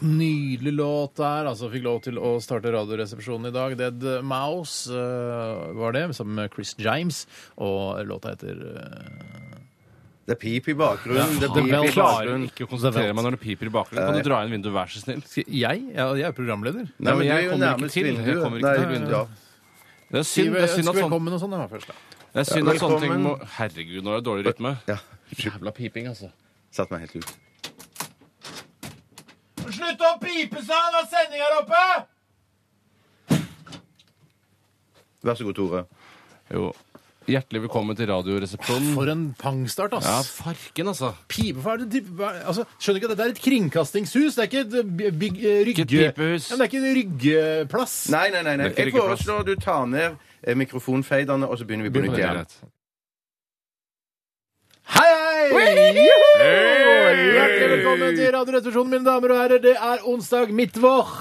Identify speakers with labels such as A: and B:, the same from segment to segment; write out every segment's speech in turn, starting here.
A: Nydelig låt der. Altså, fikk lov til å starte Radioresepsjonen i dag. Dead Mouse eh, var det, sammen med Chris James. Og låta heter eh,
B: Det er pip i bakgrunnen. altså, det er
A: faen.
B: pip i
A: Vel,
C: Jeg klarer
B: bakgrunnen.
C: ikke å konsentrere meg når det piper i bakgrunnen.
A: Eh,
C: Kan du dra inn vinduet, vær så snill?
A: Skal jeg? Ja, jeg er programleder.
B: Nei, men
C: men
B: du er
C: jeg
B: jo
C: kommer ikke
B: nærmest
C: til. Jeg
B: vinduet.
C: kommer ikke
B: Nei,
C: til vinduet.
B: ja.
C: Det er
A: Si
C: synd, det er synd at sånn,
A: velkommen og sånn. Det var først, da.
C: det er synd at sånne ting må
B: Velkommen.
C: Herregud, nå er det dårlig rytme.
B: Ja.
C: Jævla piping, altså.
B: Satt meg helt ut.
C: Slutt å pipe, sa han! Har sending her oppe!
B: Vær så god, Tore.
C: Jo. Hjertelig velkommen til Radioresepsjonen.
A: For en pangstart, ass.
C: Ja, farken, altså.
A: Pipe, hva er det type- hva er- altså, Skjønner du ikke at dette er et kringkastingshus? Det er ikke et by- bygg, eh, rygge...
C: Ikke et pipehus.
A: Ja, men det er ikke en ryggeplass.
B: Nei, nei, nei. nei.
C: Det er
B: Jeg
C: ikke ryggeplass.
B: foreslår du tar ned eh, mikrofonfeiderne, og så begynner vi på nytt igjen.
A: Hei, hei! Hjertelig velkommen til Radioresepsjonen, mine damer og herrer. Det er onsdag midtvår.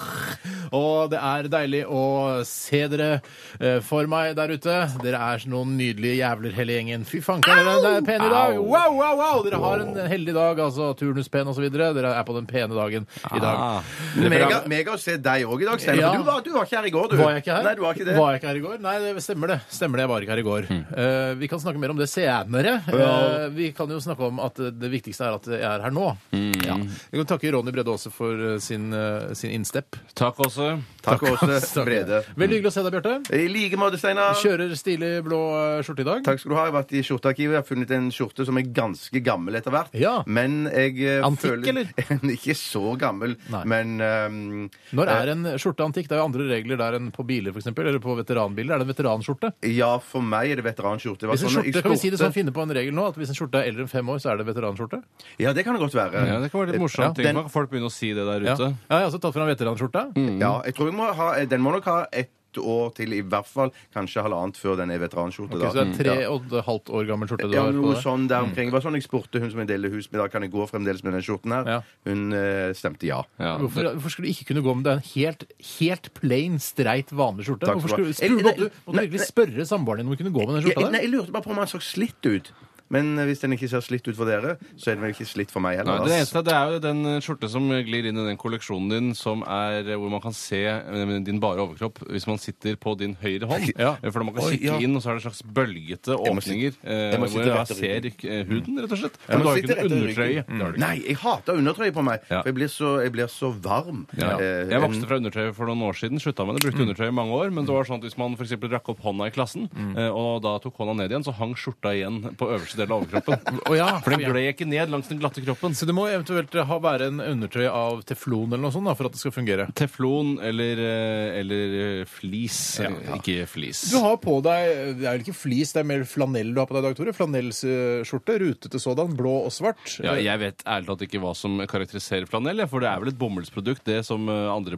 A: Og det er deilig å se dere eh, for meg der ute. Dere er noen nydelige jævler, hele gjengen. Fy fanker, dere dere er pene i dag.
C: Au!
A: Wow, wow, wow! Dere har en heldig dag, altså turnuspen osv. Dere er på den pene dagen
C: Ah.
A: i dag.
B: Mega, mega å se deg òg i dag, Steinar.
A: Ja.
B: for Du, var- du var ikke her i går, du.
A: Var jeg ikke her?
B: Nei, du var ikke det. Hmm.
A: Var jeg ikke her i går? Nei, det stemmer det. Stemmer det, jeg var ikke her i går. Eh, vi kan snakke mer om det senere.
B: Ja.
A: Eh, vi kan jo snakke om at eh, det viktigste er at jeg er her nå.
B: Hmm.
A: Ja. Jeg kan takke Ronny Brede Aase for eh, sin, eh, sin innstepp.
C: Takk også.
B: Takk, Åse
A: Takk.
B: Brede.
A: Veldig hyggelig å se deg, Bjarte.
B: I like måte, Steinar.
A: Kjører stilig blå eh, skjorte i dag.
B: Takk skal du ha. Jeg har vært i skjortearkivet. Jeg har funnet en skjorte som er ganske gammel etter hvert.
A: Ja.
B: Men jeg eh,
A: Antikk,
B: føler Ikke så gammel,
A: Nei.
B: men ehm,
A: Når er en skjorte antikk? Det er jo andre regler der enn på biler, for eksempel, eller på veteranbiler. Er det en veteranskjorte?
B: Ja, for meg er det veteranskjorte. Det var
A: Hvis en
B: sånn- jeg
A: skjorte, kan vi si det sånn,
B: spurte-
A: finne på en regel nå, at hvis en skjorte er eldre enn fem år, så er det veteranskjorte?
B: Ja, det kan det godt være.
C: Ja, det kan være litt morsomt.
A: Ja,
C: Tenk
A: den-
C: meg at folk begynner å si det der
A: Ja.
C: ute.
A: ja, jeg har også tatt fram veteranskjorta.
B: Ja, jeg tror jeg må ha, den må nok ha ett år til, i hvert fall kanskje halvannet før den er veteranskjorte.
A: Ok,
B: da.
A: så det er tre
B: ja.
A: og et halvt år gammel skjorte du
B: Ja,
A: har på
B: noe
A: deg? Mm.
B: sånn der omkring. Det var sånn jeg spurte hun som jeg deler hus med, da kan jeg gå fremdeles med den skjorten her?
A: Ja.
B: Hun eh, stemte ja.
C: Ja,
A: Hvorfor,
C: det-
A: hvorfor skulle du ikke kunne gå med deg en helt, helt plain, streit, vanlig skjorte?
B: Takk
A: Hvorfor
B: skal du ha.
A: skulle, skulle,
B: Jeg-
A: måtte, du-
B: nei,
A: måtte du
B: nei,
A: virkelig
B: nei.
A: spørre samboeren din om hun kunne gå med den
B: Jeg,
A: skjorta
B: nei,
A: der?
B: jeg lurte bare på om han så slitt ut. Men eh, hvis den ikke ser slitt ut for dere, så er den vel ikke slitt for meg
C: Nei,
B: heller.
C: det
B: ass.
C: eneste det er jo den eh, skjorte som glir inn i den kolleksjonen din, som er eh, hvor man kan se eh, din bare overkropp hvis man sitter på din høyre hånd.
A: Ja.
C: Eh, For da man kan
B: Oi,
C: kikke
B: ja.
C: inn, og så er det en slags bølgete
B: må sitte-
C: åpninger. eh,
B: jeg må sitte
C: Hvor jeg
B: rett i
C: ser
B: ryggen.
C: ikke, eh, huden, rett og slett.
B: Jeg
C: Men
B: må
C: du har
B: sitte
C: ikke
B: rett i
C: noe
B: ryggen. Mm.
C: undertrøye. Det har du ikke.
B: Nei, jeg hater undertrøye på meg.
C: Ja.
B: For jeg blir så, jeg blir så varm.
C: Ja.
B: Eh, Mm.
C: Jeg vokste fra undertøy for noen år siden. Slutta med det, brukte undertøy i mange år. Men det var sånn at hvis man for eksempel rakk opp hånda i klassen,
B: Mm.
C: eh, og da tok hånda ned igjen, så hang skjorta igjen på øverste del av overkroppen.
A: Å ja,
C: For den
A: ja.
C: gled ikke ned langs den glatte kroppen.
A: Sånn, Så det må eventuelt ha, være en undertøy av teflon eller noe sånt da, for at det skal fungere.
C: Teflon eller, eh, eller eh, flis. Eh, Ikke flis.
A: Du har på deg det er vel ikke flis, det er mer flanell du har på deg i dag, Tore. Flanellskjorte, rutete sådan, blå og svart.
C: Ja, jeg vet ærlig talt ikke hva som karakteriserer flanell, jeg, for det er vel et bomullsprodukt, det som eh, andre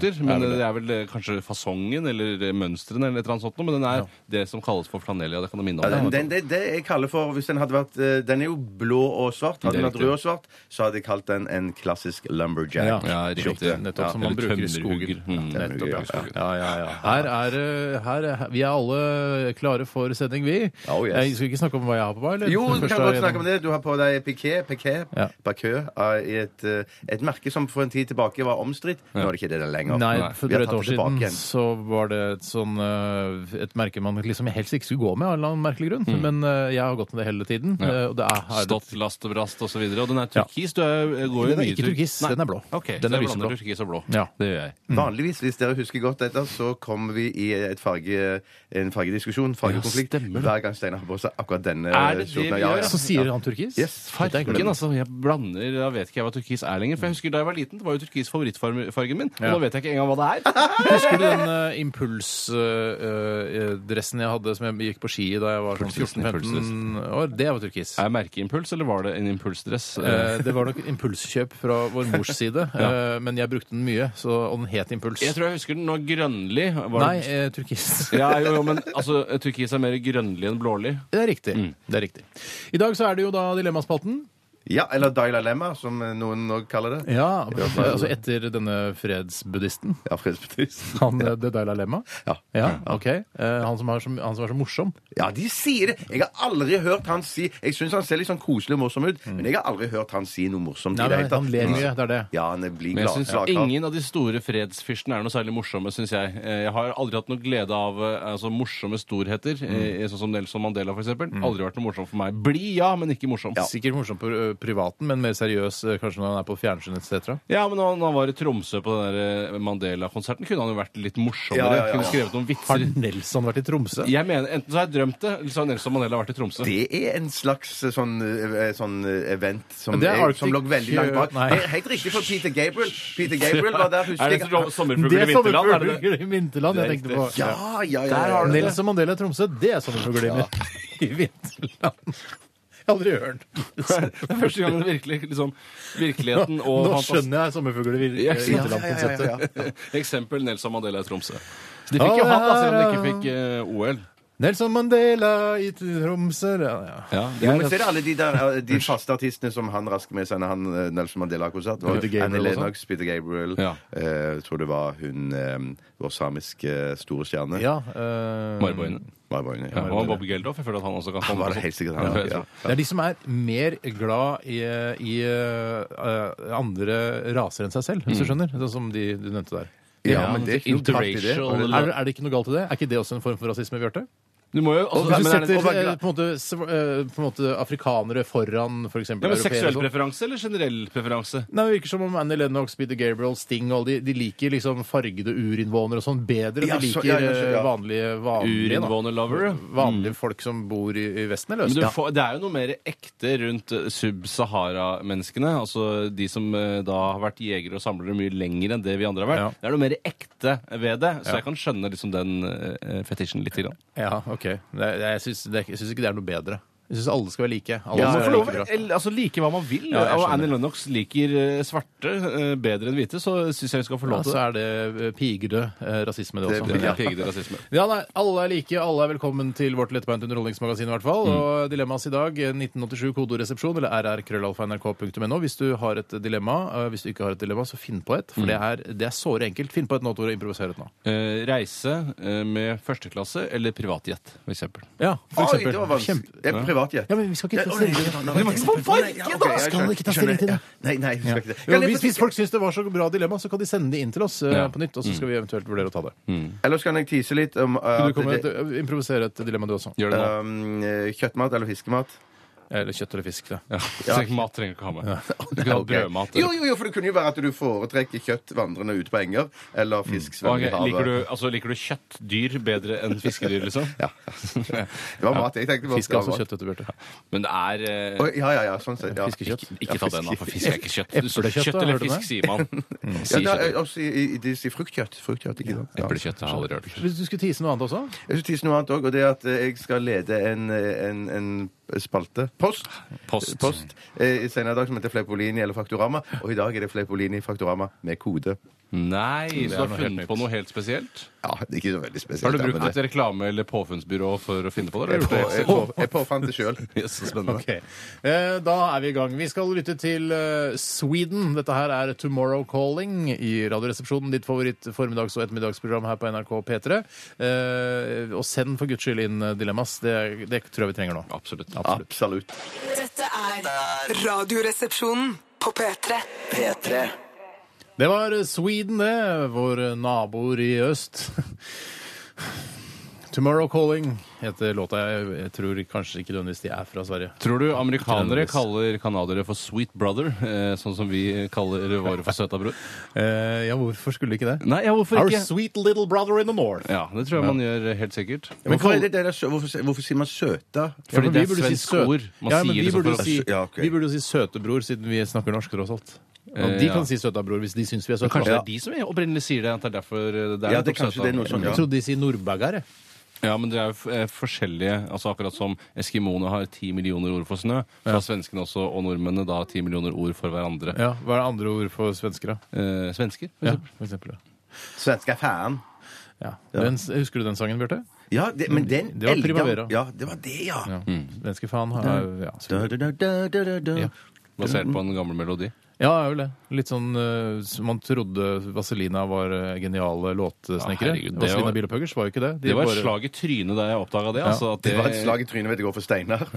A: det. Det er
C: Men
A: vel
C: eh,
A: det.
C: det er vel eh, kanskje fasongen eller eh, mønstrene eller et eller annet sånt noe, men den er det som kalles for flanell, ja, det kan du minne om.
B: Ja, den, den, det, det jeg kaller for Hvis den hadde vært eh, Den er jo blå og svart. Hadde
C: Det er
B: den vært
C: riktig.
B: rød og svart, så hadde jeg kalt den en klassisk lumberjack.
A: Ja.
C: ja, riktig.
B: Skjorte.
A: Nettopp som
C: Ja,
A: man
C: eller
A: bruker i skogen.
C: tømmerhugger. Mm,
B: Ja,
C: nettopp,
B: ja,
C: i skogen.
A: Ja, ja, ja. Her er, eh, her, er- vi er alle klare for sending, vi.
B: Oh, yes.
A: Jeg skal vi ikke snakke om hva jeg har på meg, eller?
B: Jo, vi
A: Først
B: kan
A: er
B: godt
A: jeg
B: snakke om det. Du har på deg piqué, piqué,
A: Ja.
B: Bakø, i et, eh, et merke som for en tid tilbake var omstridt. Nå er det ikke det der lenger.
A: Nei,
C: Nei,
A: for
B: vi har
A: drøyt
B: tatt
A: år
B: det
A: siden
B: tilbake igjen.
A: så var det et sånn eh, et merke man liksom helst ikke skulle gå med av en eller annen merkelig
C: Mm.
A: grunn. Men eh, jeg har gått med det hele tiden. eh, Og det er, er det-
C: Stått last og brast og så videre. Og den er turkis. Du er, går jo
A: Den er
C: mye
A: ikke
C: tur-
A: turkis,
C: Nei.
A: den er blå.
C: Ok,
A: Den
C: så
A: er
C: jeg
A: lyseblå.
C: blander turkis og blå.
A: Ja.
C: Det gjør jeg.
B: Vanligvis, hvis dere husker godt dette, så kommer vi i et farge, en fargediskusjon, fargekonflikt,
C: stemmer det.
B: hver gang Steinar har på seg akkurat denne
C: Er det det
B: skjorten.
C: vi
B: Ja,
C: gjør,
B: ja.
C: ja?
A: Så sier han turkis?
B: Yes.
A: Dette er
C: Fargen,
A: glemt.
C: altså. Jeg blander Da vet ikke jeg hva turkis er lenger. For jeg husker Da jeg var liten, det var jo turkis favorittfargen min. Og
A: Ja.
C: da vet jeg ikke engang hva det er.
A: Husker du den eh, impulsdressen jeg hadde som jeg gikk på ski i da jeg var sånn
C: Pulsen,
A: 14-15? år, det var turkis.
C: Er merkeimpuls, eller var det en impulsdress?
A: Eh, Det var nok impulskjøp fra vår mors side, eh, men jeg brukte den mye, så, og den het Impuls.
C: Jeg tror jeg husker den når grønnlig var
A: Nei, eh, turkis.
C: Ja, jo, jo, men altså, turkis er mer grønnlig enn blålig.
A: Det er riktig.
C: Mm.
A: Det er riktig. I dag så er det jo da Dilemmaspalten.
B: Ja, eller Dalai Lemma, som noen nå kaller det.
A: Ja, altså etter denne fredsbuddhisten.
B: Ja, fredsbudist.
A: Han eh, det Dalai Lema?
B: Ja.
A: ok. Eh, han, som har så, han som er så morsom?
B: Ja, de sier det. Jeg har aldri hørt han si Jeg syns han ser litt sånn koselig og morsom ut, men jeg har aldri hørt han si noe morsomt. i
A: Nei,
B: det
A: men
B: hele tatt.
A: han ler mye, det er det.
B: Ja, han blir
C: Men jeg
B: glad.
C: synes ingen av de store fredsfyrstene er noe særlig morsomme, syns jeg. Eh, Jeg har aldri hatt noe glede av eh, altså, morsomme storheter,
A: Mm.
C: eh, sånn som Nelson Mandela f.eks. Aldri vært noe morsom for meg. Blid, ja, men ikke morsom. Ja.
A: Sikkert morsom på eh, privaten, men mer seriøs eh, kanskje når han er på fjernsyn etc.
C: men når han- han var i Tromsø på den der, eh, Mandela-konserten, kunne han jo vært litt morsommere.
B: Ja, ja, ja.
C: Kunne skrevet noen vitser.
A: Har Nelson vært i Tromsø?
C: Jeg mener, Enten så har jeg drømt det, eller så har Nelson Mandela vært i Tromsø.
B: Det er en slags eh, sånn, eh, sånn eh, event som,
A: Det er
B: er,
A: Arctic-
B: som lå veldig langt bak.
A: Nei.
B: Det er Helt riktig for Peter Gabriel. Peter Gabriel var der,
C: er
B: husker
C: det
B: jeg.
C: sommerfugler i vinterland? Er det det?
A: sommerfugler i vinterland jeg
C: Det er
A: tenkte på.
B: Ja, ja, ja. ja, ja.
A: Nelson Mandela i Tromsø, det er sånn sommerfugler i vin- i vinterland. Jeg har aldri hørt
C: Det er første gangen virkelig, liksom, virkeligheten og
A: Nå
C: fantas-
A: skjønner jeg sommerfugler i vin- i
C: Ja, ja, ja,
A: vinterland-konseptet.
C: Eksempel Nelson Mandela i Tromsø. Så de fikk jo
A: Å,
C: hatt, da, selv om de
A: ja.
C: ikke fikk eh, OL.
A: Nelson Mandela i Tromsø ja, ja.
B: Jo, men så er det alle de, der, eh, de faste artistene som han rasker med seg når han eh, Nelson Mandela har konsert. Det var
A: Peter Gabriel
B: Annie
A: også.
B: Lennox, Peter Gabriel.
C: Ja.
B: eh, Jeg tror det var hun eh, vår samiske store stjerne.
A: ja eh,
C: Marboine.
B: Var det bare-
C: Ja, og Bob Geldof. Jeg føler at han også kan komme
B: var det helt sikkert han,
C: Ja, jeg
B: ja.
C: tror.
A: Det er de som er mer glad i, i eh, andre raser enn seg selv,
C: Mm.
A: hvis du skjønner. Sånn som de du nevnte der.
B: Ja, men det er ikke noe galt i det.
C: Interracial,
A: Er,
C: eller-
A: er det ikke noe galt i det? Er ikke det også en form for rasisme, Bjarte?
C: Du må jo altså,
A: Hvis du
C: men er det-
A: setter
C: og-
A: eh, på en måte, sv- eh, på en måte afrikanere foran f.eks.
C: Nei, men Seksuell
A: europeere. og sånn.
C: preferanse eller generell preferanse?
A: Nei, Det virker som om Annie Lennox, Peter Gabriel, Sting og alle de, de liker liksom fargede urinnvånere og sånn bedre enn
B: Ja,
A: de
B: så-
A: liker
B: ja, ja, så- ja.
A: eh, vanlige, vanlige, da.
C: Urinnvåner-lover.
A: vanlige folk som bor i, i Vesten, eller?
C: Men du
A: Ja.
C: får, det er jo noe mer ekte rundt eh, sub-Sahara-menneskene. Altså de som eh, da har vært jegere og samlere mye lenger enn det vi andre har vært.
A: Ja.
C: Det er noe mer ekte ved det, så
A: Ja.
C: jeg kan skjønne liksom den eh, fetisjen lite grann.
A: Ja, ok. Det, jeg syns det- jeg syns ikke det er noe bedre. Jeg syns alle skal være like. Alle
C: Man
A: skal
C: får
A: være
C: lov
A: like bra.
C: eller, altså, like hva man vil.
A: Ja, jeg
C: og
A: skjønner.
C: Annie Lennox liker eh, svarte eh, bedre enn hvite, så syns jeg hun skal
A: Ja,
C: få
A: så
C: lov til det.
A: er det eh, pigede eh, rasisme, det
C: Det
A: også.
C: er
A: Ja.
C: pigete rasisme.
A: Ja, nei, Alle er like, alle er velkommen til vårt lettbeint underholdningsmagasin. i hvert fall, Og dilemmas i dag, eh, 1987 kodoresepsjon eller rrkrøllalfa.nrk.no. Hvis du har et dilemma, eh, hvis du ikke har et dilemma, så finn på et. For det er, det er såre enkelt. Finn på et nå, Tore. Improviser et nå.
C: Eh, reise eh, med førsteklasse eller privatjet, for eksempel.
A: Ja, for
B: Oi, det
A: eksempel.
B: var vanskelig.
A: Kjempe-
B: Det er privatjet.
A: Ja, men vi skal ikke ta
B: Å,
A: stilling
B: nei,
A: til det.
B: nei, nei, nei,
A: Men hvorfor
B: nei,
A: ikke,
B: ja,
A: da?
B: ok, jeg
A: Skal man ikke ta
B: skjønner,
A: stilling til det?
B: ja. Nei, nei, vi skal ikke det.
A: Jo,
B: Kan jeg
A: hvis,
B: få-
A: hvis folk syns det var så bra dilemma, så kan de sende det inn til oss eh,
C: Ja.
A: på nytt, og så skal vi eventuelt vurdere å ta det.
B: Ellers kan jeg tise litt om uh,
A: Kan
B: at
A: du komme
B: det-
A: med et, eh, improvisere et dilemma, du også?
C: Gjør det nå.
B: um, eh, kjøttmat eller fiskemat.
A: Eller kjøtt eller fisk. Det.
C: Ja. Så mat trenger du ikke ha med. Du kan ha
B: Ok.
C: brødmat.
B: Jo, jo, jo, for det kunne jo være at du foretrekker kjøtt vandrende ut på enger, eller fisk
C: Ok,
B: svømmende i havet.
C: liker, du, altså, liker du kjøttdyr bedre enn fiskedyr, liksom?
B: Det var mat jeg tenkte på.
A: Fisk er også kjøtt, vet du, Bjarte.
C: Men det er eh,
B: Oi, ja, ja, ja, sånn sett. Ja.
A: Fiskekjøtt.
C: Ikke ta den, da, for fisk er ikke kjøtt. Du-
A: Eplekjøtt,
C: kjøtt
A: da,
C: eller
A: hører du det?
C: fisk, sier man. Man
B: Ja,
C: Sier
B: da,
C: kjøtt.
B: også i, i, de sier fruktkjøtt. Fruktkjøtt, ikke sant? Ja.
C: Eplekjøtt har jeg aldri hørt.
A: Hvis du skulle tise noe annet også?
B: Jeg skal tisse noe annet òg, og det er at eh, jeg skal lede en, eh, en, en spalte. Post.
C: Post.
B: Post eh, senere i dag som heter Fleipolini eller Faktorama. Og i dag er det Fleipolini Faktorama med kode.
C: Nei,
A: er
C: så
A: noe
C: du har
A: helt
C: funnet
A: nytt.
C: på noe helt spesielt?
B: Ja, det er ikke så veldig spesielt.
C: Har du
B: ja,
C: brukt
B: men
C: et reklame- eller påfunnsbyrå for å finne på det?
B: Jeg,
C: eller
B: på,
C: har du
B: jeg,
C: gjort det?
B: på, jeg påfant det sjøl.
C: Yes, så spennende.
A: Ok. Eh, Da er vi i gang. Vi skal lytte til eh, Sweden. Dette her er Tomorrow Calling i Radioresepsjonen. Ditt favoritt formiddags- og ettermiddagsprogram her på NRK P3. Eh, Og send for guds skyld inn eh, dilemmas. Det, det tror jeg vi trenger nå.
C: Absolutt.
B: Absolutt.
D: Dette er Radioresepsjonen på P3.
E: P3
A: Det var Sweden, det. Våre naboer i øst. Tomorrow Calling heter låta. Jeg, jeg tror kanskje ikke nødvendigvis de er fra Sverige.
C: Tror du amerikanere
A: Trendes.
C: kaller canadiere for sweet brother, eh, sånn som vi kaller våre for søta bror?
A: Eh, ja, hvorfor skulle ikke det?
C: Nei, ja, hvorfor
A: Our
C: ikke?
A: sweet little brother in the north.
C: Ja, det tror jeg man gjør helt sikkert.
B: Men hvorfor, er det der, sø- hvorfor, hvorfor sier man søta?
C: Fordi
A: men vi
C: det er
A: burde si
C: svensk
A: søt-
C: ord. Man
A: Ja, men
C: sier
A: vi
C: det som
A: burde
C: for-
A: si-
B: Ja, ok.
A: Vi burde jo si søtebror, siden vi snakker norsk, tross alt. Og
C: Eh,
A: de
C: ja.
A: kan si søtabror hvis de syns vi er søte.
C: Kanskje det
A: Ja. eh,
C: er de som opprinnelig sier det, at det er derfor det er
B: Ja, det
C: nettopp
B: kanskje det er noe sånn, ja.
A: Jeg trodde de sier nordbagger. jeg.
C: Ja, men det er jo f- eh, forskjellige altså Akkurat som eskimoene har ti millioner ord for snø, så har svenskene også, og nordmennene da ti millioner ord for hverandre.
A: Ja, Hva er det andre ord for svensker, da?
C: Eh, svensker, for
A: Ja,
C: eksempel.
A: for eksempel. ja.
B: Svenska fan.
A: Ja. Den, husker du den sangen, Bjarte?
B: Ja, det, men den
A: Det var
B: elga-
A: Primavera.
B: Ja, det var det, ja.
A: Ja.
C: Mm.
A: Svenske faen har ja, så-
B: Da, da, da, da, da, da.
A: Ja.
C: Basert på en gammel melodi.
A: Ja, det er vel det. Litt sånn eh, som man trodde Vazelina var eh, geniale låtsnekkere.
C: Ja, herregud, det var-
A: Vazelina Bilopphøggers var jo ikke det. De
C: Det var
A: bare-
C: et slag i trynet da jeg oppdaga det. altså at
B: Det var et slag i trynet, vet du, går for Steinar.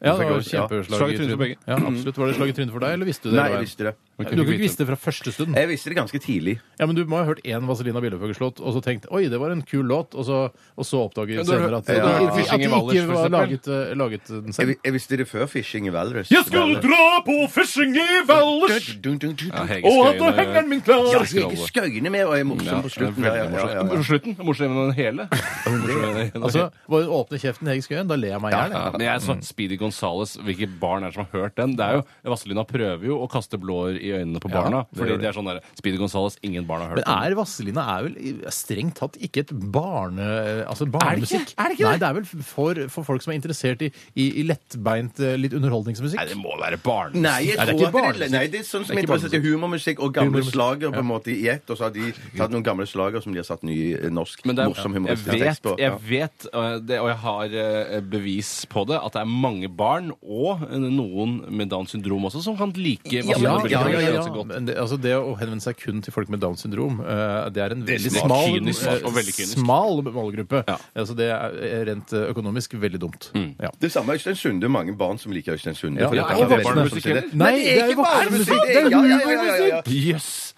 A: Ja, det var et kjempeslag
C: Slag i trynet for begge. Mm.
A: Ja, absolutt. Var det slag i trynet for deg, eller visste du det?
B: Nei, jeg visste det.
A: Du
C: Man kunne
A: har
C: ikke
A: ikke
C: vite
A: visst det fra første stund?
B: Jeg visste det ganske tidlig.
A: Eh, Ja, men Du må ha hørt én Vazelina Bilopphøggers-låt og så tenkt oi, det var en kul låt, og så, og så oppdager
C: Ja,
A: du
C: du har
A: senere at,
C: hørt- ja,
A: at,
C: du har
A: de- at
C: hørt
A: de
C: Fishing i Valdres,
A: ikke
C: for
A: var
C: eksempel.
A: laget, eh, laget den
B: Jeg,
A: selv.
B: vi- jeg visste det før Fishing i Valdres.
A: dra på fishing i Valdres!
C: Ja, Hege
A: Og
C: Skøyen,
A: da henger den min klar!
B: Ja,
C: Ja, Hege Skøyen.
B: Hege Skøyen er med og er morsom på slutten. Ja,
C: Ja,
B: ja, ja, ja, ja.
C: Slutten? Morsommere enn den hele? Morsommere enn den
A: Altså, bare åpne kjeften, Hege Skøyen, da ler jeg meg i
C: Ja,
A: hjel.
C: ja,
A: jeg.
C: men jeg så Speedy Gonzales, hvilke barn er det som har hørt den? Det er jo, Vazelina prøver jo å kaste blår i øynene på
A: det
C: barna.
A: gjør
C: fordi
A: de.
C: det er sånn der, Speedy Gonzales, ingen barn har hørt
A: Men er Vazelina er vel i- strengt tatt ikke et barne... Altså barnemusikk?
C: Er det ikke
A: Nei,
C: det?
A: det er vel for, for folk som er interessert i, i, i lettbeint, eh, litt underholdningsmusikk.
C: Nei, det må være barn.
B: Nei, jeg
A: Nei, det er ikke
B: tror at det
A: barnemusikk.
B: er, nei, det er sånn som
A: Det er ikke
B: interessert i humormusikk og gamle
A: Humormusikk,
B: slager på en måte i ett. Og så har de tatt noen gamle slager som de har satt ny eh, norsk
C: Men det er,
B: morsom
C: jeg
B: humoristisk tekst
C: vet,
B: på.
C: jeg vet øh, det, og jeg har øh, bevis på det, at det er mange barn, og øh, noen med Downs syndrom også, som kan like
A: Ja,
C: Vazelina
A: ja,
C: Billie
A: ja,
C: Eilish
A: ja, ja,
C: ganske godt.
A: Men det, altså det å henvende seg kun til folk med Downs syndrom, eh, det er en
C: Det er
A: veldig
C: smart.
A: smal,
C: Kynisk,
A: eh,
C: og veldig kynisk.
A: smal målgruppe.
C: Ja. Mm.
A: Altså det er eh, rent eh, økonomisk veldig dumt. Ja.
B: Det samme er Øystein Sunde. Mange barn som liker Øystein Sunde.
A: Ja,
B: for
A: ja,
B: dette
A: og
B: er veldig
A: voksne.
B: mange som sier det.
A: Nei,
B: det er ikke barnemusikk! Det er
A: det er
B: ja, ja, ja, ja, ja, ja.
C: Jøss!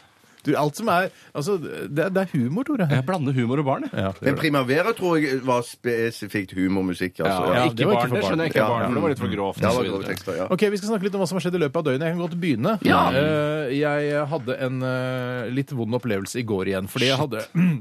A: Du, alt som er Altså, det er, det er humor, Tore.
C: Jeg blander humor og barn, jeg.
A: Ja, det gjør
B: Men
A: det.
B: Primavera tror jeg var spesifikt humormusikk.
C: Ja,
B: Altså.
C: ja,
B: Ja,
A: det var ikke
C: ikke
A: for
C: barn, det
A: barn.
C: skjønner jeg ikke.
B: Ja,
C: er barn,
B: ja.
C: for Det var litt for grovt.
B: det
C: og så
B: var
C: videre.
B: gode tekster, ja.
A: Ok, Vi skal snakke litt om hva som har skjedd i løpet av døgnet. Jeg kan godt begynne. Eh, jeg hadde en eh, litt vond opplevelse i går igjen. Fordi jeg hadde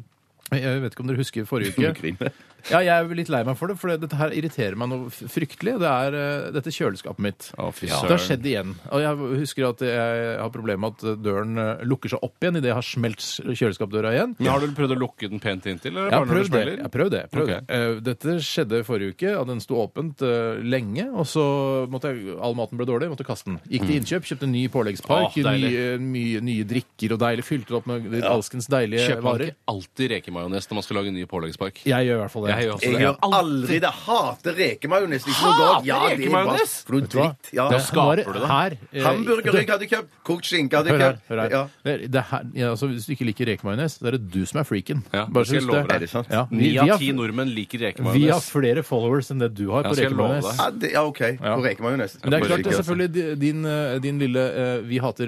A: Jeg vet ikke om dere husker forrige uke. Ja, jeg er litt lei meg for det, for dette her irriterer meg noe f- fryktelig. Det er eh, dette kjøleskapet mitt.
C: Å, fy
A: Ja.
C: søren.
A: Det har skjedd igjen. Og jeg husker at jeg har problemer med at døren eh, lukker seg opp igjen idet jeg har smelt s- kjøleskapdøra igjen.
C: Men har du prøvd å lukke den pent inntil? Eller
A: Jeg har
C: bare når du
A: prøvd det.
C: spiller?
A: Jeg har prøvd det. jeg har prøvd
C: Ok.
A: det. Eh, Dette skjedde forrige uke. at Den sto åpent eh, lenge. og så måtte jeg, All maten ble dårlig, måtte kaste den. Gikk til innkjøp, kjøpte en ny påleggspark,
C: Mm. Åh, deilig.
A: nye, mye- nye drikker og deilig. Fylte det opp med alskens deilige
C: Kjøper man
A: Eh, varer.
C: ikke alltid rekemajones når man skal lage en ny påleggspark?
A: Jeg gjør i hvert fall det.
C: Jeg gjør også
B: Jeg
C: det.
B: gjør aldri det. Hater rekemajones. Liksom noe godt. Ja, det er bare
C: rekemajones?
B: For noe
A: Vet du hva?
B: dritt. Ja.
A: Det-
C: skaper
A: nå er
C: du det.
A: Her, eh,
B: Hamburgerrygg hadde jeg kjøpt. Kokt skinke hadde
A: Hør
B: jeg
A: her.
B: kjøpt.
A: hør her.
B: Ja.
A: Det, det her ja, altså, hvis du ikke liker rekemajones, så er det du som er freaken.
C: Ja,
A: Bare
C: det skal jeg
A: så
C: love
A: husk
C: deg.
B: Er det sant?
A: Ja,
C: Ni
A: vi,
C: av
A: har,
C: ti nordmenn liker
A: vi har
C: rekemajones.
A: flere followers enn det du har
C: Ja,
A: på
C: skal jeg love
A: rekemajones.
C: deg.
B: Ja, det, ja, OK. På rekemajones.
A: Men det er klart, altså. det er selvfølgelig di- din, eh, din lille eh, Vi hater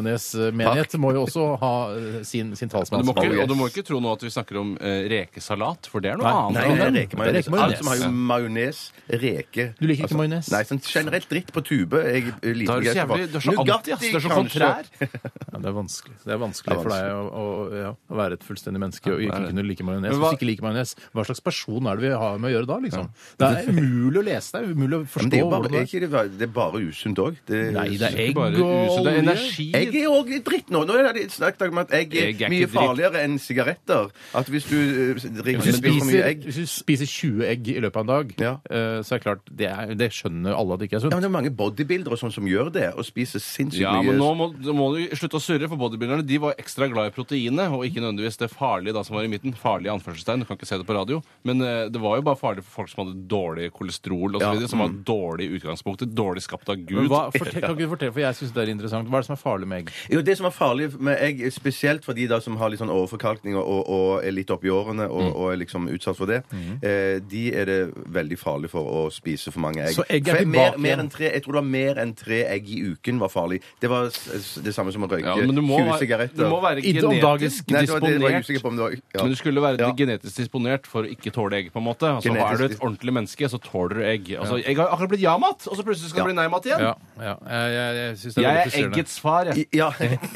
A: rekemajones-menighet må jo også ha eh, sin, sin
C: Men
A: talsmann.
C: Du må ikke,
B: Yes.
C: og du må ikke tro nå at vi snakker om eh, rekesalat, for det er noe
A: Nei.
C: annet.
B: Nei, det er rekemajones.
A: Rekemajones.
B: Alt som har jo majones, reke
A: Du liker ikke majones?
B: Nei, sånn generelt dritt på tube. Jeg eh, liker
C: Da er du så
B: ikke etterpå.
C: jævlig, du er så
B: Nugatti,
C: anti, ass. Du er så
B: kanskje.
C: kontrær.
A: Ja, det er vanskelig Det er vanskelig
B: Det er
A: for deg å, å, ja, å være et fullstendig menneske og ikke
C: det er det.
A: kunne like majones.
C: Men hva-
A: Hvis ikke liker majones, hva slags person er det vi har med å gjøre da? liksom? Det er umulig å lese deg, umulig å
B: Men det
A: forstå
B: er jo bare,
A: hvordan det
B: er
A: er.
B: ikke det, bare- det er bare usunt òg.
A: Nei, det er egg og
C: Bare usunt. Det
A: olje.
C: er energi.
B: Jeg er òg litt dritt nå. Nå er det snakket om at egg er,
C: Egg er ikke
B: mye
C: dritt.
B: farligere enn sigaretter. At hvis du eh, drikker
A: Hvis du,
B: spiser for mye
A: spiser,
B: egg
A: hvis du spiser 20 egg i løpet av en dag,
B: Ja.
A: eh, så er det klart Det, er, det skjønner alle at det ikke er
B: ja,
A: sunt.
B: men Det er mange bodybuildere og sånn som gjør det, og spiser sinnssykt
C: Ja,
B: mye
C: men nå må, nå må du slutte å surre, for bodybuilderne de var ekstra glad i proteinet, og ikke nødvendigvis det farlige da som var i midten. Farlig i anførselstegn, du kan ikke se det på radio. Men eh, det var jo bare farlig for folk som hadde dårlig kolesterol og så videre, som var dårlig i utgangspunktet, dårlig skapt av
A: Mm.
C: Gud.
A: Men hva, fortell, kan ikke du fortelle, for jeg synes det er interessant. Hva er det som er farlig med egg?
B: Jo, Det som er farlig med egg, spesielt for de da som har litt sånn overforkalkning og, og, og er litt oppi årene og,
C: Mm.
B: og er liksom utsatt for det, eh, de er det veldig farlig for å spise for mange egg.
A: Så egg er
B: For jeg-
A: tilbake
B: mer, mer
A: igjen.
B: enn tre, Jeg tror det var mer enn tre egg i uken var farlig. Det var s- s- det samme som å røyke
C: Ja, men du må,
B: 20
C: være-
B: sigaretter.
C: du må være
A: Ikke om dagen.
C: genetisk
B: Nei, det var, det var jeg
C: disponert.
B: usikker på om det var ja.
C: Men du skulle være
B: Ja.
C: genetisk disponert for å ikke tåle egg, på en måte. Altså,
B: Genetisk
C: er du et
B: dis-
C: ordentlig menneske, så tåler du egg. Altså, Egg har akkurat blitt ja-mat, og så plutselig skal det bli nei-mat igjen.
A: Ja, ja. Jeg, jeg, jeg synes det er veldig
C: Jeg er
A: frustrerende.
C: eggets far, jeg.
B: Ja,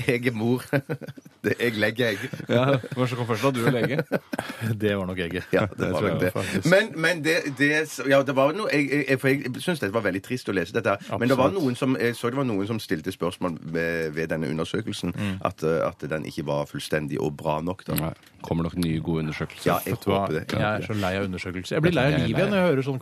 B: jeg er mor. Det, jeg legger egg.
C: Ja, Hvem som kom først, da? Du eller lege?
A: Det var nok egget.
B: Ja, det var nok det. Men, men det, det, ja, det var noe Jeg, jeg, for jeg syns dette var veldig trist å lese dette. her Men det var noen som, jeg så det var noen som stilte spørsmål ved, ved denne undersøkelsen. At, eh, at den ikke var fullstendig og bra nok. Da.
C: Nei. Kommer nok nye, gode undersøkelser.
B: Ja, jeg
A: Vet du hva?
B: håper det.
A: Jeg er så lei av undersøkelser. Jeg blir lei av
C: Jeg er
A: livet
C: lei.
A: når jeg hører sånn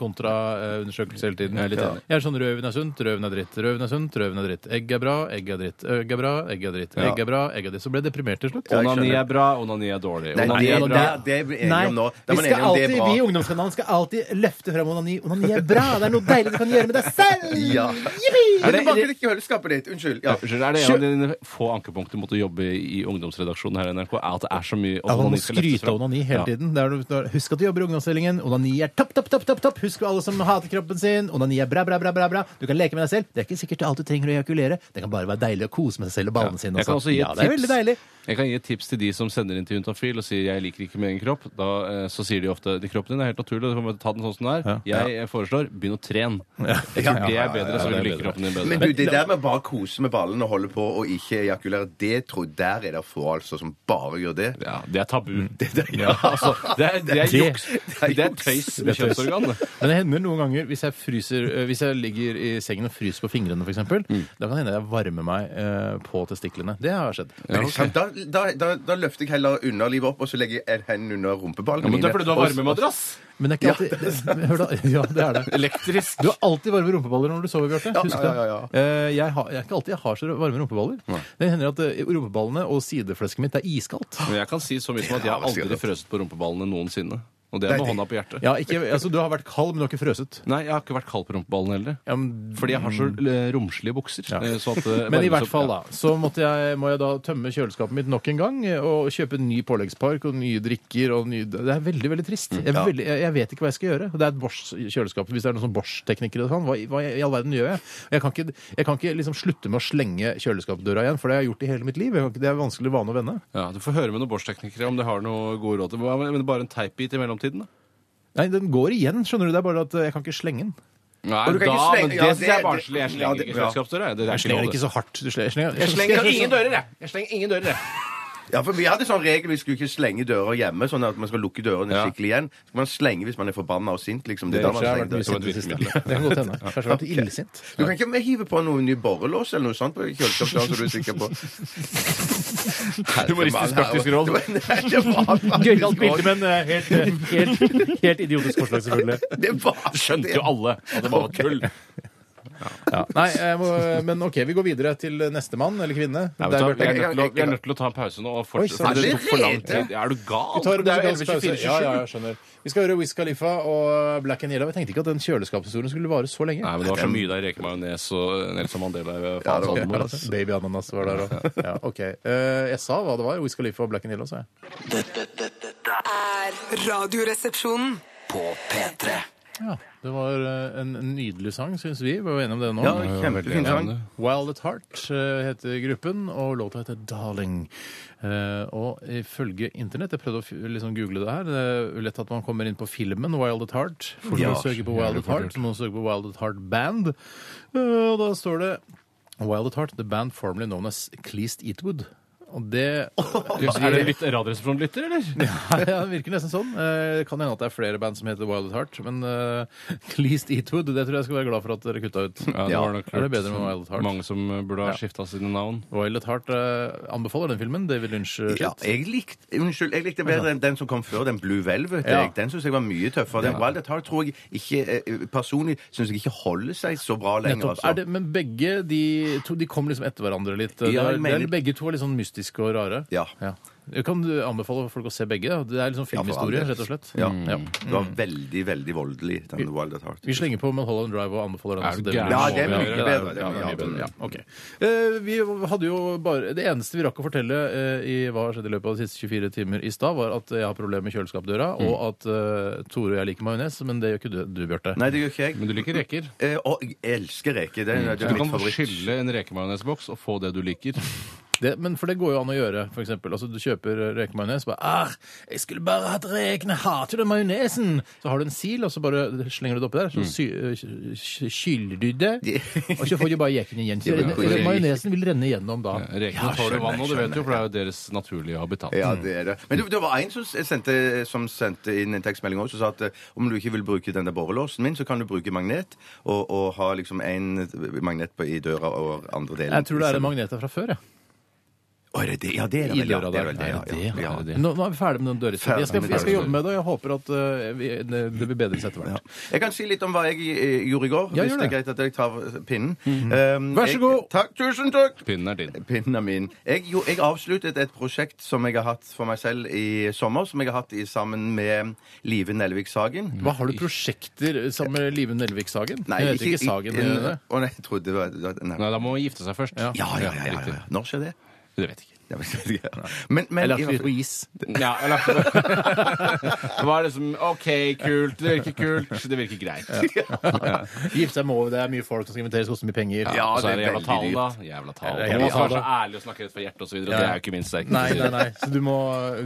A: kontraundersøkelse hele tiden. Jeg er,
C: litt enig.
A: sånn røven er sunt, røven er dritt, røven er sunt, røven er dritt. Egg er bra, egg er dritt, egg er bra, egg er dritt, egg er bra, egg er dritt. Så ble jeg deprimert til slutt.
B: Ja, jeg
C: Onani
B: skjønner.
C: er bra, onani er dårlig.
B: Nei,
C: Onani
B: det-
C: er bra.
B: det- det er vi enige om nå. Da er man enige om det er bra.
A: vi i ungdomskanalen skal alltid løfte frem onani. Onani er bra! Det er noe deilig du kan gjøre med deg selv!
B: Ja.
A: Yippee!
B: Men du baker ikke i kjøleskapet ditt. Unnskyld. Ja.
C: Unnskyld, Er det en av dine få ankepunkter mot å jobbe i ungdomsredaksjonen her i NRK? Er at det er så mye
A: Ja, man må
C: onani skal løftes
A: skryte av
C: fram?
A: onani hele
C: Ja.
A: tiden. Det er noe- det er- husk at du jobber i ungdomsstillingen. Onani er topp, topp, topp, topp, topp. Husk alle som hater kroppen sin. Onani er bra, bra, bra, bra, bra. Du kan leke med deg selv. Det er ikke sikkert alt du trenger å ejakulere. Det kan bare være deilig å kose med seg selv og ballene sine.
C: Jeg kan
A: også.
C: også gi et
A: ja, det er
C: tips.
A: veldig deilig.
C: Jeg kan gi et tips til de som sender inn til Juntafil og sier 'jeg liker ikke min egen kropp'. Da, eh, så sier de ofte 'din kroppen din er helt naturlig, du kan bare ta den sånn som den er'. Jeg eh, foreslår 'begynn å trene'. Jeg tror det er bedre, så
A: det
C: vil
A: er
C: du like
A: bedre.
C: kroppen din bedre.
B: Men du, det der med bare å kose med ballen og holde på og ikke ejakulere, det tror der er det få altså som bare gjør det.
C: ja, det er tabu. Det,
B: ja.
C: altså, det, er, det er
A: Det-
C: juks. Det er tøys med kjønnsorgan.
A: Men det hender noen ganger, hvis jeg, fryser, eh, hvis jeg ligger i sengen og fryser på fingrene f.eks., eksempel
C: Mm.
A: da kan det hende jeg varmer meg eh, på testiklene. Det har skjedd.
B: Men ikke sant, da, da, da, da løfter jeg heller underlivet opp, og så legger jeg hendene under rumpeballene
C: Ja, men det er fordi du har
B: Og-
C: varmemadrass.
A: Men det er ikke alltid Hør da. Ja, det er det.
C: Elektrisk.
A: Du har alltid varme rumpeballer når du sover, Bjarte.
B: Ja,
A: Husk det.
B: ja, ja, ja.
A: Eh, Jeg, har, jeg er ikke alltid jeg har så varme rumpeballer. Det hender at eh, rumpeballene og sideflesket mitt er iskaldt.
C: Men jeg kan si så mye som at jeg har aldri frøst på rumpeballene noensinne. Og det er med hånda på hjertet.
A: Ja, ikke, altså, du har vært kald, men du har ikke frøset.
C: Nei, jeg har ikke vært kald på rumpeballene heller.
A: Ja, men
C: Fordi jeg har så eh, romslige bukser.
A: Ja.
C: eh, Så at, eh,
A: men i
C: varmes
A: hvert
C: opp-
A: fall, da.
C: ja.
A: Så måtte jeg, må jeg da tømme kjøleskapet mitt nok en gang eh, og kjøpe en ny påleggspark og nye drikker og nye Det er veldig, veldig trist. Jeg, er veldig, jeg, jeg vet ikke hva jeg skal gjøre. Det er et Bosch-kjøleskap. Hvis det er noen sånn Bosch-teknikere og sånn, hva, i- hva i all verden gjør jeg? Jeg kan ikke, jeg kan ikke liksom slutte med å slenge kjøleskapsdøra igjen, for det har jeg gjort i hele mitt liv. Jeg kan ikke, det er en vanskelig vane å vende.
C: Ja, Du får høre med noen Bosch-teknikere om de har noe gode råd. til- Hva med- Men bare en teipbit i mellomtiden, da?
A: Nei, den går igjen, skjønner du. Det er bare at eh, jeg kan ikke slenge den.
C: Nei,
B: Og du kan ikke
C: da,
B: slenge-
C: men det
B: ja,
C: synes jeg er
B: det-
C: barnslig. Jeg
B: ja,
C: slenger
B: det- ja.
C: ikke kjøleskapsdøra. jeg. Det
A: Jeg
C: er ikke
A: slenger
C: lov,
A: ikke
C: det.
A: så hardt. Du slenger, slenger,
C: Jeg slenger ingen dører, jeg. Jeg slenger ingen dører, jeg.
B: Ja, for Vi hadde sånn regel vi skulle ikke slenge dører hjemme, sånn at man skal lukke dørene
C: Ja.
B: skikkelig igjen. Så skal man slenge hvis man er forbanna og sint, liksom.
C: Det
B: er da man
C: tror jeg har
B: slenger
C: vært mye
B: dører.
C: som et virkemiddel.
A: Det kan godt hende. Kanskje jeg har vært illsint.
B: Du kan ikke hive på noe ny borrelås eller noe sånt på kjøleskapsdøren, så du er sikker på
C: Humoristisk praktisk råd.
B: Nei, det var faktisk
A: Gøyalt bilde,
B: råd.
A: men eh, helt, eh, helt, helt idiotisk forslag, selvfølgelig.
B: Det var
C: Skjønte jo alle at det var tull.
A: Ja. Nei, jeg må, men OK, vi går videre til neste mann eller kvinne. Der,
C: Nei, vet du hva,
A: Bjarte.
C: vi, er nødt til å, vi er nødt til å ta en pause nå. Og
A: Oi,
C: fortsette.
A: sant.
C: for det tok for lang
B: Allerede?
C: tid. Er du gal?
A: Vi tar
C: Det er jo
A: musikalsk pause.
C: 11.24.
A: Ja, ja, jeg skjønner. Vi skal høre Wiz Khalifa og Black and Yellow. Jeg tenkte ikke at den kjøleskapshistorien skulle vare så lenge.
C: Nei, men det var så mye der reker majones og Nelson Mandela. i
B: Ja, det var-
C: faens alvor.
A: Baby Ananas var der òg. Ja, OK. Eh, jeg sa hva det var. Wiz Khalifa og Black and Yellow, sa jeg.
E: Dette, dette, dette er
D: er Radioresepsjonen.
E: på P3.
A: Ja, Det var eh, en nydelig sang, syns vi. Vi var enige om det nå.
B: Ja, kjempefin sang.
A: Wild at Heart eh, heter gruppen, og låta heter Darling. Eh, og ifølge internett Jeg prøvde å f- liksom google det her. Det er lett at man kommer inn på filmen Wild at Heart. For
B: Ja,
A: å søke på Wild at Heart, så må man søke på Wild at Heart Band. Eh, og da står det Wild at Heart, the band formerly known as Cleast Eatwood. Og det
C: Er det litt Radioresepsjon-lytter, eller?
A: Nei, ja, det virker nesten sånn. Eh, kan hende at det er flere band som heter Wild at Heart, men eh, Cleast Eatwood, det tror jeg skal være glad for at dere kutta ut.
C: Ja, det var nok
A: er det
C: lurt.
A: bedre med Wild at Heart?
C: Mange som eh, burde ha skifta sine navn.
A: Wild at Heart eh, anbefaler den filmen. David Lynch. eh,
B: Ja,
A: shit.
B: jeg likte, unnskyld, jeg likte bedre enn den som kom før, den Blue Velvet.
A: Ja.
B: Jeg. Den syns jeg var mye tøffere. Den Wild at Heart tror jeg ikke eh, personlig synes jeg ikke holder seg så bra lenger.
A: Nettopp.
B: Altså.
A: Er det, men begge de to de kom liksom etter hverandre litt. Det
B: Ja,
A: er,
B: jeg mener-
A: det er, begge to er litt sånn mystiske og rare.
B: Ja.
A: Jeg Kan du anbefale folk å se begge? da? Det er liksom
B: Ja, for all
A: filmhistorie,
B: del.
A: rett og slett.
B: Ja.
A: Ja.
B: Det var veldig, veldig voldelig, den Wild at Heart.
A: Vi slenger på Mulholland Drive og anbefaler den.
C: Er
A: så
C: du
A: det blir-
C: gæren?
B: Ja, det er
C: Ja,
B: mye
C: det er-
B: bedre. Det
C: ja,
B: er mye bedre.
A: Ja, ok. Eh, vi hadde jo bare, det eneste vi rakk å fortelle eh, i hva har skjedd i løpet av de siste 24 timer i stad, var at jeg har problemer med kjøleskapsdøra,
B: Mm.
A: og at eh, Tore og jeg liker majones, men det gjør ikke du, du Bjarte.
B: Nei, det gjør ikke jeg.
C: Men du liker reker.
B: Eh, og jeg elsker reker. Det er, det
C: Du
B: er mitt
C: kan
B: favoritt.
C: skylle en rekemajonesboks og få det du liker.
A: Det, men for det går jo an å gjøre, for eksempel. Altså, du kjøper rekemayonnaise, bare ah, 'Jeg skulle bare hatt reken, jeg hater den majonesen!' Så har du en sil, og så bare slenger du det oppi der, så
B: Mm.
A: sy, øh, kyler du det, og så får du bare jeken igjen. Så
B: Ja, ja, ja.
A: majonesen vil renne igjennom da.
C: Rekene tåler vann, og du vet jo, for det er jo deres naturlige habitat. Mm.
A: Mm.
B: Ja, det er det. Men det, det var en som sendte, som sendte inn en tekstmelding også, som sa at eh, om du ikke vil bruke den der borrelåsen min, så kan du bruke magnet, og, og ha liksom én magnet på, i døra og andre delen.
A: Jeg tror det er en magnet der fra før, jeg.
B: Å, er det det? Ja, det er det.
A: I
B: vel, ja,
A: døra
B: det er
A: der.
B: vel det, ja,
C: Er det det?
B: ja,
C: Er det
B: ja.
C: det?
A: Nå, nå er vi ferdig med den dørhistorien. Jeg, skal- jeg skal jobbe med det, og jeg håper at øh, vi, det, det blir bedre etter hvert.
B: Jeg kan si litt om hva jeg eh, gjorde i går,
A: Ja, gjør
B: hvis det er
A: det. Mhm.
B: greit at jeg tar pinnen. Um,
A: Vær så
B: jeg-
A: god.
B: Takk, tusen takk!
C: Pinnen er din.
B: Pinnen er min. Jeg, jo, jeg avsluttet et prosjekt som jeg har hatt for meg selv i sommer, som jeg har hatt i, sammen med Live Nelvik Sagen.
A: Hva Har du prosjekter sammen med Live Nelvik Sagen?
B: Nei,
A: Hun heter ikke Sagen. eh, gjør hun det?
B: Å nei, jeg trodde det var nei.
C: Nei, da må man gifte seg først.
A: Ja.
B: Ja, ja, ja, ja, ja.
C: riktig.
B: Når skjer det?
C: Det vet jeg ikke.
B: Jeg vet ikke. Men, men,
A: Eller
B: i
A: at vi
B: hvert fall-
A: på is.
C: Ja, jeg lagt det. Det var liksom OK, kult. Det virker kult. Det virker greit.
A: Gifte seg med over, det er mye folk som skal inviteres, koster mye penger.
B: Ja,
C: og så er
B: det
C: det
B: er
C: jævla
B: veldig
C: talen, da. Jævla
A: Ja,
C: talen. Man
A: jævla
C: skal være så
A: talen.
C: ærlig og snakke rett fra hjertet osv. Det
A: Ja.
C: er jo ikke min sterke
A: Nei, nei,
C: side.
A: nei. Så du må,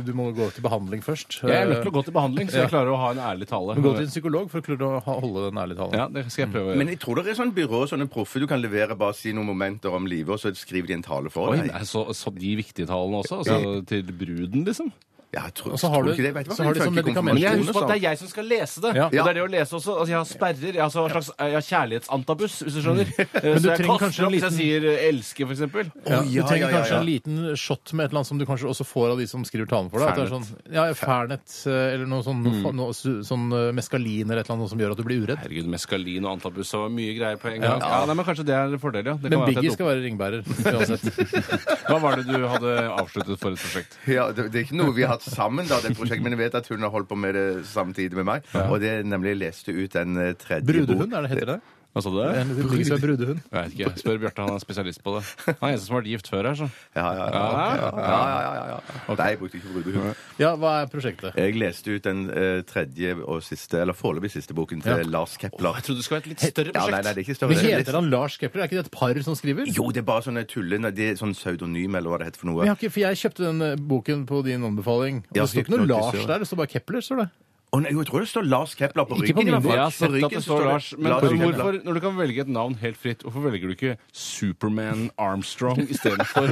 A: du må gå til behandling først.
C: Jeg er nødt til å gå til behandling, så jeg klarer å ha en ærlig tale.
A: Gå til en psykolog for å klare å ha- holde den ærlige talen.
C: Ja, det skal jeg prøve. å gjøre.
B: men jeg tror det er sånn byrå sånne proffe du kan levere bare si noen momenter om livet, og så skriver de en tale for
C: Oi,
B: deg.
C: nei, så, så de viktige talene også? Altså til bruden, liksom?
B: Ja, jeg tror,
A: Og så har
B: tror
A: du-
B: ikke det. Vet du hva,
A: så har de
B: jeg
A: sånn
B: tenker
A: medikamenter.
B: ikke
C: Men jeg
B: konfirmasjoner,
C: husker på at det
B: sånn.
C: er jeg som skal lese det.
A: Ja.
C: Og det er det å lese også. Altså, jeg har sperrer. Jeg har, så- slags, jeg har kjærlighetsantabus, hvis du skjønner. Eh,
A: du
C: så jeg
A: trenger kanskje
C: kaster
A: en
C: opp hvis jeg sier eh, 'elsker', for eksempel.
A: Ja,
B: Å,
A: du
B: ja,
A: trenger
B: ja, ja,
A: kanskje
B: ja.
A: en liten shot med et eller annet som du kanskje også får av de som skriver talen for deg. At det er sånn, ja, ja, Fernet eh, eller noe sånn,
B: Mm.
A: noe, noe, su- sånn eh, meskalin eller et eller annet noe som gjør at du blir uredd.
C: Herregud, meskalin og antabus og mye greier på en gang. Ja, nei, men Kanskje det er en fordel, ja. Det
A: Men
C: kan være at jeg
A: Biggie
C: tok-
A: skal være ringbærer uansett.
C: Hva var det du hadde avsluttet for et prosjekt?
B: Ja, det, det er ikke noe vi har hatt sammen, da, det prosjektet, men jeg vet at hun har holdt på med det samtidig med meg. Og det er nemlig jeg leste ut den eh, tredje
A: Brudehund,
B: bok.
A: er det heter det?
C: Hva sa du?
A: En liten Biggie som er brudehund.
C: Jeg vet ikke. Spør Bjarte, han er spesialist på det. Han er eneste som har vært gift før her, så.
B: Ja, ja, ja. ok, ja, ja, ja, ja, ja. Nei, jeg brukte ikke brudehund.
A: Ja, hva er prosjektet?
B: Jeg leste ut den eh, tredje og siste, eller foreløpig siste boken til
A: Ja.
B: Lars Kepler.
C: Jeg trodde det skulle være et litt større
B: Ja, nei, nei,
C: prosjekt.
B: det er ikke
A: Men
B: større.
A: heter han Lars Kepler? Er ikke det et par som skriver?
B: Jo, det er bare sånne tullende Det er sånn pseudonym, eller hva det heter for
A: Men
B: noe.
A: jeg, har ikke, for jeg kjøpte den eh, boken på din anbefaling. Og
B: Ja,
A: det står ikke noe
B: hypnotisør.
A: Lars der, det står bare Kepler. står det.
B: Å, nei, jo, jeg tror det står Lars Kepler på
A: Ikke på
B: ryggen. i
A: min
B: hvert fall.
C: Jeg har sett
B: På
C: at det
B: ryggen så
C: står Lars, men
B: Lars Kepler.
C: hvorfor, når du kan velge et navn helt fritt, hvorfor velger du ikke Superman Armstrong istedenfor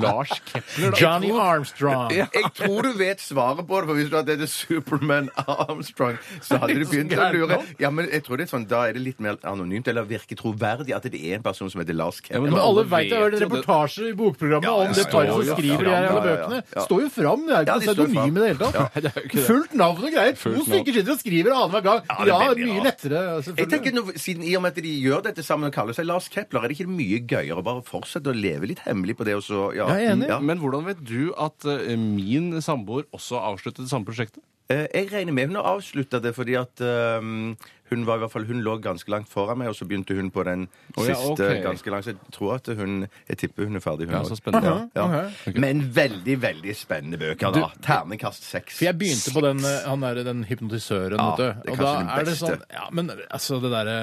C: Lars Kepler? da?
A: Johnny Armstrong.
C: Ja.
B: Jeg tror du vet svaret på det, for hvis du hadde hett Superman Armstrong, så hadde du begynt å lure. Ja, men jeg tror det er sånn, Da er det litt mer anonymt, eller virker troverdig at det er en person som heter Lars Kepler.
A: Men alle
C: alle
A: vet jeg har hørt
C: vet
A: en
C: jo det.
A: reportasje i bokprogrammet
B: Ja, ja,
A: om det
B: ja,
A: paret
C: ja,
A: som
C: ja,
A: skriver de
B: ja,
A: her jævla
B: ja, ja,
A: bøkene.
B: ja.
A: Står jo fram! Det er
B: Ja,
A: jo ikke
B: de
A: noe
B: står
A: pseudonym
B: fram.
A: i det hele tatt.
C: det er jo ikke det.
A: Fullt navn og greier. To
C: Fullt navn.
A: stykker sitter og skriver annenhver gang.
B: Ja, det
A: Ja,
B: blir-
A: mye
B: ja.
A: lettere. altså.
B: Jeg
A: selvfølgelig.
B: tenker, nå, siden I og med at de gjør dette sammen og kaller seg Lars Kepler, er det ikke mye gøyere å bare fortsette å leve litt hemmelig på det? og så... Ja,
A: Jeg er enig.
B: Ja.
C: Men hvordan vet du at eh, min samboer også avsluttet det samme prosjektet?
B: Eh, Jeg regner med hun har avslutta det, fordi at ehm, hun var i hvert fall, hun lå ganske langt foran meg, og så begynte hun på den
C: Å, ja,
B: siste
C: ok.
B: ganske langt. Så jeg tror at hun Jeg tipper hun er ferdig, hun
C: Ja,
B: også.
C: så spennende.
B: Ja. Men veldig, veldig spennende bøker, da. Terningkast seks.
A: For jeg begynte på den, eh, han der, den hypnotisøren,
B: Ja,
A: vet du.
B: det er
A: Og da
B: kanskje den
A: er det
B: beste.
A: sånn Ja, men altså, det derre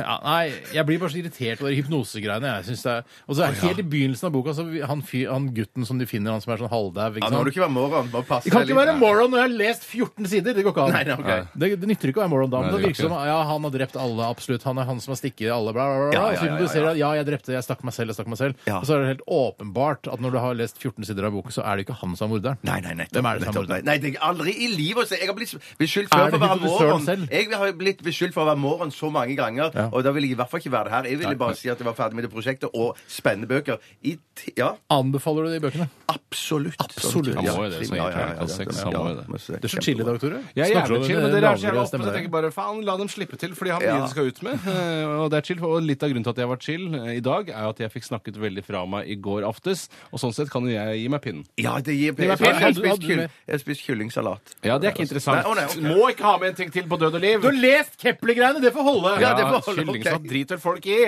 A: ja, nei, jeg blir bare så irritert over de hypnosegreiene. jeg synes det er... Og så er Helt i begynnelsen av boka, så vi- han, fyr, han gutten som de finner, han som er sånn halvdau
B: Ja, nå må du ikke være moron. Bare passe
A: Jeg kan
B: deg
A: ikke være
B: litt.
A: moron når jeg har lest 14 sider. Det går ikke an.
B: Nei, nei, ok.
A: det, det nytter ikke å være moron da. Men
C: Nei,
A: det
C: det
A: virker
C: går
A: som ja, han har drept alle, absolutt. Han er han som har stikket alle, bla, bla, bla.
B: Ja,
A: bla. Og
B: ja,
A: så
B: ja, ja,
A: introduserer
B: ja.
A: han ja, jeg drepte, jeg stakk meg selv, jeg stakk meg selv.
B: Ja.
A: Og så er det helt åpenbart at når du har lest 14 sider av boken, så er det ikke han som er morderen.
B: Nei, nei, nettopp.
A: Hvem er det som er
B: nettopp, nei,
A: morderen?
B: nei, det er aldri i livet å se. Jeg har blitt beskyldt
A: Er
B: før
A: det
B: for å være
A: hypnotisøren
B: moron.
A: selv?
B: Jeg har blitt beskyldt for å være moron så mange ganger,
A: Ja.
B: og da vil jeg i hvert fall ikke være det her. Jeg ville bare si at jeg var ferdig med det prosjektet, og spennende bøker. I ti ja,
A: Anbefaler du det i bøkene?
B: absolutt. Sånn
A: Absolutt.
C: Han må jo det,
B: Ja, ja,
C: så
B: ja, ja,
C: terningkast seks,
B: ja,
C: han må jo det.
B: men så
A: Det er så chill i dag, Tore.
C: Jeg er
A: Snakker
C: jævlig
A: om
C: chill,
A: en
C: men dere er så jævla
A: lavere
C: oppe. Så
A: stemme
C: jeg
A: der.
C: tenker bare faen, la dem slippe til, for de har mye
B: Ja.
C: de skal ut med. Eh, Og det er chill. Og litt av grunnen til at jeg var chill eh, i dag, er jo at jeg fikk snakket veldig fra meg i går aftes. Og sånn sett kan jo jeg gi meg pinnen.
B: Ja, det gir
A: Ja,
B: pes.
A: men
B: Jeg har
A: hadde du-
B: spist
A: hadde du
B: kyll-
A: mer?
B: jeg har spist kyllingsalat.
C: Ja, det er ikke interessant.
B: Nei, å nei, ok.
C: Må ikke ha med en ting til på død og liv.
A: Du har lest Kepler-greiene! Det får holde!
B: Ja, det
C: ja,
B: forhold,
C: kylling
B: ok.
C: som driter folk i.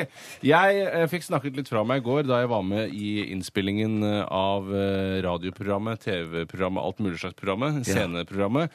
C: Jeg eh, fikk snakket litt fra meg i går da jeg var med i innspillingen eh, av eh, radioprogrammet, TV-programmet, alt mulig slags programmet, sceneprogrammet.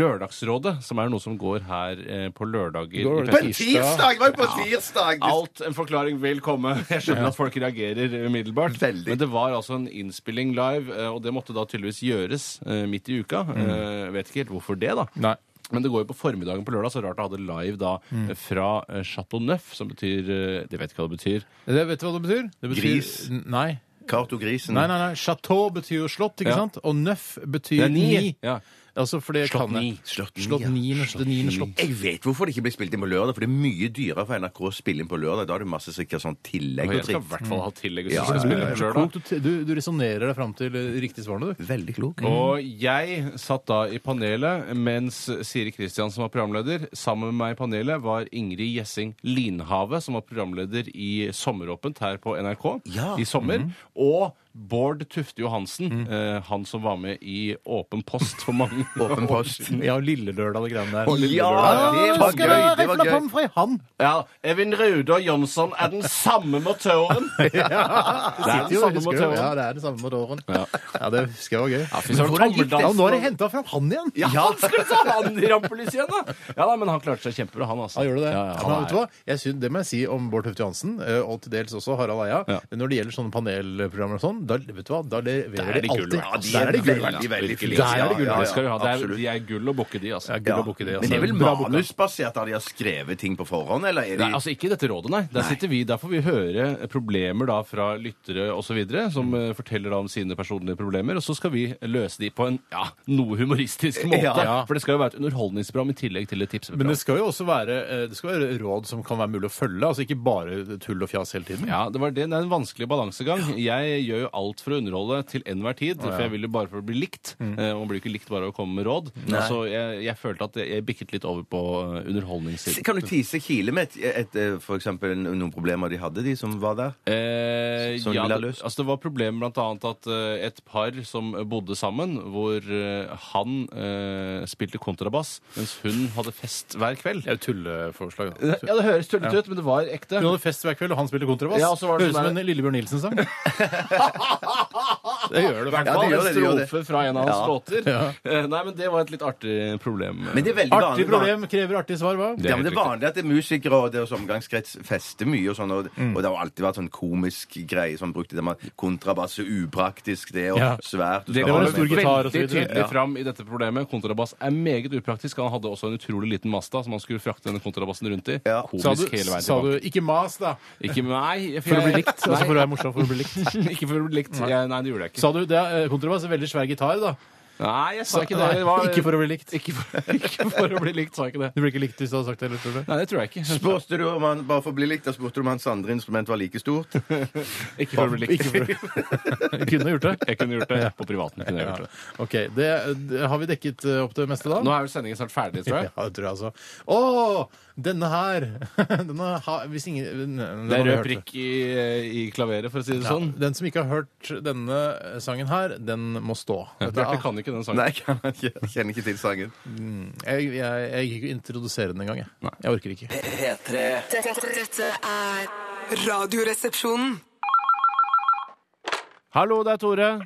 C: Lørdagsrådet, som er noe som går her eh, på lørdager.
A: Går
C: i
A: det
B: På
C: P4.
B: en tirsdag! Det var jo på en tirsdag!
C: Alt en forklaring vil komme. Jeg skjønner at folk reagerer umiddelbart.
B: Veldig.
C: Men det var altså en innspilling live, eh, og det måtte da tydeligvis gjøres eh, midt i uka.
B: Mm.
C: Eh, Vet ikke helt hvorfor det, da.
A: Nei.
C: Men det går jo på formiddagen på lørdag, så rart å ha det live da
B: Mm.
C: eh, fra eh, Chateau Neuf, som betyr eh, Det vet ikke hva det betyr.
A: Det, vet du hva det betyr? Det betyr
B: Gris.
A: N- Nei.
B: Cato Grisen.
A: Nei, nei, nei. Chateau betyr jo slott, ikke
C: Mm. Ja.
A: sant? Og nøff betyr
C: Det er
A: ni.
C: ni. Ja.
A: Altså, for det
C: Slott
A: kan jeg.
C: ni.
B: Slott ni,
A: Slott
B: ja.
A: ni, ja. det niende slott.
B: Mm. Jeg vet hvorfor det ikke blir spilt inn på lørdag, for det er mye dyrere for NRK å spille inn på lørdag. Da er det masse sikkert sånn tillegg
C: Og
B: og
C: jeg skal i
B: triks.
C: hvert fall ha tillegg hvis
B: Ja,
C: jeg
B: ja,
C: skal spille
B: ja,
C: på
A: Så
C: lørdag.
A: klokt, du, du, du resonnerer deg fram til eh, riktig svarene, du.
B: Veldig klok.
C: Og jeg satt da i panelet, mens Siri Kristian, som var programleder, sammen med meg i panelet var Ingrid Gjessing Linhave, som var programleder i Sommeråpent her på NRK
B: Ja.
C: i sommer.
A: Mm.
C: Og Bård Tufte Johansen, eh, han som var med i Åpen post for mange
B: Åpen post.
A: Ja, Lillelørdag og de greiene der.
B: Ja, det
A: Hva
B: var
A: skal
B: gøy!
A: være
B: Det var
A: for noe
B: gøy.
A: pommes frites? Han!
C: Ja, Evin Rude og Jonsson er den samme motøren! ja, det er
A: Sitter
C: den
A: jo og
C: samme
A: husker det. Ja,
C: motøren.
A: det er det samme motoren. Ja. det husker jeg var gøy.
C: fy søren,
A: Hvordan gikk det?
C: Tommeldal-
A: Ja, nå har de henta fram han igjen!
C: Ja, han skulle ta han i rampelyset igjen, da! Ja da, men han klarte seg kjempebra, han altså.
A: Ja, gjør du det?
C: Ja, ja,
A: Ja,
C: han
A: men vet
C: er-
A: du hva? Jeg synes, det må jeg si om Bård Tufte Johansen, eh, og til dels også Harald Eia.
C: Ja.
A: Når det gjelder sånne panelprogrammer og sånn, da, vet du hva, da
C: Der
A: leverer de
C: er de
A: alltid.
C: gull, altså.
A: Der er de gull.
B: Veldig, veldig flinke.
A: Der er det gull,
B: Ja,
C: Det
B: ja,
C: skal du ha. Det er,
B: absolutt.
C: de er gull å bukke, de. altså.
A: Ja, gull og bukke, det, altså.
B: Men det er vel
A: Bra bukka.
B: manusbasert at de har skrevet ting på forhånd, eller er de
C: Nei, altså Ikke i dette rådet, nei. Der sitter vi, Der får vi høre eh, problemer da fra lyttere osv. som eh, forteller da om sine personlige problemer. Og så skal vi løse de på en ja, noe humoristisk måte.
A: Ja.
C: For det skal jo være et underholdningsprogram i tillegg til et tipsprogram.
A: Men det skal jo også være, eh, det skal være råd som kan være mulig å følge, altså ikke bare tull og fjas hele tiden.
C: Ja, det var det. Det er en vanskelig balansegang. Jeg gjør jo alt for å underholde til enhver tid, for jeg vil jo bare for å bli likt. Eh, Og man blir ikke likt bare av å komme med råd. Så jeg, jeg følte at jeg bikket litt over på eh, underholdningssiden.
B: Kan du tise Kile med et, et, eh, for eksempel noen problemer de hadde, de som var der?
C: Eh,
B: Som du
C: ja,
B: ville ha
C: det,
B: løst?
C: altså det var problem blant annet at eh, et par som bodde sammen, hvor eh, han eh, spilte kontrabass, mens hun hadde fest hver kveld.
A: Det er jo tulleforslag. da.
C: Ja, det høres tullete ut, men det var ekte.
A: Hun hadde fest hver kveld, og han spilte kontrabass.
C: Ja, og så var det
A: Høres ut
C: sånn
A: som en Lillebjørn Nilsen-sang. det gjør det.
C: I hvert
B: Ja, det
C: fall
B: gjør
C: en
B: det, det gjør det.
C: strofe fra en av hans
B: Ja.
C: låter. Eh, Nei, men det var et litt artig problem.
B: Men det er veldig
A: Artig
B: vanlig.
A: problem krever artig svar, hva?
C: Det er
B: Ja, men det
C: helt
B: er vanlig at det er musikere og deres omgangskrets fester mye, og sånn, og,
C: Mm.
B: og det har alltid vært sånn komisk greie som brukte det med kontrabass og upraktisk det, og
A: Ja.
B: svært og
C: Det
B: skal
A: var
C: kommer
B: ha
A: en stor
B: med-
A: gitar og så
C: veldig
A: videre.
C: tydelig
A: Ja.
C: fram i dette problemet. Kontrabass er meget upraktisk. Han hadde også en utrolig liten Masta som han skulle frakte denne kontrabassen rundt i.
B: Ja.
A: Sa du,
C: Komisk hele veien
A: sa du
C: tilbake.
A: 'ikke mas', da?
C: Ikke meg. jeg-
A: For å bli likt?
C: Nei.
A: Altså for å være morsom for å bli likt?
C: ikke for å bli likt. Jeg, nei, det gjorde jeg ikke.
A: Sa du det er eh, kontrabass? Veldig svær gitar, da.
C: Nei, jeg sa ikke det.
A: Nei,
C: det var,
A: ikke for å bli likt.
C: ikke for, ikke for å bli likt, sa jeg ikke det.
A: Du blir ikke likt hvis du hadde sagt det. Eller, tror du?
C: Nei, det tror jeg ikke.
B: Spurte du om han, bare for å bli likt, da spurte du om hans andre instrument var like stort?
C: Ikke for å bli likt.
A: Jeg kunne gjort det.
C: Jeg kunne gjort det på privaten. Kunne jeg
A: Ja.
C: gjort det.
A: Ok, det, det, Har vi dekket eh, opp det meste da?
C: Nå er vel sendingen snart ferdig, tror jeg.
A: Ja, det tror jeg altså. Å, denne her! denne har, hvis ingen,
C: Det er rød prikk i, i klaveret, for å si det
A: Ja,
C: sånn.
A: den som ikke har hørt denne eh, sangen her, den må stå.
C: Bjarte kan ikke den sangen.
B: Nei, jeg kan ikke. Jeg kjenner ikke til sangen.
A: Jeg, jeg, jeg gikk ikke introdusere den engang. Jeg. jeg orker ikke.
E: P3
D: Dette, dette er Radioresepsjonen.
C: Hallo, det er Tore.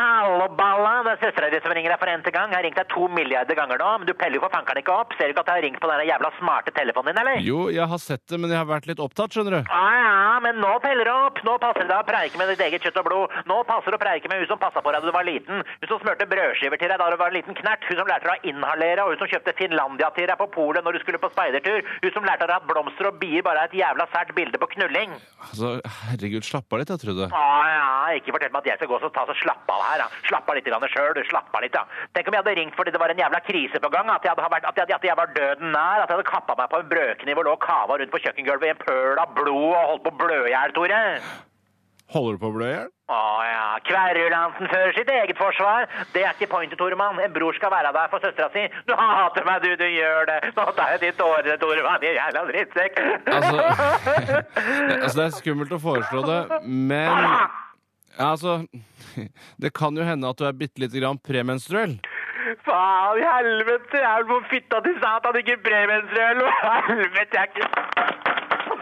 F: Hallo, balla. Det er søstera di som ringer deg for n-te gang. Jeg har ringt deg to milliarder ganger nå, men du peller jo for fankeren ikke opp. Ser du ikke at jeg har ringt på den der jævla smarte telefonen din, eller?
C: Jo, jeg har sett det, men jeg har vært litt opptatt, skjønner du.
F: Ja, ja, men nå peller du opp. Nå passer det deg å preike med ditt eget kjøtt og blod. Nå passer det å preike med hun som passa på deg da du var liten. Hun som smørte brødskiver til deg da du var en liten knert. Hun som lærte deg å inhalere, og hun som kjøpte Finlandia til deg på polet når du skulle på speidertur. Hun som lærte deg at blomster og bier bare er et jævla sært bilde på knulling.
C: Altså, herregud, slapp av litt, jeg trodde.
F: Ja, Ah, ja, ikke fortell meg at jeg skal gå og så ta så slapp av her. Da. Slapp av litt grann selv, du. Slapp av litt, da. Tenk om jeg hadde ringt fordi det var en jævla krise på gang. At jeg, hadde vært, at jeg, at jeg var døden nær. At jeg hadde kappa meg på en brødkniv og lå og kava rundt på kjøkkengulvet i en pøl av blod og holdt på å blø i hjel, Tore.
C: Holder du på å blø i hjel?
F: Å ja. Kverulansen fører sitt eget forsvar. Det er ikke pointet, Toremann. En bror skal være der for søstera si. Du hater meg, du. Du gjør det. Nå tar jeg de tårene, Toremann. Din jævla drittsekk.
C: Altså, altså, det er skummelt å foreslå det, men ja, Altså, det kan jo hende at du er bitte lite grann premenstruell.
F: faen i helvete! Jeg vil få fitta til satan, ikke premenstruell! og Helvete, jeg er ikke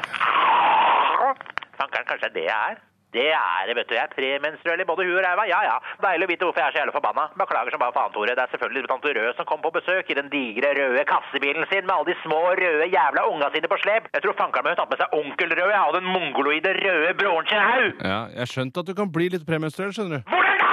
F: Fankeren, kanskje det er det jeg er? Det er det, vet du. Jeg er premenstruell i både huet og ræva. Ja ja. Deilig å vite hvorfor jeg er så jævla forbanna. Beklager som bare faen, Tore. Det er selvfølgelig tante Rød som kom på besøk i den digre røde kassebilen sin med alle de små røde jævla unga sine på slep. Jeg tror fankeren min har tatt med seg onkel Rød ja, og den mongoloide røde broren sin haug.
C: Ja, jeg skjønte at du kan bli litt premenstruell, skjønner du.
F: Hvordan da?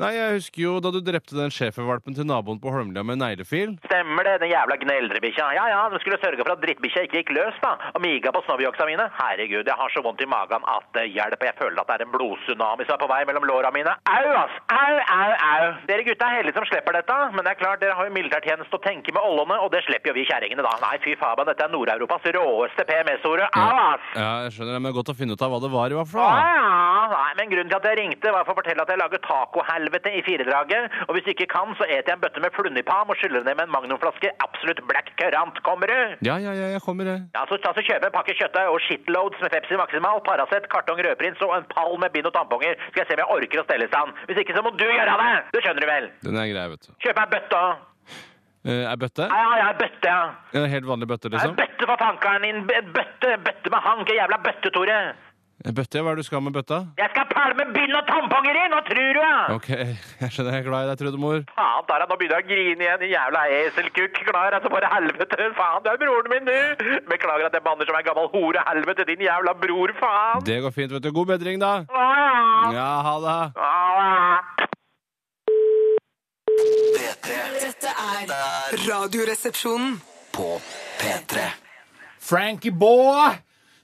C: Nei, jeg husker jo da du drepte den schæfervalpen til naboen på Holmlia med neglefil.
F: Stemmer det, den jævla gneldrebikkja. Ja ja, den skulle sørge for at drittbikkja ikke gikk løs, da. Og miga på snobbjoksa mine. Herregud, jeg har så vondt i magen at det hjelper. Jeg føler at det er en blodtsunami som er på vei mellom låra mine. Au, ass! Au, au, au! Dere gutta er heldige som slipper dette. Men det er klart, dere har jo militærtjeneste å tenke med ollene, og det slipper jo vi kjerringene, da. Nei, fy faen, dette er Nord-Europas råeste PMS-ordet. Au, ass!
C: Ja, jeg skjønner det, men det er godt å finne ut av hva det var i hvert
F: Ja,
C: fall.
F: ja, nei, men grunnen til at jeg ringte var for å fortelle at jeg lager tacohelvete i firedraget, og hvis du ikke kan, så eter jeg en bøtte med flundipam og skyller ned med en magnumflaske absolutt black currant, kommer du?
C: Ja, ja, ja, jeg kommer, jeg.
F: Ja, så, så kjøper jeg en pakke kjøttøy og shitloads med Pepsi Maximal, Paracet, kartong rødprins og en pall med bind og tamponger. Skal jeg se om jeg orker å stelle i stand. Hvis ikke så må du gjøre det! Det skjønner du vel?
C: Den er grei, vet du.
F: Kjøper jeg bøtte og
C: Eh, Er bøtte?
F: Ja, ja, ja, bøtte, ja.
C: En helt vanlig bøtte,
F: Ja, En
C: liksom?
F: bøtte for tankeren din. En bøtte, en bøtte med hank, en jævla bøtte, Tore.
C: En Bøtte, ja. Hva er det du skal med bøtta?
F: Jeg skal pælme bind og tamponger inn, hva tror du? Ja?
C: Ok, jeg skjønner jeg er glad i deg, Trudemor.
F: Faen, Tara, nå begynner jeg å grine igjen, din jævla eselkukk. Klar, altså, bare helvete. Faen, du er broren min, du. Beklager at jeg banner som en gammel hore. Helvete, din jævla bror, faen.
C: Det går fint, vet du. God bedring, da.
F: Ah,
C: Ja, ha det.
F: ah.
E: P3
D: Dette er Radioresepsjonen.
E: på P3.
A: Frankie Boy!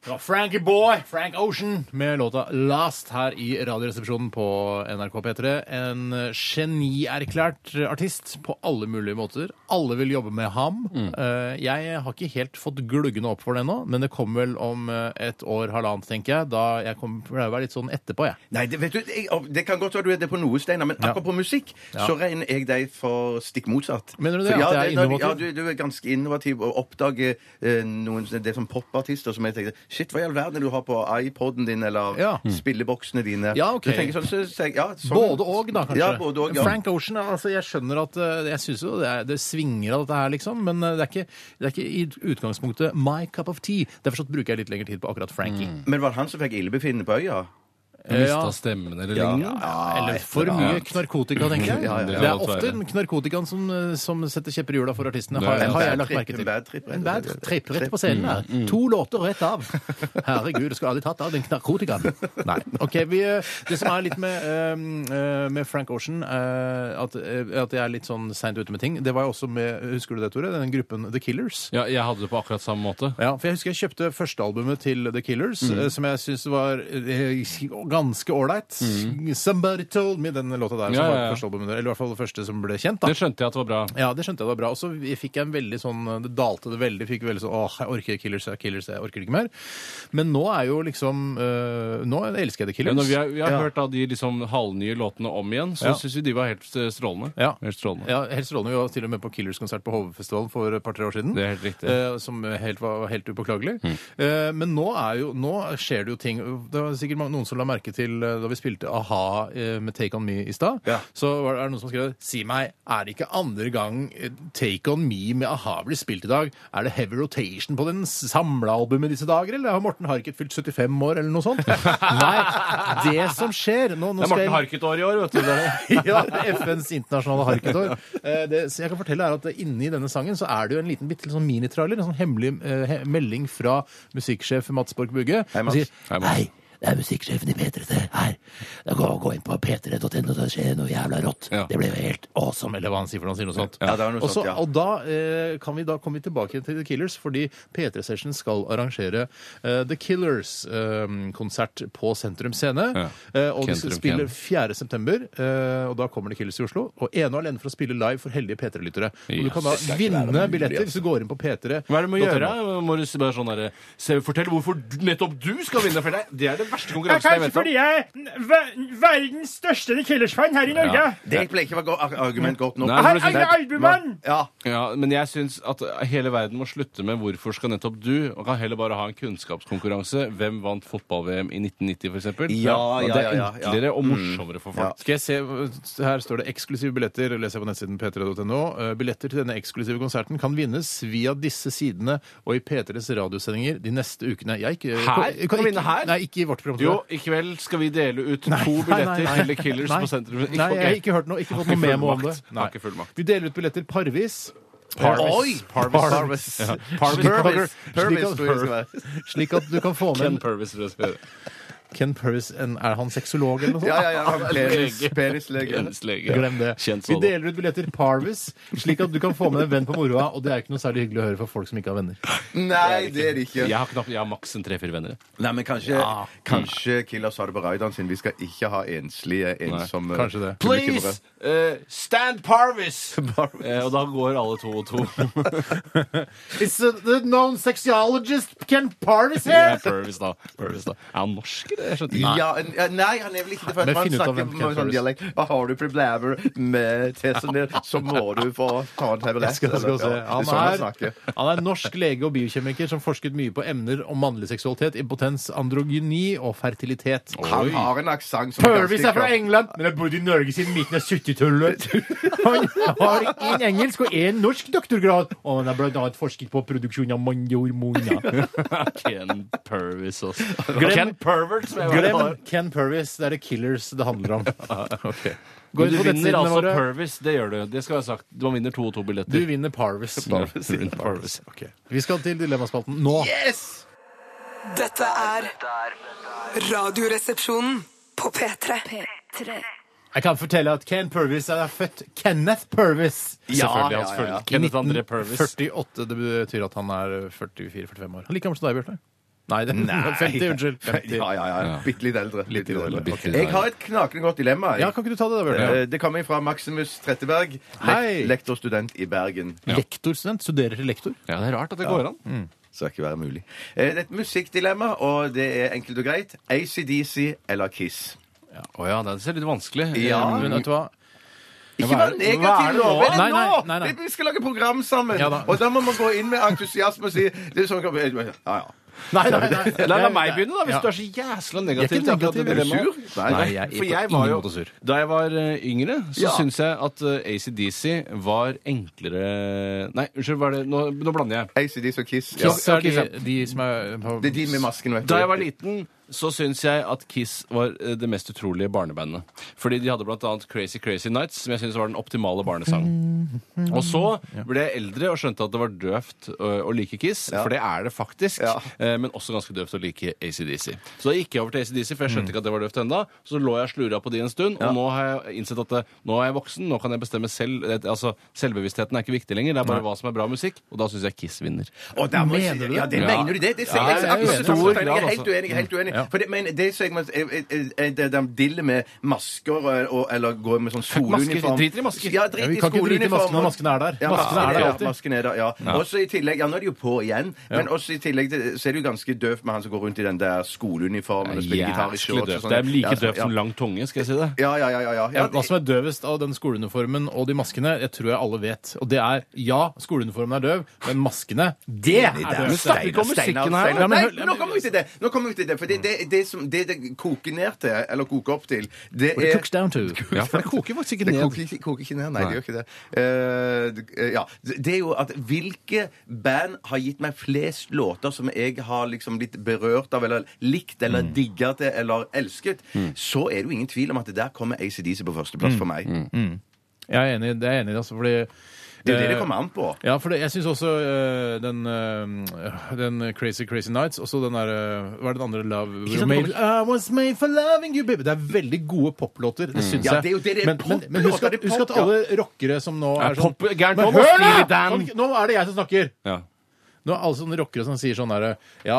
A: Det var Frankie Boy, Frank Ocean, med låta 'Last' her i Radioresepsjonen på NRK P3. En genierklært artist på alle mulige måter. Alle vil jobbe med ham. Eh, Jeg har ikke helt fått gluggene opp for det ennå, men det kommer vel om eh, et år, halvannet, tenker jeg. Da jeg kommer pleier å være litt sånn etterpå, jeg.
B: Nei, det, vet du, jeg, det kan godt være du er det på noe, Steinar, men akkurat på musikk så regner jeg deg for stikk motsatt.
A: Mener du det, at
B: For ja,
A: jeg er
B: når-
A: innovativ?
B: Ja, du, du er ganske innovativ og oppdager eh, noen sånne- Det er sånn popartister som jeg tenker Shit, hva i all verden du har på iPoden din, eller Mm.
A: Ja.
B: spilleboksene dine.
A: Ja, ok.
B: Du tenker sånn, så, så, ja, sånn.
A: Både og, da, kanskje.
B: Ja, både og, ja.
A: Frank Ocean, altså, jeg skjønner at eh, Jeg syns jo det, er, det svinger av dette her, liksom, men eh, det er, ikke, det er ikke i utgangspunktet my cup of tea. Derfor så bruker jeg litt lengre tid på akkurat Frankie.
B: Men var det han som fikk illebefinnende på øya?
C: Jeg
A: Ja.
C: mista stemmen eller lignende.
A: Eller for mye knarkotika, tenker jeg.
C: ja,
A: Det
C: ja. Det
A: er
C: kan godt
A: ofte knarkotikaen som, eh, som setter kjepper i hjula for artistene, har,
C: Det er en
A: har jeg
B: bad
A: lagt
B: trip,
A: merke til.
B: en bad trip, rett og
A: En bad
B: slett.
A: trip rett på scenen her.
C: Mm,
A: To låter rett av. Herregud, jeg skulle aldri tatt av den knarkotikaen. Nei. Ok, vi, eh, Det som er litt med, eh, eh, med Frank Ocean, eh, at, eh, at jeg er litt sånn seint ute med ting, det var jo også med Husker du det, Tore? Den gruppen The Killers.
C: Ja, jeg hadde det på akkurat samme måte.
A: Ja, for jeg husker jeg kjøpte førstealbumet til The Killers,
C: Mm.
A: eh, som jeg syns var eh, ganske ålreit. Somebody told me, den låta der, som
C: Mm. Ja, ja,
A: var
C: ja.
A: førstealbumet der, eller i hvert fall det første som ble kjent, da.
C: Det skjønte jeg at var bra.
A: Ja, det skjønte jeg var bra. Og så fikk jeg en veldig sånn Det dalte det veldig. Fikk veldig sånn Åh, jeg orker Killers, jeg Killers, jeg orker det ikke mer. Men nå er jo liksom eh, Nå elsker jeg The
C: Ja,
A: Killers.
C: når vi har, vi har
A: Ja.
C: hørt da de liksom halvnye låtene om igjen, så
A: Ja.
C: synes syns vi de var helt eh, strålende.
A: Ja.
C: Helt strålende.
A: Ja, helt strålende. Vi var til og med på Killers-konsert på Hovefestivalen for et par-tre år siden.
C: Det er helt riktig. Mm.
A: Eh, som helt, var helt upåklagelig. Eh, men nå, er jo, nå skjer det jo ting. Det var sikkert mange- noen som la merke til eh, da vi spilte A-ha eh, med Take On Me i stad.
B: Ja.
A: Så var det, er det noen som skrev Si meg, er det ikke andre gang eh, Take On Me med A-ha blir spilt i dag? Er det heavy rotation på den samla albumet disse dager, eller har Morten Harket fylt 75 år, eller noe sånt? Nei, det som skjer nå, nå
C: Det er
A: skal jeg-
C: Morten Harket-år i år, vet du. Det er det.
A: ja, FNs internasjonale harketår. Eh, Det så jeg kan fortelle er at det inni denne sangen så er det jo en liten bitte sånn minitrailer, en sånn hemmelig eh, he- melding fra musikksjef Mats Borg Bugge.
B: Hei, Mats.
A: Han sier,
C: Hei, Mats.
A: Hei, det er musikksjefen i P3 her. Da gå, gå inn på p3.no, så skjer det noe jævla rått.
C: Ja.
A: Det blir jo helt awesome, eller hva han sier for noe, han sier noe sånt.
B: Ja, det var noe
A: Og så-
B: sånt, ja.
A: Og da eh, kan vi da komme tilbake til The Killers, fordi P3 Session skal arrangere eh, The Killers-konsert på Sentrum Scene.
C: Ja.
A: Eh, og de skal
C: Kentrum
A: spille
C: Ken.
A: 4. september, eh, og da kommer det Killers i Oslo. Og ene og alene for å spille live for heldige P3-lyttere. Og du
C: Ja,
A: kan da vinne
B: altså.
A: billetter hvis du går inn på P3.
C: Hva er det du må gjøre? Må du si bare sånn der, se, Fortell hvorfor du, nettopp du skal vinne. For det, det er det den verste
G: Det er
C: konkurransen jeg
G: kanskje
C: vet om.
G: fordi jeg er ver- verdens største The Killers-fan her i Norge.
B: Det ble ikke go- ar- argument godt nok.
C: Nei,
G: Jeg
C: men
G: har
C: du synes-
G: alle albumene!
B: Ja.
C: Ja, men jeg syns at hele verden må slutte med 'hvorfor skal nettopp du?' og kan heller bare ha en kunnskapskonkurranse. Hvem vant fotball-VM i 1990, f.eks.?
B: Ja, ja,
C: det er
B: ja, ja, ja.
C: enklere og morsommere for folk.
A: Skal jeg se, Her står det eksklusive billetter. leser jeg på nettsiden p3.no. Eh, Billetter til denne eksklusive konserten kan vinnes via disse sidene og i P3s radiosendinger de neste ukene. Jeg ikke,
C: Her?
A: jeg
C: Kan vinne
A: ikke,
C: her?
A: Nei, ikke i vårt program. tror jeg.
C: Jo, i kveld skal vi dele ut to
A: Nei, nei,
C: billetter
A: nei, nei.
C: til The Killers
A: Nei.
C: på sentrum.
A: Nei, jeg har ikke hørt noe, ikke fått noe
C: ikke
A: memo om det.
C: fullmakt. Har ikke fullmakt.
A: Vi deler ut billetter parvis.
B: Oi!
C: Parvis.
B: Parvis.
C: Ja.
A: Parvis.
C: Slik at-
B: Purvis.
A: Slik
B: Purvis,
A: at-
B: tror jeg det skal være.
A: Slik at du kan få med
C: Ken
A: en
C: Purvis. tror jeg skal gjøre.
A: Ken Purvis, en, er han sexolog eller noe sånt?
B: Ja, ja, ja. Ah, Penis, penislegen.
C: Penislege.
A: Glem det.
C: Kjent
A: Vi
C: sådan.
A: deler ut billetter parvis, slik at du kan få med en venn på moroa, og det er jo ikke noe særlig hyggelig å høre for folk som ikke har venner.
B: Nei, det er det ikke.
C: Jeg har, knapt, jeg har maks en tre-fire venner.
B: Nei, men kanskje, kanskje Killers har det på raideren sin. Vi skal ikke ha enslige, ensomme
A: kanskje det.
B: publikummere.
C: Please, eh, stand Parvis! Eh, og da går alle to og to.
A: It's uh, the known sexologist Ken Parvis
C: Ja,
A: here!
C: Purvis, da. Purvis, da. Er han norsk, eller? Jeg skjønner ikke.
B: Ja, en- ja, nei, han er vel ikke det. For
A: Men
B: at man
A: finn ut av
B: snakker
A: hvem Ken
B: med sånn
A: Purvis er.
B: dialekt. Hva har du problemer med testen din, så må du få ta en tablett.
A: Jeg skal, jeg skal
B: eller-
A: se.
B: Ja, det er
A: Han,
B: sånn han
A: er,
B: snakker.
A: han er norsk lege og biokjemiker som forsket mye på emner om mannlig seksualitet, impotens, androgyni og fertilitet.
B: Han har en aksent som
A: Purvis er fra
B: klar.
A: England, men har bodd i Norge siden midten av 70-tallet. Han har en engelsk og en norsk doktorgrad, og han har blant annet forsket på produksjon av mandehormoner.
C: Ken Purvis også.
A: Glem-
C: Ken Pervert, som jeg var
A: Glem Ken Purvis. Det er det Killers det handler om. Gå
C: Men
A: inn
C: du
A: på
C: vinner
A: nettsidene
C: altså
A: våre.
C: Purvis, det gjør du. Det skal være sagt. Man vinner to og to billetter.
A: Du vinner Parvis.
C: Du vinner Parvis.
A: Vi skal til Dilemmaspalten nå.
B: Yes!
D: Dette er Radioresepsjonen på P3.
A: Jeg kan fortelle at Ken Purvis er født Kenneth Purvis.
C: Selvfølgelig
B: ja,
C: hans
B: ja, ja.
C: følge. Kenneth André Purvis.
A: 48, det betyr at han er 44-45 år. Han er like gammel som deg, Bjarte. Nei, det- 50, unnskyld. 50.
B: Ja, ja, ja. Bitte litt eldre. Bitte litt eldre.
C: Bitte litt
B: Jeg har et knakende godt dilemma. jeg.
A: Ja, kan ikke du ta det da, Bjarte?
B: Eh, Det kommer fra Maximus Tretteberg,
A: Hei.
B: lek lektorstudent i Bergen.
A: Lektorstudent? Studerer til lektor?
C: Ja, det er rart at det går an.
A: Mm.
B: Skal ikke være mulig. Eh, Det er et musikkdilemma, og det er enkelt og greit. ACDC eller Kiss?
C: Ja. Å ja, det er litt vanskelig.
B: Ja.
C: Eh,
A: Men vet du hva?
B: Ikke
A: hva er
B: vær
A: det-
B: negativ
A: hva er det
B: nå!
A: nå?
B: Er det
A: Nei,
B: nå?
A: nei, nei, nei.
B: Vi skal lage program sammen,
A: Ja da.
B: og da må man gå inn med entusiasme og si det er sånn, Ja, ja.
A: Nei, nei, nei.
C: La, la meg begynne, da, hvis
A: Ja.
C: du er så jæsla
A: Jeg er
C: negativ.
A: ikke
C: til
A: negativ,
C: akkurat det
A: er du
C: dilemmaet.
B: sur? Nei,
A: jeg er
C: for
A: på
C: jeg
A: ingen
C: var jo,
A: måte sur.
C: Da jeg var eh, yngre, så
B: Ja.
C: syns jeg at eh, ACDC var enklere Nei, unnskyld, hva er det? Nå, nå blander jeg.
B: ACDC og Kiss. Ja.
A: Kiss er de, de som er på
B: Det er de med masken, vet du.
C: Da jeg var liten, så syns jeg at Kiss var eh, det mest utrolige barnebandet. Fordi de hadde blant annet Crazy Crazy Nights, som jeg syns var den optimale barnesang. Og så ble jeg eldre og skjønte at det var døvt ø, å like Kiss, for det er det faktisk.
B: Ja.
C: eh, Men også ganske døvt å like ACDC. Så da gikk jeg over til ACDC, for jeg skjønte ikke at det var døvt ennå. Så lå jeg og slura på de en stund, og nå har jeg innsett at det, nå er jeg voksen, nå kan jeg bestemme selv. eh, Altså, Selvbevisstheten er ikke viktig lenger, det er bare hva som er bra musikk, og da syns jeg Kiss vinner.
B: Og der må jeg
A: Mener
B: si-
A: du det?
B: Ja, det
C: Ja.
B: mener du det? Det sier
C: Ja,
B: jeg
C: jeg er
B: absolutt.
C: enig.
B: absolutt.
C: Stor
B: Jeg er
C: grad,
B: helt
C: altså.
B: uenig. helt uenig. For det, men det sier jeg med det de diller med masker og, og- eller går med sånn
C: Masker,
B: soluniform
C: drit i masker.
B: Ja, drit
A: Ja, vi
B: i
A: kan ikke drite i
B: skoleuniform.
A: maskene når maskene er der.
B: Ja,
A: Maskene er der
B: ja,
A: alltid.
B: Masken er der, ja. Også i tillegg, ja, nå er de jo på igjen, men også i tillegg til- så er det jo ganske døvt med han som går rundt i den der skoleuniformen og spiller gitar i
C: Jæsklig
B: shorts. og
C: døvt.
B: sånn.
C: Det er
B: Ja,
C: like
B: så-
C: døvt som
B: ja.
C: lang tunge, skal jeg si det.
B: Ja, ja, ja. ja, ja.
A: Ja, altså,
B: ja
A: hva som er døvest av den skoleuniformen og de maskene, jeg tror jeg alle vet. Og det er ja, skoleuniformen er døv, men maskene, det er
B: Men
A: døvt!
B: snakker
C: ikke om musikken her.
B: Steinar,
A: Ja, men
B: Nei,
A: hør-
B: men nå kommer vi til det. Nå kommer vi til det, for det, det, det, som, det det koker ned til, eller koker opp til, det
A: What it
B: er
A: cooks down to. Ja, for det koker faktisk ikke
B: det
A: ned.
B: koker ikke, koker ikke ned, nei, det gjør ikke det. Eh, det- eh, ja. Det er jo at hvilke band har gitt meg flest låter som jeg har liksom blitt berørt av, eller likt, eller digga til, eller elsket, så er det jo ingen tvil om at det der kommer ACDC på førsteplass for meg.
A: Jeg er enig, det er jeg enig i, altså, fordi
B: Det er jo det det kommer an på.
A: Ja, for Eh, det, jeg syns også øh, den, øh, den Crazy Crazy Nights, også den derre Hva er den andre Love We were
B: sant, det
A: made, I was made for loving you, baby. Det er veldig gode poplåter, det syns
B: Ja,
A: jeg.
B: det er jo det det er.
A: men, men, men husk,
B: Poplåter,
A: at,
B: det er
A: husk at
B: pop, ja.
A: alle rockere som nå
C: Ja,
A: er sånn
C: pop- gæren
A: Men
C: pop,
A: hør
C: Steely
A: da!
C: Dan.
A: Nå er det jeg som snakker!
C: Ja.
A: Nå er alle sånne rockere som sier sånn her Ja,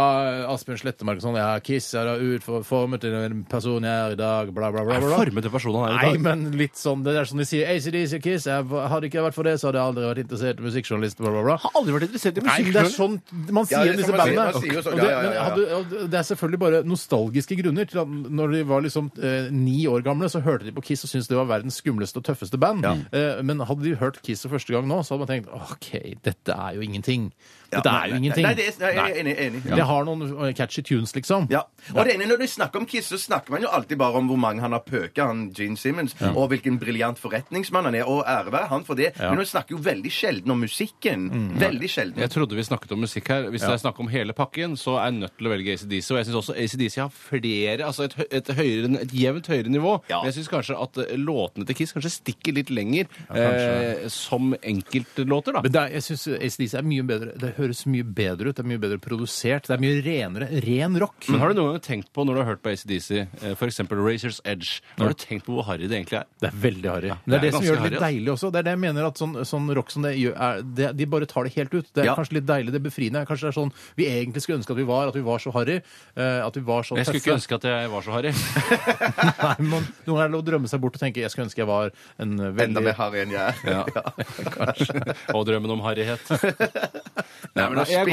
A: Asbjørn Slettemark og sånn Ja, Kiss er da utformet til en person jeg er i dag, bla, bla, bla. bla, bla.
C: Formete personen han er i
A: Nei,
C: dag.
A: men litt sånn Det er som de sier ACDC og Kiss. Jeg var- hadde ikke vært for det, så hadde jeg aldri vært interessert i musikkjournalist. Bla, bla, bla.
C: Har aldri vært interessert i
A: Nei,
C: musikk.
A: det er
C: selv.
A: sånn man sier
B: Ja, det
A: om
B: er
A: disse
B: sånn man sier-
A: bandene.
B: man sier jo sånn,
A: Og det-
B: ja, ja, ja, ja.
A: men hadde- og Det er selvfølgelig bare nostalgiske grunner til at når de var liksom eh, ni år gamle, så hørte de på Kiss og syntes det var verdens skumleste og tøffeste band. Eh, men hadde de hørt Kiss for første gang nå, så hadde man tenkt OK, dette er jo ingenting. Dette
B: Ja,
A: er
B: nei,
A: jo
B: nei,
A: ingenting.
B: Nei, det er, nei, jeg er enig. enig.
A: Det har noen eh, catchy tunes, liksom.
B: Ja. Og det ene, Når du snakker om Kiss, så snakker man jo alltid bare om hvor mange han har pøka, han Gene Simmons, og hvilken briljant forretningsmann han er, og ære være han for det. Men man snakker jo veldig sjelden om musikken. Veldig sjelden.
C: Mm. Jeg trodde vi snakket om musikk her. Hvis det er snakk om hele pakken, så er jeg nødt til å velge ACDC. Og jeg syns også ACDC har flere Altså et, hø- et, høyere, et jevnt høyere nivå.
B: Ja.
C: Men jeg syns kanskje at eh, låtene til Kiss kanskje stikker litt lenger eh, som enkeltlåter, da.
A: Men det er, jeg synes ACDC er mye bedre Det høres mye bedre ut, det er mye bedre produsert, det er mye renere. Ren rock.
C: Men har du noen gang tenkt på, når du har hørt på ACDC, f.eks. eh, Razors Edge, har du tenkt på hvor harry det egentlig er?
A: Det er veldig harry.
C: det
A: det
C: er
A: er det som
C: ganske altså.
A: gjør det litt
C: harry,
A: deilig også. Det er det jeg mener at sånn, sånn rock som det gjør, er, det, de bare tar det helt ut. Det er
B: Ja.
A: kanskje litt deilig, det er befriende. Kanskje det er sånn vi egentlig skulle ønske at vi var, at vi var så harry. eh, At vi var så
C: Jeg skulle ikke
A: tøffe.
C: ønske at jeg var så harry.
A: Nei, men noen ganger er det lov å drømme seg bort og tenke jeg skulle ønske jeg var en eh,
B: Enda
A: veldig
B: mer harry enn jeg er.
C: Kanskje. Og drømmen om harryhet. Nei,
B: men å spille,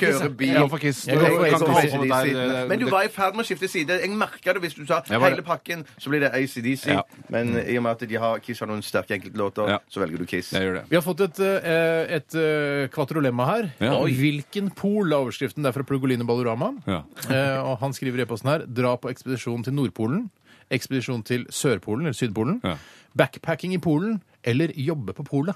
B: kjøre bil.
C: Jeg går for Kiss.
A: Jeg går for
C: Kan ikke holde
B: ACDC.
C: på med det der, eh,
B: Men du
C: det-
B: var i ferd med å skifte side. Jeg merka det hvis du sa
C: Jeg var det.
B: hele pakken, så blir det ACDC.
C: Ja.
B: Men i og med at de har, Kiss har noen sterke enkeltlåter,
C: Ja.
B: så velger du Kiss.
C: Jeg gjør det.
A: Vi har fått et, eh, et eh, kvatrolemma her.
C: Ja.
A: Oi. Hvilken pol er overskriften? Det er fra Plugolino Ballorama.
C: Ja.
A: Eh, og han skriver i e-posten her Dra på ekspedisjon til Nordpolen. Ekspedisjon til Sørpolen eller Sydpolen.
C: Ja.
A: Backpacking i Polen. Eller jobbe på polet.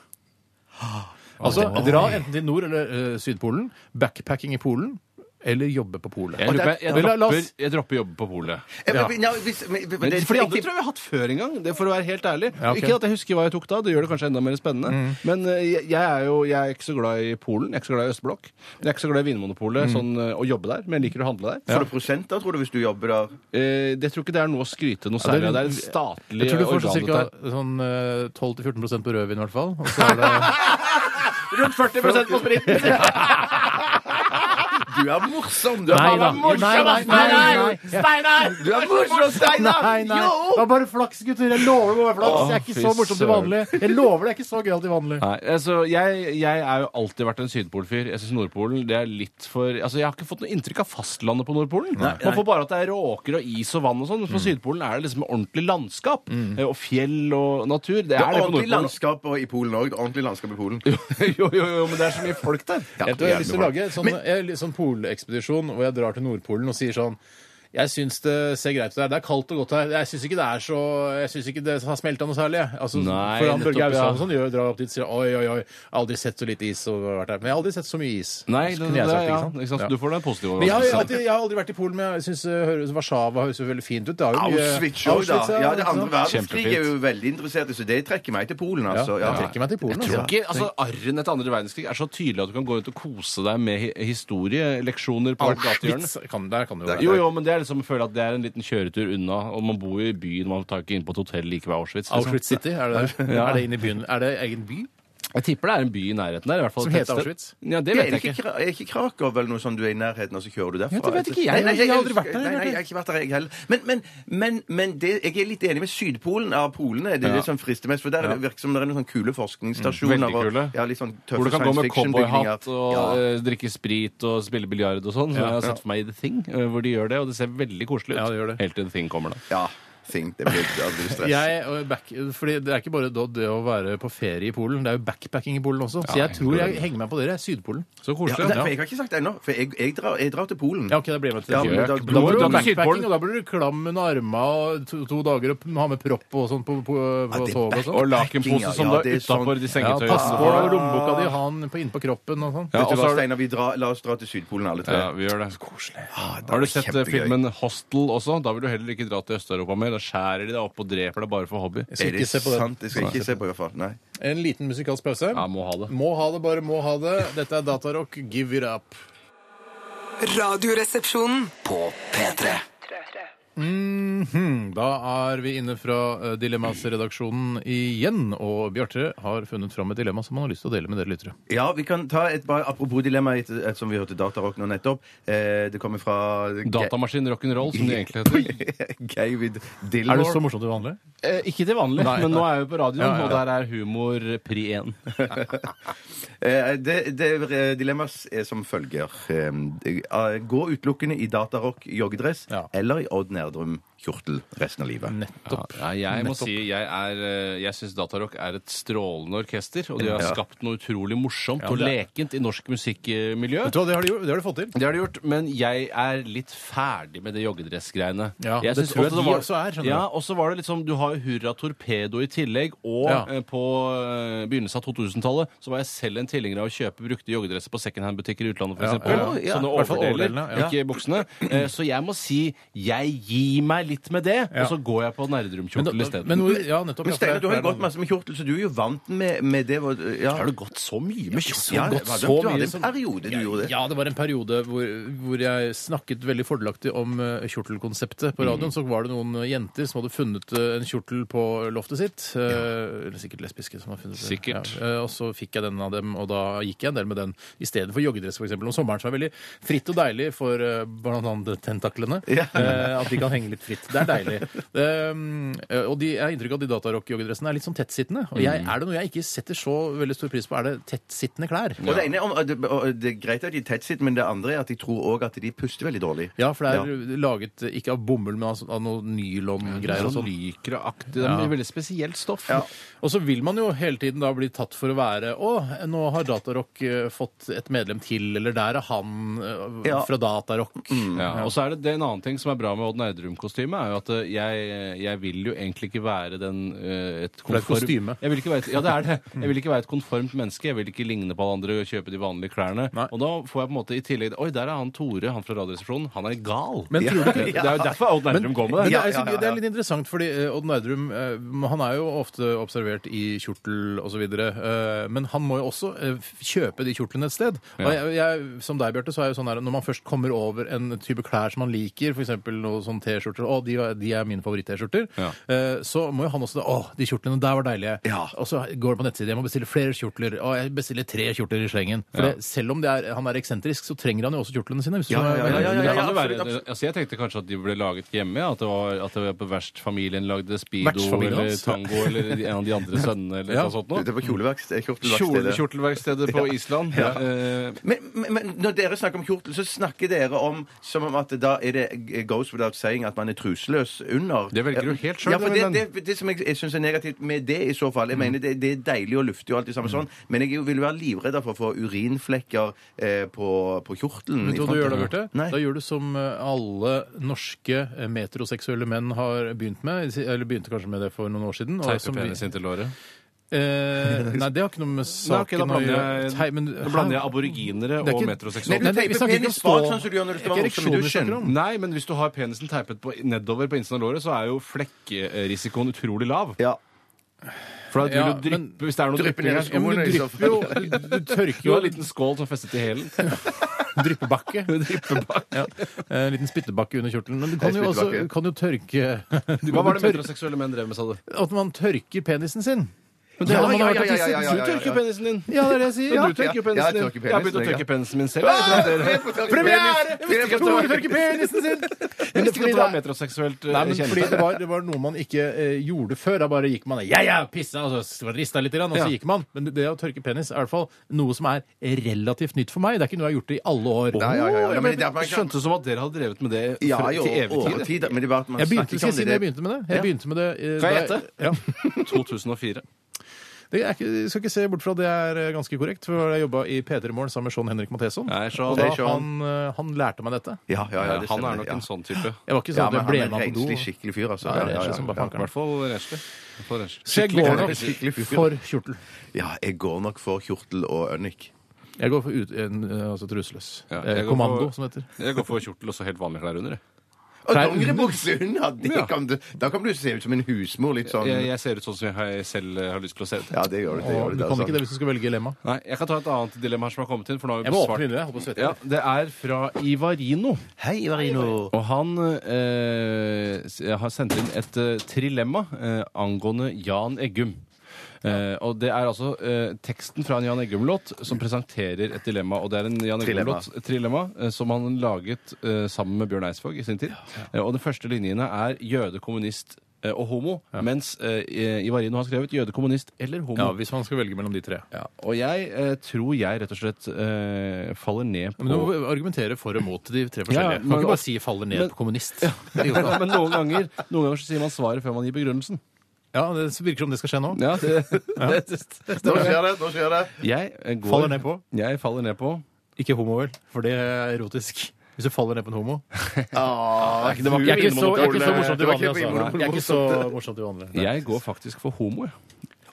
C: Ah,
A: Altså dra enten til Nord- eller eh, Sydpolen. Backpacking i Polen. Eller jobbe på polet.
C: Jeg, lurer på- jeg,
A: Men la- la
C: dropper,
A: oss-
C: jeg dropper jobben på polet.
B: Eh, men- ja, hvis- men- men-
C: Men
B: det-
C: for de
B: jeg
C: andre
B: tipper-
C: tror jeg vi har hatt før en gang. Det for å være helt ærlig.
A: Ja, ok.
C: Ikke at jeg husker hva jeg tok da, det gjør det kanskje enda mer spennende. Men eh, jeg, jeg er jo jeg er ikke så glad i Polen, jeg er ikke så glad i Østblokk. Jeg er ikke så glad i Vinmonopolet sånn, eh, å jobbe der, men jeg liker å handle der.
B: Får du prosenter, tror du, hvis du jobber der?
C: Eh, det tror ikke det er noe å skryte noe
A: Ja,
C: særlig
A: det er-
C: av. Det er et statlig
A: Jeg tror du får
C: organ.
A: ca.
C: dette her.
A: Sånn, eh, 12-14 på rødvin, i hvert fall. Og så er det
B: Rundt 40 på spriten! Du er morsom, du.
A: Nei da.
B: morsom,
A: Nei, nei, nei, nei.
B: Du er morsom, Steinar!
A: Nei, nei. Det
B: Jo!
A: var bare flaks, gutter. Jeg lover det var flaks. Jeg er ikke
C: Å,
A: så
C: fy
A: morsom til vanlig. Jeg lover det er ikke så gøyal til vanlig.
C: Nei, altså, jeg, jeg er jo alltid vært en sydpolfyr. Jeg synes Nordpolen det er litt for Altså, Jeg har ikke fått noe inntrykk av fastlandet på Nordpolen. Man får bare at det er råker og is og vann og sånn. På
A: Mm.
C: Sydpolen er det liksom ordentlig landskap. eh, Og fjell og natur. Det
B: Det
C: er
B: er
C: det på
B: ordentlig
C: Nordpolen.
B: landskap og i Polen òg. Ordentlig landskap i Polen.
C: jo, jo, jo, men det er så mye folk der.
A: Jeg tror jeg har lyst til å lage en sånn, en litt sånn polekspedisjon hvor jeg drar til Nordpolen og sier sånn jeg syns det ser greit ut her. Det er kaldt og godt her. Jeg syns ikke det er så Jeg synes ikke det har smelta noe særlig. jeg. Altså,
C: Nei,
A: for han
C: nettopp,
A: Børge
C: ja.
A: Ausland sånn, gjør- drar opp dit og sier oi, oi, oi, jeg har aldri sett så lite is og vært her. Men jeg har aldri sett så mye is.
C: Nei,
A: Så
C: det,
A: kunne
C: det,
A: jeg sagt,
C: ja,
A: ikke
C: ikke
A: sant?
C: sant?
A: Ja.
C: Du får deg en positiv
A: Men jeg, har, jo
C: overraskelse.
A: alltid, jeg har aldri vært i Polen, men jeg syns eh, høres- Warszawa høres jo veldig fint ut. Det har jo mye-
B: Auschwitz òg, da.
A: Auschwitz, ja,
B: Ja, det
A: ikke sant?
B: andre verdenskrig
C: Kjempefint.
B: er jo veldig interessert i, så det trekker meg til Polen,
A: Ja,
B: altså.
A: jeg trekker meg til Polen.
C: Jeg tror ikke, altså Arren etter andre verdenskrig er så tydelig at du kan gå ut og kose deg med hi- historieleksjoner på hvert gatehjørne.
A: Auschwitz kan, der kan det jo være.
C: Jo, jo, men det er liksom å føle at det er en liten kjøretur unna. Og man bor jo i byen, man tar ikke inn på et hotell like ved Auschwitz. liksom.
A: Auschwitz City, er det der?
C: Ja.
A: Er det inne i byen? Er det egen by?
C: Jeg tipper det er en by i nærheten der. I hvert fall
A: Som
C: et
A: heter
C: tettsted.
A: Auschwitz?
C: Ja, det
B: Det
C: vet
B: er,
C: jeg
B: ikke,
C: ikke.
B: Kra- er ikke Krakow eller noe sånn du er i nærheten, og så kjører du derfra?
C: Ja, det vet ikke jeg.
B: Nei, nei,
C: Jeg har aldri vært der,
B: Nei, nei, jeg har ikke vært der, jeg heller. Men, men, men, men det, jeg er litt enig med Sydpolen av polene. Det er det som frister mest, for der er det virker som det er noen sånne kule forskningsstasjoner.
C: Mm, veldig
B: og-
C: kule.
B: Ja, litt sånn tøffe
C: Hvor du kan gå
B: science
C: med
B: fiction-bygninger.
C: cowboyhatt og
B: ja.
C: eh, drikke sprit og spille biljard og sånn. Som jeg har sett for meg i The Thing, eh, hvor de gjør det. Og det ser veldig koselig ut.
A: Ja, det gjør det.
C: Helt til The Thing kommer, da.
B: ja, think det blir, det blir stress.
A: Jeg, og back, fordi det er ikke bare da det å være på ferie i Polen, det er jo backpacking i Polen også. Så
C: Ja,
A: jeg tror jeg
C: jeg-
A: henger meg på dere. Sydpolen.
C: Så
B: Ja,
C: koselig.
B: det- for
C: Ja,
B: jeg har ikke sagt det ennå, for jeg, jeg, drar, jeg drar til Polen.
A: Ja, ok, da blir jeg med til
B: Ja,
A: det.
B: men da-
A: Da blir
B: da må du
A: det
B: dra til
A: backpacking,
C: Sydpolen.
A: og da blir du klam under armene og to, to dager og p- ha med propp og sånn på, på, på
B: det er
A: toget og
C: Og
A: sånn.
C: lakenpose
B: Ja,
C: som
B: ja,
C: da
B: det er sånn-
C: utafor de
A: Ja,
C: sengetøyene.
A: pass på lommeboka di, ha den på- innpå kroppen og sånn.
C: Ja,
B: Vet du
C: og så
B: hva,
C: er det-
B: Steinar, vi drar, la oss dra til Sydpolen alle tre.
C: Ja, vi gjør det.
B: Ah, det
C: Har du
B: blir
C: sett eh,
B: kjempegøy.
C: filmen Hostel også? Da vil du heller ikke dra til Øst-Europa mer. Da skjærer de deg opp og dreper deg bare for hobby.
A: Jeg
B: Er
A: skal
B: det
A: ikke se på det.
B: sant? Jeg skal ikke se på i hvert fall. Nei.
A: En liten musikalsk pause.
C: Ja, må ha det.
A: Må ha det, bare må ha det. Dette er Datarock, give it up.
D: Radioresepsjonen.
E: På P3.
A: Mhm, Da er vi inne fra eh, Dilemmas-redaksjonen igjen, og Bjarte har funnet fram et dilemma som han har lyst til å dele med dere lyttere.
B: Ja, vi kan ta et bare apropos dilemma, et, et som vi hørte Datarock nå nettopp. Eh, det kommer fra Ge-
C: Datamaskin rock'n'roll, som det egentlig heter.
B: David
A: Er
B: Dillmore.
A: du så morsom til vanlig?
C: Eh, ikke til vanlig, men nå er vi på radioen,
A: Ja, ja, ja.
C: og der er humor pri 1.
B: Eh, det, det eh, dilemmas er som følger. Eh, eh, gå utelukkende i Datarock joggedress
A: Ja.
B: eller i Odd Nerdrum kjortel resten av livet.
A: Nettopp.
C: Ja, jeg må si jeg, er, eh, jeg syns Datarock er et strålende orkester, og de har
B: Ja.
C: skapt noe utrolig morsomt
A: Ja,
C: og
A: det er-
C: lekent i norsk musikkmiljø.
A: Vet du hva, det har de, gjort- det har de fått til.
C: Det har de gjort, men jeg er litt ferdig med det joggedressgreiene.
A: Ja,
C: Jeg
A: det
C: synes
A: tror jeg
C: ofte
A: de også er, skjønner du.
C: Ja, og så var det litt sånn, Du har jo Hurra Torpedo i tillegg, og
A: Ja.
C: eh, på eh, begynnelsen av 2000-tallet så var jeg selv en tilhenger av å kjøpe brukte joggedresser på secondhand-butikker i utlandet,
A: Ja,
C: f.eks. eksempel
A: ja, ja.
C: Sånne
A: I hvert fall
C: overdeler,
A: overdelene, ja.
C: ikke buksene. Eh, Så jeg må si jeg gir meg litt med det,
A: Ja.
C: og så går jeg på
A: Men,
C: Nerdrum-kjortel
A: da-
C: isteden.
A: men, hvor- ja, nettopp. ja, for
B: Men
A: det
B: Steinar,
A: er-
B: du har
A: det
B: jo
A: er
B: gått masse med kjortel, så du er jo vant med, med det. hvor- Ja.
C: har du gått så mye med kjortel?
B: Ja,
C: Har du gått
B: det var-
C: så
B: du hadde
C: mye
B: en
C: som-
B: periode du gjorde det.
A: Ja, det var en periode hvor, hvor jeg snakket veldig fordelaktig om eh, kjortelkonseptet på
B: Mm.
A: radioen. Så var det noen eh, jenter som hadde funnet eh, en kjortel på loftet sitt. eh, Eller sikkert lesbiske som har funnet det.
C: Sikkert.
A: Ja, eh, Og så fikk jeg den av dem, og da gikk jeg en del med den i stedet for joggedress, f.eks. Om sommeren så er det veldig fritt og deilig for eh, blant annet tentaklene.
B: Ja.
A: Eh, At de kan henge litt fritt. Det er deilig. Um, eh, Og de, jeg har inntrykk av at de datarock-joggedressene er litt sånn tettsittende. Og
B: Mm.
A: jeg, er det noe jeg ikke setter så veldig stor pris på, er det tettsittende klær.
B: Og det ene er om, og det, og det er greit at de er tett sitt, men det andre er at de tror òg at de puster veldig dårlig.
A: Ja, for det er laget eh, ikke av bomull, men av, så- av noe nylongreier og
C: Sånn
A: sånn.
C: lykraaktig. Det er veldig spesielt stoff.
A: Og så vil man jo hele tiden da bli tatt for å være Å, nå har Datarock eh, fått et medlem til, eller der er han eh,
B: Ja.
A: fra Datarock.
C: Ja, Eh, og så er det, det er en annen ting som er bra med Odd Nerdrum-kostyme, er jo at eh, jeg, jeg vil jo egentlig ikke være den
A: er
C: eh, et
A: et
C: konform...
A: kostyme.
C: Jeg vil ikke være et, ja, det er det. Jeg vil ikke være et konformt menneske. Jeg vil ikke ligne på alle andre og kjøpe de vanlige klærne.
A: Nei.
C: Og da får jeg på en måte i tillegg Oi, der er han Tore, han fra Radioresepsjonen. Han er gal.
A: Men tror du ikke
C: Det er jo derfor Odd Nerdrum går med
A: Men
C: det.
A: det, er, så- det er litt interessant, fordi eh, Odd Nerdrum eh, han er jo ofte observert i kjortel osv. Men han må jo også eh, f- kjøpe de kjortlene et sted. Og jeg, jeg, som deg, Bjarte, så er jo sånn her når man først kommer over en type klær som man liker, f.eks. noen sånn T-skjorter Å, de, er- de er mine favoritt-T-skjorter.
C: Ja.
A: Eh, Så må jo han også da Å, de kjortlene der var deilige. Og så går det på nettsiden. Jeg må bestille flere kjortler. Å, jeg bestiller tre kjortler i slengen. For det, selv om det er, han er eksentrisk, så trenger han jo også kjortlene sine. Hvis du
B: Ja, ja,
A: skjønner hva
B: ja,
A: jeg
B: ja,
A: mener.
B: ja,
C: Men
B: ja,
C: det kan jo være,
B: absolutt, absolutt.
C: altså jeg tenkte kanskje at de ble laget hjemme. ja, At det var, at det var på verstfamilien lagde Speedo
A: Vertsfamilien
C: eller
A: hans.
C: Tango eller en av de andre sønnene eller
A: Ja.
C: noe sånt. noe.
B: Det var kjoleverksted.
C: Kjole-
B: kjortelverkstedet.
C: Kjortelverkstedet på Island. Eh,
B: Men, men, men når dere snakker om kjortel, så snakker dere om som om at da er det goes without saying at man er truseløs under.
C: Det velger du helt selv,
B: Ja, for
C: min
B: det,
C: venn.
B: det, det som jeg, jeg syns er negativt med det i så fall Jeg mener det, det er deilig og luftig og alt det samme sånn, men jeg vil være livredd for å få urinflekker eh, på, på kjortelen.
A: Vet du hva
B: i
A: du
B: framtiden.
A: gjør da, Bjarte?
B: Nei.
A: Da gjør du som eh, alle norske eh, metroseksuelle menn har begynt med, si- eller begynte kanskje med det for noen år siden. og
C: Teipe
A: som vi-
C: penis inntil låret.
A: Eh, nei, det har ikke noe med
C: Nei, ok,
A: saken
C: da
A: å
C: blander
A: gjøre.
C: jeg,
A: Tei- men-
C: da blander jeg
A: Hæ?
C: aboriginere
A: Det er
C: og
A: ikke-
B: Nei,
C: metroseksuelle.
B: du
A: Nei, vi
B: teiper
A: snakker ikke om
B: penis bak
A: stå-
B: sånn som du gjør når du skal
A: Ikke
B: være voksen i
A: ereksjoner vi
B: dusjen.
A: snakker om.
C: Nei, men hvis du har penisen teipet på, nedover på innsiden av låret, så er jo flekkrisikoen utrolig lav.
B: Ja.
C: For da vil
A: Ja,
C: du dryppe
A: men-
C: hvis det er noe
B: Drypper ned i liksom.
C: drypping her.
A: Ja, men
B: skoene,
A: du
B: i så
A: drypper jo Du, du tørker
C: Du
A: jo
C: har en liten skål som er festet til hælen.
A: dryppebakke. Ja. En liten spyttebakke under kjortelen. Men du kan
B: Nei,
A: jo også
B: spyttebakke.
A: du kan jo tørke du kan
C: Hva var
A: jo
C: det
A: tørke
C: metroseksuelle menn drev med, sa du?
A: At man tørker penisen sin. Men det er det man
B: Ja, ja,
A: har
B: ja,
A: hørt at
B: ja, ja,
A: disse-
B: ja.
C: Du tørker jo penisen din.
A: Ja, det er det jeg sier.
C: Du
A: Ja.
B: Ja, jeg
C: tørker jo penisen din.
B: tørker
C: Jeg har begynt å
B: penisen,
C: tørke penisen min selv. jeg, uten at dere-
A: Premiere!
B: Jeg visste ikke at det var-
A: tørker penisen sin!
C: Jeg visste ikke at det var metroseksuelt eh,
A: Nei, men fordi det
C: kjent.
A: var, det var noe man ikke eh, gjorde før. Da bare gikk man Ja, ja, pissa, og så rista litt, grann, og så
C: Ja.
A: gikk man. Men det, det å tørke penis er i hvert fall noe som er relativt nytt for meg. Det er ikke noe jeg har gjort i alle år.
B: Nei, ja, ja, ja.
C: Å,
B: Nei, men det er-
C: jeg skjønte som at dere hadde drevet med det
B: Ja,
C: for-
B: i
C: til
B: år-
C: evig tid.
B: årtier. Men det er bare at man
A: Jeg
B: snakker
A: begynte, skal jeg
B: om
A: si
B: det.
A: når jeg begynte med det? Jeg begynte med det eh,
C: Kan jeg
A: da-
C: gjette?
A: Ja.
C: 2004.
A: Det er ikke, jeg skal ikke se bort fra at det er eh, ganske korrekt, for jeg jobba i P3 Morgen sammen med Sean Henrik Matheson.
C: Nei, Sean.
A: Og da
B: Hei, Sean.
A: han, eh, han lærte meg dette.
B: Ja, ja, ja, det
C: Han
B: stemmer,
C: er nok
B: ja.
C: en sånn type.
A: Jeg var ikke
B: Ja,
A: sånn
B: men
A: at
B: han er
A: jeg
B: en
A: ble med på
B: renslig,
A: do.
B: skikkelig fyr, altså.
A: Ja, det er renslig som bare
C: I
A: fankeren.
C: hvert fall renslig. I hvert fall renslig.
A: Så jeg
B: Ja,
A: går
B: han er en
A: nok
B: skikkelig fyr.
A: for kjortel.
B: Ja, jeg går nok for kjortel og ønnik.
A: Jeg går for ut, en, eh, altså truseløs.
C: Ja,
A: Eh,
C: jeg går
A: Kommando,
C: for-
A: som det heter.
C: Jeg går for kjortel og så helt vanlige klær under. jeg.
B: Og
A: Trær
B: dongeribukse under! Det
C: Ja.
B: kan du, da kan du se ut som en husmor, litt sånn.
C: Jeg, jeg ser ut sånn som jeg selv eh, har lyst til å se ut.
B: Ja, det
A: Og
B: gjør du. Det gjør du,
A: Du kan
B: det, altså.
A: ikke det hvis du skal velge lemma.
C: Nei, Jeg kan ta et annet dilemma her som har kommet inn. for nå har vi
A: Jeg må
C: besvart-
A: åpne vinduet. Jeg håper svette.
C: Ja, Det er fra Ivarino.
B: Hei, Varino.
C: Og han eh, s- har sendt inn et eh, trilemma eh, angående Jan Eggum. Eh, og det er altså eh, teksten fra en Jan Eggum-låt som presenterer et dilemma. Og det er en Jan
B: Trilemma.
C: Eggum-låt trilemma, eh, som han laget eh, sammen med Bjørn Eidsvåg i sin tid. Eh, og de første linjene er jøde, kommunist eh, og homo, mens eh, Ivarino har skrevet jøde, kommunist eller homo.
A: Ja, hvis man skal velge mellom de tre.
C: Ja, og jeg eh, tror jeg rett og slett eh, faller ned på
A: Men du må argumentere for og mot de tre
C: Ja,
A: forskjellige. Du
C: men-
A: kan ikke bare si 'faller ned
C: Men-
A: på kommunist'.
C: Ja, Men noen ganger, noen ganger så sier man svaret før man gir begrunnelsen.
A: Ja, Det virker som det skal skje nå.
C: Ja, det, det,
B: Nå skjer det! Nå skjer det.
C: Jeg eh, går
A: Faller ned på.
C: Jeg faller ned på
A: Ikke homo, vel? For det er erotisk. Hvis du faller ned på en homo.
B: Ah,
C: det var
A: Jeg er ikke så, jeg er ikke så morsomt til
B: det
C: Vinmonopolet-
B: var
A: vanlig, altså. Jeg
B: ikke
A: er ikke så morsomt til vanlig.
C: Jeg går faktisk for homo. jeg.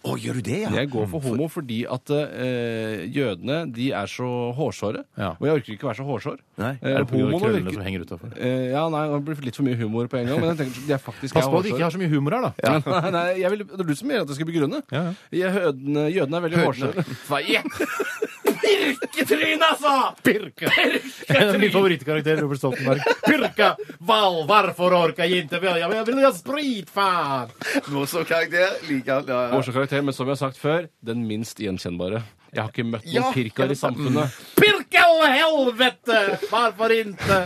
B: Å, gjør du det, ja?
C: Jeg går for homo fordi at eh, jødene de er så hårsåre.
A: Ja.
C: Og jeg orker ikke være så hårsår.
B: Nei.
C: Eh,
A: Er det på grunn av
C: homoene
A: krøllene
C: virker
A: som henger utenfor?
C: eh, Ja, nei, det blir litt for mye humor på en gang. Men jeg tenker de er faktisk
A: Pass
C: er
A: på at du ikke
C: hårsåre.
A: har så mye humor her, da.
C: Nei, nei, jeg vil, det er du som gjør at jeg skal begrunne.
A: Ja, ja.
C: Jeg- Jødene, jødene er veldig hårsåre.
A: Pirketryn, altså! Pirke! En av mine favorittkarakterer, Robert Stoltenberg. Pirke! Val, hvorfor orker jeg ikke velge? Men Jeg vil ha sprit, faen!
B: Morsom karakter. Like alt. Ja, ja.
C: Morsom karakter, men som jeg har sagt før, den minst gjenkjennbare. Jeg har ikke møtt noen
B: Ja,
C: pirker i samfunnet.
A: Pirkel helvete! Hvorfor ikke?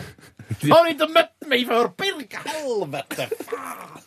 A: Har du ikke møtt meg før? Pirke helvete! faen!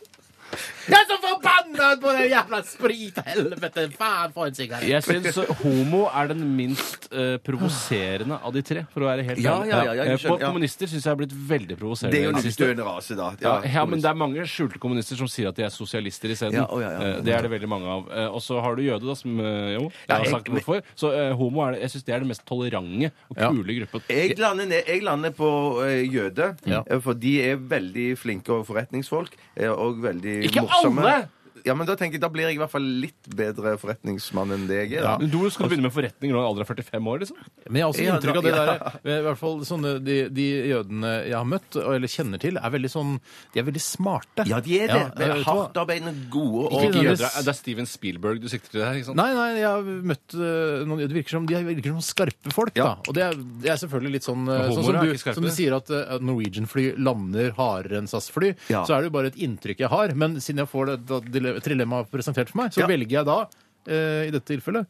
A: Jeg er så forbanna på det jævla sprithelvete! Faen, for en sigarett!
C: Jeg syns homo er den minst eh, provoserende av de tre, for å være helt
B: Ja,
C: ærlig.
B: ja, ja, ja, jeg
C: Eh, på
B: skjønner, ja.
C: kommunister syns jeg har blitt veldig provoserende.
B: Det er jo
C: i
B: en
C: det siste.
B: utdøende rase, da.
C: ja, ja, men det er mange skjulte kommunister som sier at de er sosialister isteden.
B: Ja, å, ja, ja.
C: Eh, Det er det veldig mange av. Eh, Og så har du jøde, da, som eh, jo, jeg
B: jeg-
C: har sagt hvorfor. Så eh, homo er det, jeg syns det er den mest tolerante og kule gruppen.
B: Jeg lander, ned, jeg lander på eh, jøde,
A: Ja.
B: eh, for de er veldig flinke og forretningsfolk. eh, og veldig
C: Ikke
B: morsomme.
C: alle!
B: Ja, men Da tenker jeg, da blir jeg i hvert fall litt bedre forretningsmann enn det jeg er. da.
C: Men Du
B: Altså-
C: skal begynne med forretning når du er alder av 45 år, liksom?
A: Men jeg har også
B: Ja,
A: inntrykk av det
B: ja.
A: der eh, I hvert fall sånne de, de jødene jeg har møtt, og- eller kjenner til, er veldig sånn De er veldig smarte.
B: Ja, de er det.
A: Ja, jeg vet hva.
B: Hardtarbeidende, gode og
A: Ikke
C: Ikke
A: nødvendigvis-
C: jøder, er- det er Steven Spielberg du sikter til her, ikke sant?
A: Nei, nei, jeg har møtt eh, noen Det virker som de virker som skarpe folk, da. Og det er, det er selvfølgelig litt sånn eh,
C: Men
A: Sånn
C: homoer
A: som
C: er
A: du,
C: ikke skarpe.
A: som du sier at eh, at Norwegian-fly lander hardere enn SAS-fly,
B: Ja.
A: så er det jo bare et inntrykk jeg har. Men siden jeg får det da- dile- trilemmaet presentert for meg, så
B: Ja.
A: velger jeg da, eh, i dette tilfellet,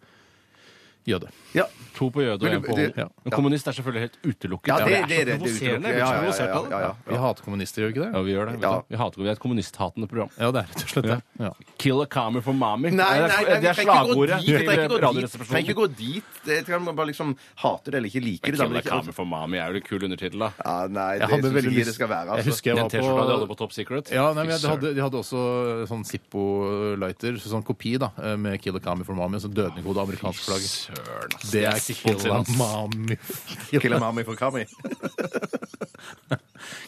A: jøde.
B: Ja.
C: To på jøde og
B: Men
C: én
B: du-
C: på homo.
B: det-
C: Ja. Men
B: ja.
C: kommunist er selvfølgelig helt utelukket.
B: Ja, det-
C: så
B: det er det, det er
C: provoserende.
B: utelukket. Ja, ja,
C: Jeg blir så
B: ja,
C: provosert av det.
B: ja, ja.
A: Vi hater kommunister, gjør vi ikke
C: Ja,
A: det?
C: vi gjør det. Vet
B: Ja.
C: du. Vi, hater, vi er et kommunisthatende program.
A: Ja, det er rett og slett det. Ja.
C: Kill a comer for mommy.
B: Nei, nei, nei, vi
C: det er
B: trenger ikke gå
C: slagordet
B: dit,
C: til
B: vi trenger ikke gå dit,
C: Radioresepsjonen.
B: Trenger ikke gå dit. Jeg kan man bare liksom hate det eller ikke like det. da,
C: Kill
B: men
C: a
B: ikke-
C: comer for mommy er jo en kul undertittel, da.
B: Ja, nei, det
A: Jeg hadde
B: syns
A: veldig
B: ikke det
A: lyst
B: skal være.
A: Jeg
B: Altså.
A: husker jeg
C: Den
A: var
C: T-skjorta de
A: på
C: hadde på Top Secret.
A: ja, nei, men jeg-
C: Fy
A: de,
C: søren.
A: hadde, de hadde også sånn Zippo-lighter, sånn kopi da, med Kill a Kami for Mami, sånn dødningkode amerikansk flagg.
C: Søren, ass.
A: Det er
C: sikkert
A: Kill a
C: ass.
A: Mami.
B: Killer Mami for Kami.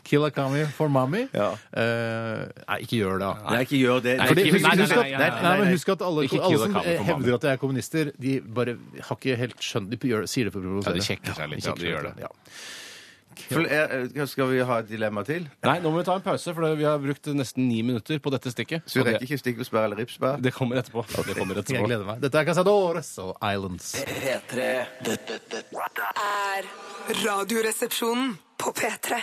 A: Kill a Kami for Mami?
B: Ja.
A: Eh, nei, ikke gjør det, da.
B: Nei, ikke gjør det.
A: Fordi,
C: ikke-
A: husk,
C: nei, nei,
A: husk at,
C: nei,
A: nei,
C: nei, nei,
A: men husk at alle,
C: Ikke Kill
A: alle
C: a
A: som
C: Kami for Mami.
A: hevder at de er kommunister, de bare har ikke helt skjønt De gjør, sier det for å
C: Ja,
A: provosere.
C: de kjekker seg litt, ja, de gjør det.
A: Ja.
B: Fl- eh, eh, Skal vi ha et dilemma til?
C: Nei, nå må vi ta en pause, for det- vi har brukt nesten ni minutter på dette stikket.
B: Så vi
C: Og det-
B: rekker ikke stikkelsbær eller ripsbær?
C: Det kommer etterpå. Det kommer
A: Jeg
C: etterpå.
A: gleder meg. Dette er Casadores og Islands.
E: P3. Dette, dette
D: er Radioresepsjonen på P3.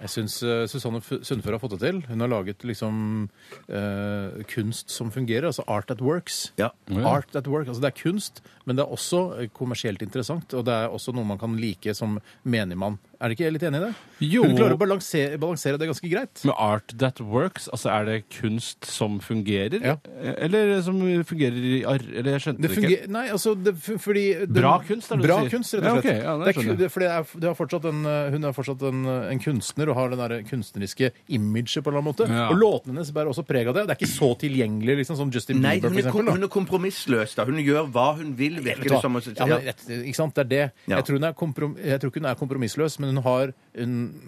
A: Jeg syns eh, Susanne F- Sundfør har fått det til. Hun har laget liksom eh, kunst som fungerer, altså art at works.
B: Ja.
A: Art at work, altså Det er kunst, men det er også eh, kommersielt interessant. Og det er også noe man kan like som menigmann. Er dere ikke litt enig i det?
C: Jo.
A: Hun klarer å balansere, balansere det ganske greit.
C: Med art that works, altså er det kunst som fungerer? Eh,
A: Ja.
C: Eller som fungerer i arr... Eller jeg skjønte
A: Det
C: det, ikke.
A: fungerer Nei, altså det, fu- fordi den-
C: Bra kunst, er det du
A: Bra
C: sier?
A: kunst, rett
C: Ja,
A: og
C: ok,
A: slett.
C: ja, det
A: det er,
C: skjønner jeg.
A: ku- det, fordi det er, det er fortsatt en, eh, hun er fortsatt en, eh, en kunstner og har den der kunstneriske imaget på en eller annen måte.
C: Ja.
A: Og låtene hennes bærer også preg av det. Det er ikke så tilgjengelig liksom, som Justin
B: Nei,
A: Bieber, for
B: hun er,
A: eksempel.
B: kom,
A: da.
B: hun er kompromissløs. da. Hun gjør hva hun vil, virker det som.
A: Ja, men, rett- ikke sant, det er det.
B: Ja.
A: Jeg, tror hun er komprom jeg tror ikke hun er kompromissløs, men hun har hun,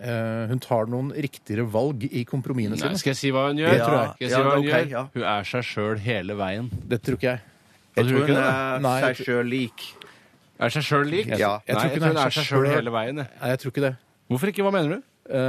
A: eh, hun tar noen riktigere valg i kompromissene sine.
C: Nei, skal jeg si hva hun gjør?
B: Det tror jeg.
C: Skal jeg
B: Ja,
C: si hva hun
B: det er ok,
C: gjør?
B: ja.
C: Hun er seg sjøl hele veien.
A: Det tror ikke jeg.
B: Jeg
C: tror
B: tror
C: ikke
B: hun
C: det.
B: er
A: Nei, jeg
B: seg sjøl lik.
C: Er seg sjøl lik?
B: Ja.
C: Nei, jeg tror hun er seg sjøl hele veien. jeg.
A: Nei, jeg tror ikke det.
C: Hvorfor ikke? Hva mener du?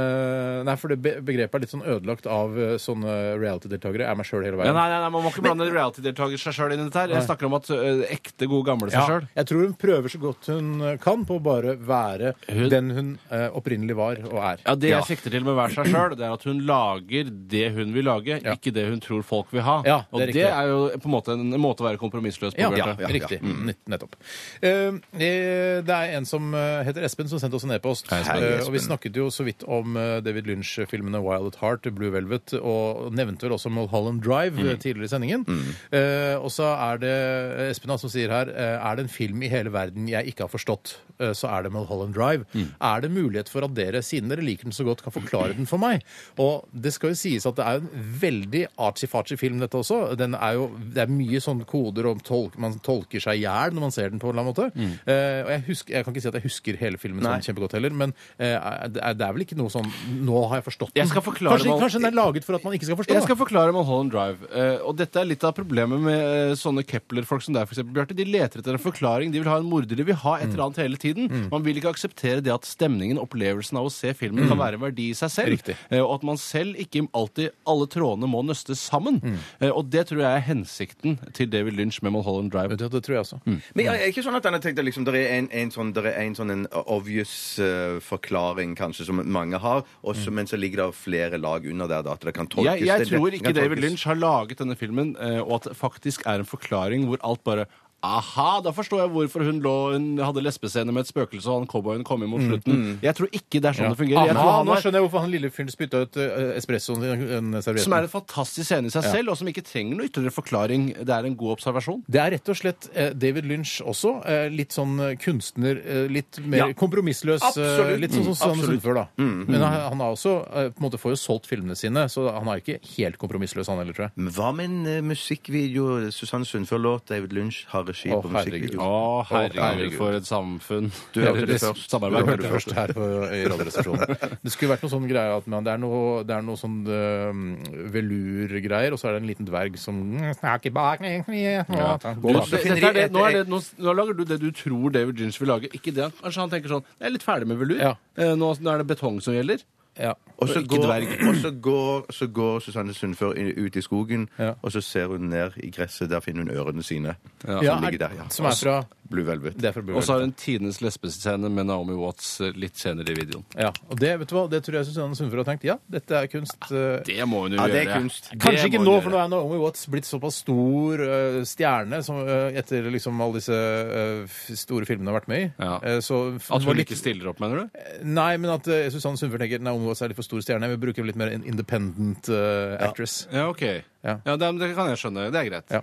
A: Eh, nei, for det be- begrepet er litt sånn ødelagt av eh, sånne reality-deltakere. Er meg sjøl hele
C: Ja,
A: veien.
C: nei, nei, nei, Man må ikke blande reality-deltaker seg sjøl inn i dette. her. Jeg snakker om at ø, ekte, gode, gamle seg
A: Ja,
C: selv
A: jeg tror hun prøver så godt hun kan på å bare være
C: Hun-
A: den hun eh, opprinnelig var og er.
C: Ja, Det jeg sikter til med Vær seg sjøl, er at hun lager det hun vil lage,
A: Ja.
C: ikke det hun tror folk vil ha.
A: Ja, det er
C: og
A: riktig.
C: det er jo på en måte en måte å være kompromissløs på.
A: Ja,
C: Bjarte.
B: ja. Mm.
A: riktig. Nett- Nettopp. Eh, eh, det er en som eh, heter Espen, som sendte oss en e-post.
B: Espen.
A: Eh, og vi snakket jo så vidt om eh, David Lynch-filmene Wild at Heart, Blue Velvet, og nevnte vel også Mulholland Drive
B: Mm.
A: eh, tidligere i sendingen. Eh, og så er det Espen da, som sier her eh, Er det en film i hele verden jeg ikke har forstått, eh, så er det Mulholland Drive.
C: Mm.
A: Er det mulighet for at dere, siden dere liker den så godt, kan forklare den for meg? Og det skal jo sies at det er jo en veldig artsy-fartsy film, dette også. Den er jo, det er mye sånne koder om tolk, man tolker seg i hjel når man ser den på en eller annen måte.
C: Mm.
A: Eh, og jeg, husker, jeg kan ikke si at jeg husker hele filmen sånn kjempegodt heller, men eh, det, er, det er vel ikke noe sånn Nå har jeg forstått den.
C: Jeg skal forklare
A: kanskje,
C: meg-
A: kanskje den er laget for at man ikke skal forstå?
C: Jeg skal forklare Mulholland Drive. eh, og dette er litt av problemet med eh, sånne Kepler-folk som deg, for eksempel, Bjarte. De leter etter en forklaring. De vil ha en morder. De vil ha et eller annet hele tiden.
A: Mm.
C: Man vil ikke akseptere det at stemningen, opplevelsen av å se filmen, kan være en verdi i seg selv.
A: Mm. Riktig.
C: Eh, og at man selv ikke alltid Alle trådene må nøstes sammen.
A: Mm.
C: Eh, og det tror jeg er hensikten til David Lynch med Mulholland Drive.
A: Vet du, det tror jeg også.
C: Mm.
B: Men er det ikke sånn at han har tenkt at liksom, det er en, en sånn, der er en sånn en obvious eh, forklaring kanskje som mange har, og
A: Mm.
B: så- men så ligger det flere lag under der da, at det kan tolkes.
C: Jeg, jeg
B: det- det-
C: tror
B: det
C: ikke
B: kan
C: David
B: tolkes.
C: Lynch har laget denne filmen, eh, og at det faktisk er en forklaring hvor alt bare Aha, da forstår jeg hvorfor hun, lå, hun hadde lesbescene med et spøkelse og han cowboyen kom inn
B: Mm,
C: mot slutten. Jeg tror ikke det er sånn det fungerer. Jeg
A: Ah,
C: tror han
A: nå
C: er,
A: skjønner jeg hvorfor han lille fyren spytta ut eh, espressoen i den servietten.
C: som er en fantastisk scene i seg selv, og som ikke trenger noe ytterligere forklaring. Det er en god observasjon.
A: Det er rett og slett eh, David Lynch også. eh, Litt sånn eh, kunstner, eh, litt mer
B: Ja.
A: kompromissløs. eh,
B: Absolutt. Mm.
A: Litt sånn som Susanne
B: Absolutt. Mm.
A: Sundfør, da. Men han, han har også eh, på en måte får jo solgt filmene sine, så han er ikke helt kompromissløs, han heller, tror jeg.
B: Men Hva med en eh, musikkvideo? Susanne Sundfør-låt, David Lynch har regi
A: Å,
B: på
A: herregud.
B: musikkvideo.
C: Å, herregud,
B: herregud.
C: for et samfunn.
B: Du hørte det
C: Eller
B: først.
C: Samarbeid.
B: Du hørte
A: Det
B: det
C: Hørte
A: Først her på, i Radioresepsjonen. Det skulle vært noe sånn greie at man, det, er noe, det er noe sånn eh, velurgreier, og så er det en liten dverg som snakker bak meg. Ja,
C: Du,
A: går bak.
C: det,
B: finner
C: dette er det,
B: de-
C: nå, er det, nå, nå lager du det du tror David Lynch vil lage. Ikke det. han- Kanskje han tenker sånn Jeg er litt ferdig med velur.
A: Ja.
C: Eh, Nå, nå er det betong som gjelder.
A: Ja.
B: Og så
C: Ikke
B: går,
C: dverg.
B: og så går, så går Susanne Sundfør i- ut i skogen,
A: Ja.
B: og så ser hun ned i gresset. Der finner hun ørene sine.
A: Ja,
B: som
A: er-
B: ligger der, ja.
A: Som er fra
B: Blue Velvet.
A: Det er fra Blue
C: Og så
A: Velvet.
C: har hun tidenes lesbescene med Naomi Watts eh, litt senere i videoen.
A: Ja, og det, vet du hva, det tror jeg Susanne Sundfør har tenkt. Ja, dette er kunst. eh,
C: Det må hun jo
B: Ja, det er
C: gjøre.
B: kunst.
A: Kanskje
C: Det
A: ikke
C: må
A: nå,
C: hun
A: for nå
C: gjøre.
A: er Naomi Watts blitt såpass stor eh, stjerne som, eh, etter liksom alle disse eh, f- store filmene hun har vært med i.
C: Ja.
A: Eh, så f-
C: At
A: var
C: hun
A: litt-
C: ikke stiller opp, mener du?
A: Nei, men at eh, Susanne Sundfør tenker Naomi Watts er litt for stor stjerne. Vi bruker litt mer en independent eh, actress.
C: Ja, OK. Ja,
A: Ja.
C: det, det kan jeg skjønne. Det er greit.
A: Ja.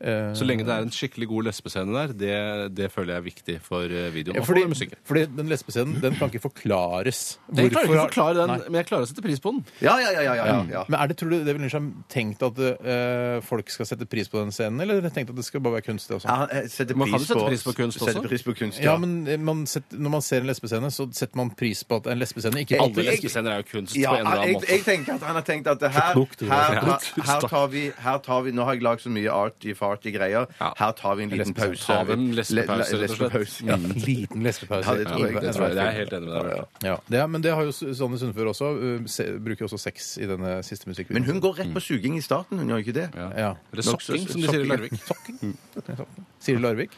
A: Eh,
C: Så lenge det er en skikkelig god lesbescene der, det, det føler jeg er viktig for eh, videoen.
A: ja,
C: og
A: fordi,
C: for musikken.
A: fordi den lesbescenen den kan ikke forklares.
C: Jeg klarer ikke å
A: har-
C: forklare den,
A: Nei.
C: men jeg klarer å sette pris på den.
B: Ja, ja, ja. ja, ja, ja.
A: Men er det, tror du David Lynch har tenkt at eh, folk skal sette pris på den scenen, eller har dere tenkt at det skal bare være kunst? Det også?
B: Ja, jeg setter
C: Man kan
B: pris
C: jo sette
B: på-
C: pris på kunst også.
B: setter pris på kunst,
A: Ja, men eh, man set- når man ser en lesbescene, så setter man pris på at det er en lesbescene. Ikke
C: Alle
A: alle lesbescener.
C: lesbescener er jo kunst
B: Ja,
C: på en eller annen
B: jeg,
C: måte.
B: jeg tenker at han har tenkt at det her,
A: klokt du
B: her,
A: var.
C: Ja,
B: her,
C: tusen
B: her,
C: takk.
B: tar vi, her tar vi Nå har jeg lagd så mye arty-farty greier.
C: Ja.
B: Her tar vi en liten
A: Lesbepause.
B: pause.
C: Ta dem
B: Le-
C: lesbepause,
B: le-
C: rett og slett. Mm.
B: lesbepause, ja.
A: En liten lesbepause.
B: Ja, det tror jeg.
C: Ja, det tror jeg. Jeg er helt enig med deg. Bjarte.
A: Ja, det er, men det har jo Susanne Sundfør også. uh, se- Bruker også sex i denne siste musikkvideoen.
B: Men hun går
C: Mm.
B: rett på suging i starten, hun gjør ikke det?
A: Ja.
C: Eller sokking, som de sier i Larvik.
A: Siri Larvik.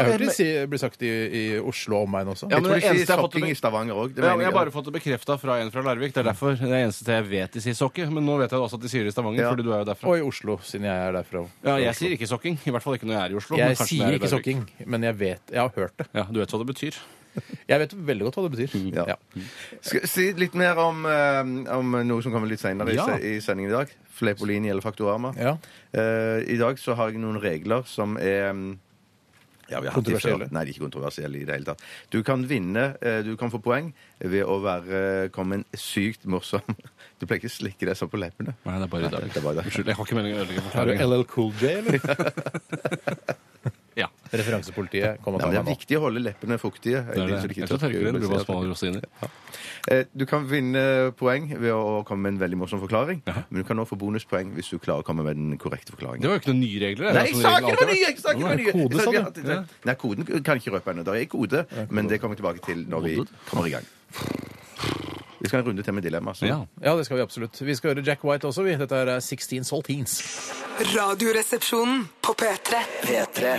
A: jeg har hørt
C: men-
A: det si, blir sagt i, i Oslo og omegn også.
C: Ja,
B: Jeg
C: men
B: tror
C: det
B: de sier
C: eneste jeg har fått
B: sokking
C: med-
B: i Stavanger òg.
C: Ja, men jeg har bare fått det bekrefta fra en fra Larvik. Det er derfor det er det eneste jeg vet de sier sokke. Men nå vet jeg også at de sier det i Stavanger,
B: Ja.
C: fordi du er jo derfra.
A: Og i Oslo, siden jeg er derfra.
C: Ja, jeg sier ikke sokking. I hvert fall ikke når jeg er i Oslo. men
A: Jeg
C: kanskje når
A: sier
C: er i
A: ikke
C: Larvik.
A: sokking, men jeg vet Jeg har hørt det.
C: Ja, Du vet hva det betyr.
A: Jeg vet veldig godt hva det betyr.
B: Ja.
A: Ja.
B: Skal jeg si litt mer om, eh, om noe som kommer litt senere i
C: Ja.
B: se- i sendingen i dag. Fleipolini eller Faktorama.
A: Ja.
B: Eh, I dag så har jeg noen regler som er mm, ja, vi har hatt de
A: Kontroversielle.
B: før. Nei, de er ikke kontroversielle i det hele tatt. Du kan vinne, eh, du kan få poeng ved å være, komme en sykt morsom Du pleier ikke å slikke deg sånn på leppene.
C: Nei, det er bare i dag.
B: det er bare i dag.
C: Unnskyld, jeg har ikke meningen å ødelegge
A: Er du
C: forklaringen.
A: LL Cool J, eller?
C: Ja,
A: Referansepolitiet kom og
B: Nei,
A: tar
B: men
A: meg
B: det er
A: nå.
B: viktig å holde leppene fuktige.
C: det er det.
B: så de ikke
C: Jeg tror
B: tørker
C: tørker det. Det blir bare
B: seg.
C: små rosiner.
B: Eh, Du kan vinne poeng ved å komme med en veldig morsom forklaring, men du kan også få bonuspoeng hvis du klarer å komme med den korrekte forklaringen.
C: Det var jo ikke noen nye regler. det
B: Nei,
C: er
B: jeg
C: som
B: sa ikke
C: regel
B: noe
C: alltid
B: nye! Jeg sa ikke noe nye.
A: kode,
B: Jeg sa
A: sa
C: sånn,
A: du?
B: vi har hatt det. Nei, koden kan jeg ikke røpe ennå. Det er kode, men det kommer vi tilbake til når vi kommer i gang. Vi skal ha en runde til med dilemma. Så.
C: Ja.
A: Ja, det skal vi absolutt. Vi skal høre Jack White også, vi. Dette her er 16 Saltines.
D: Radioresepsjonen på P3.
E: P3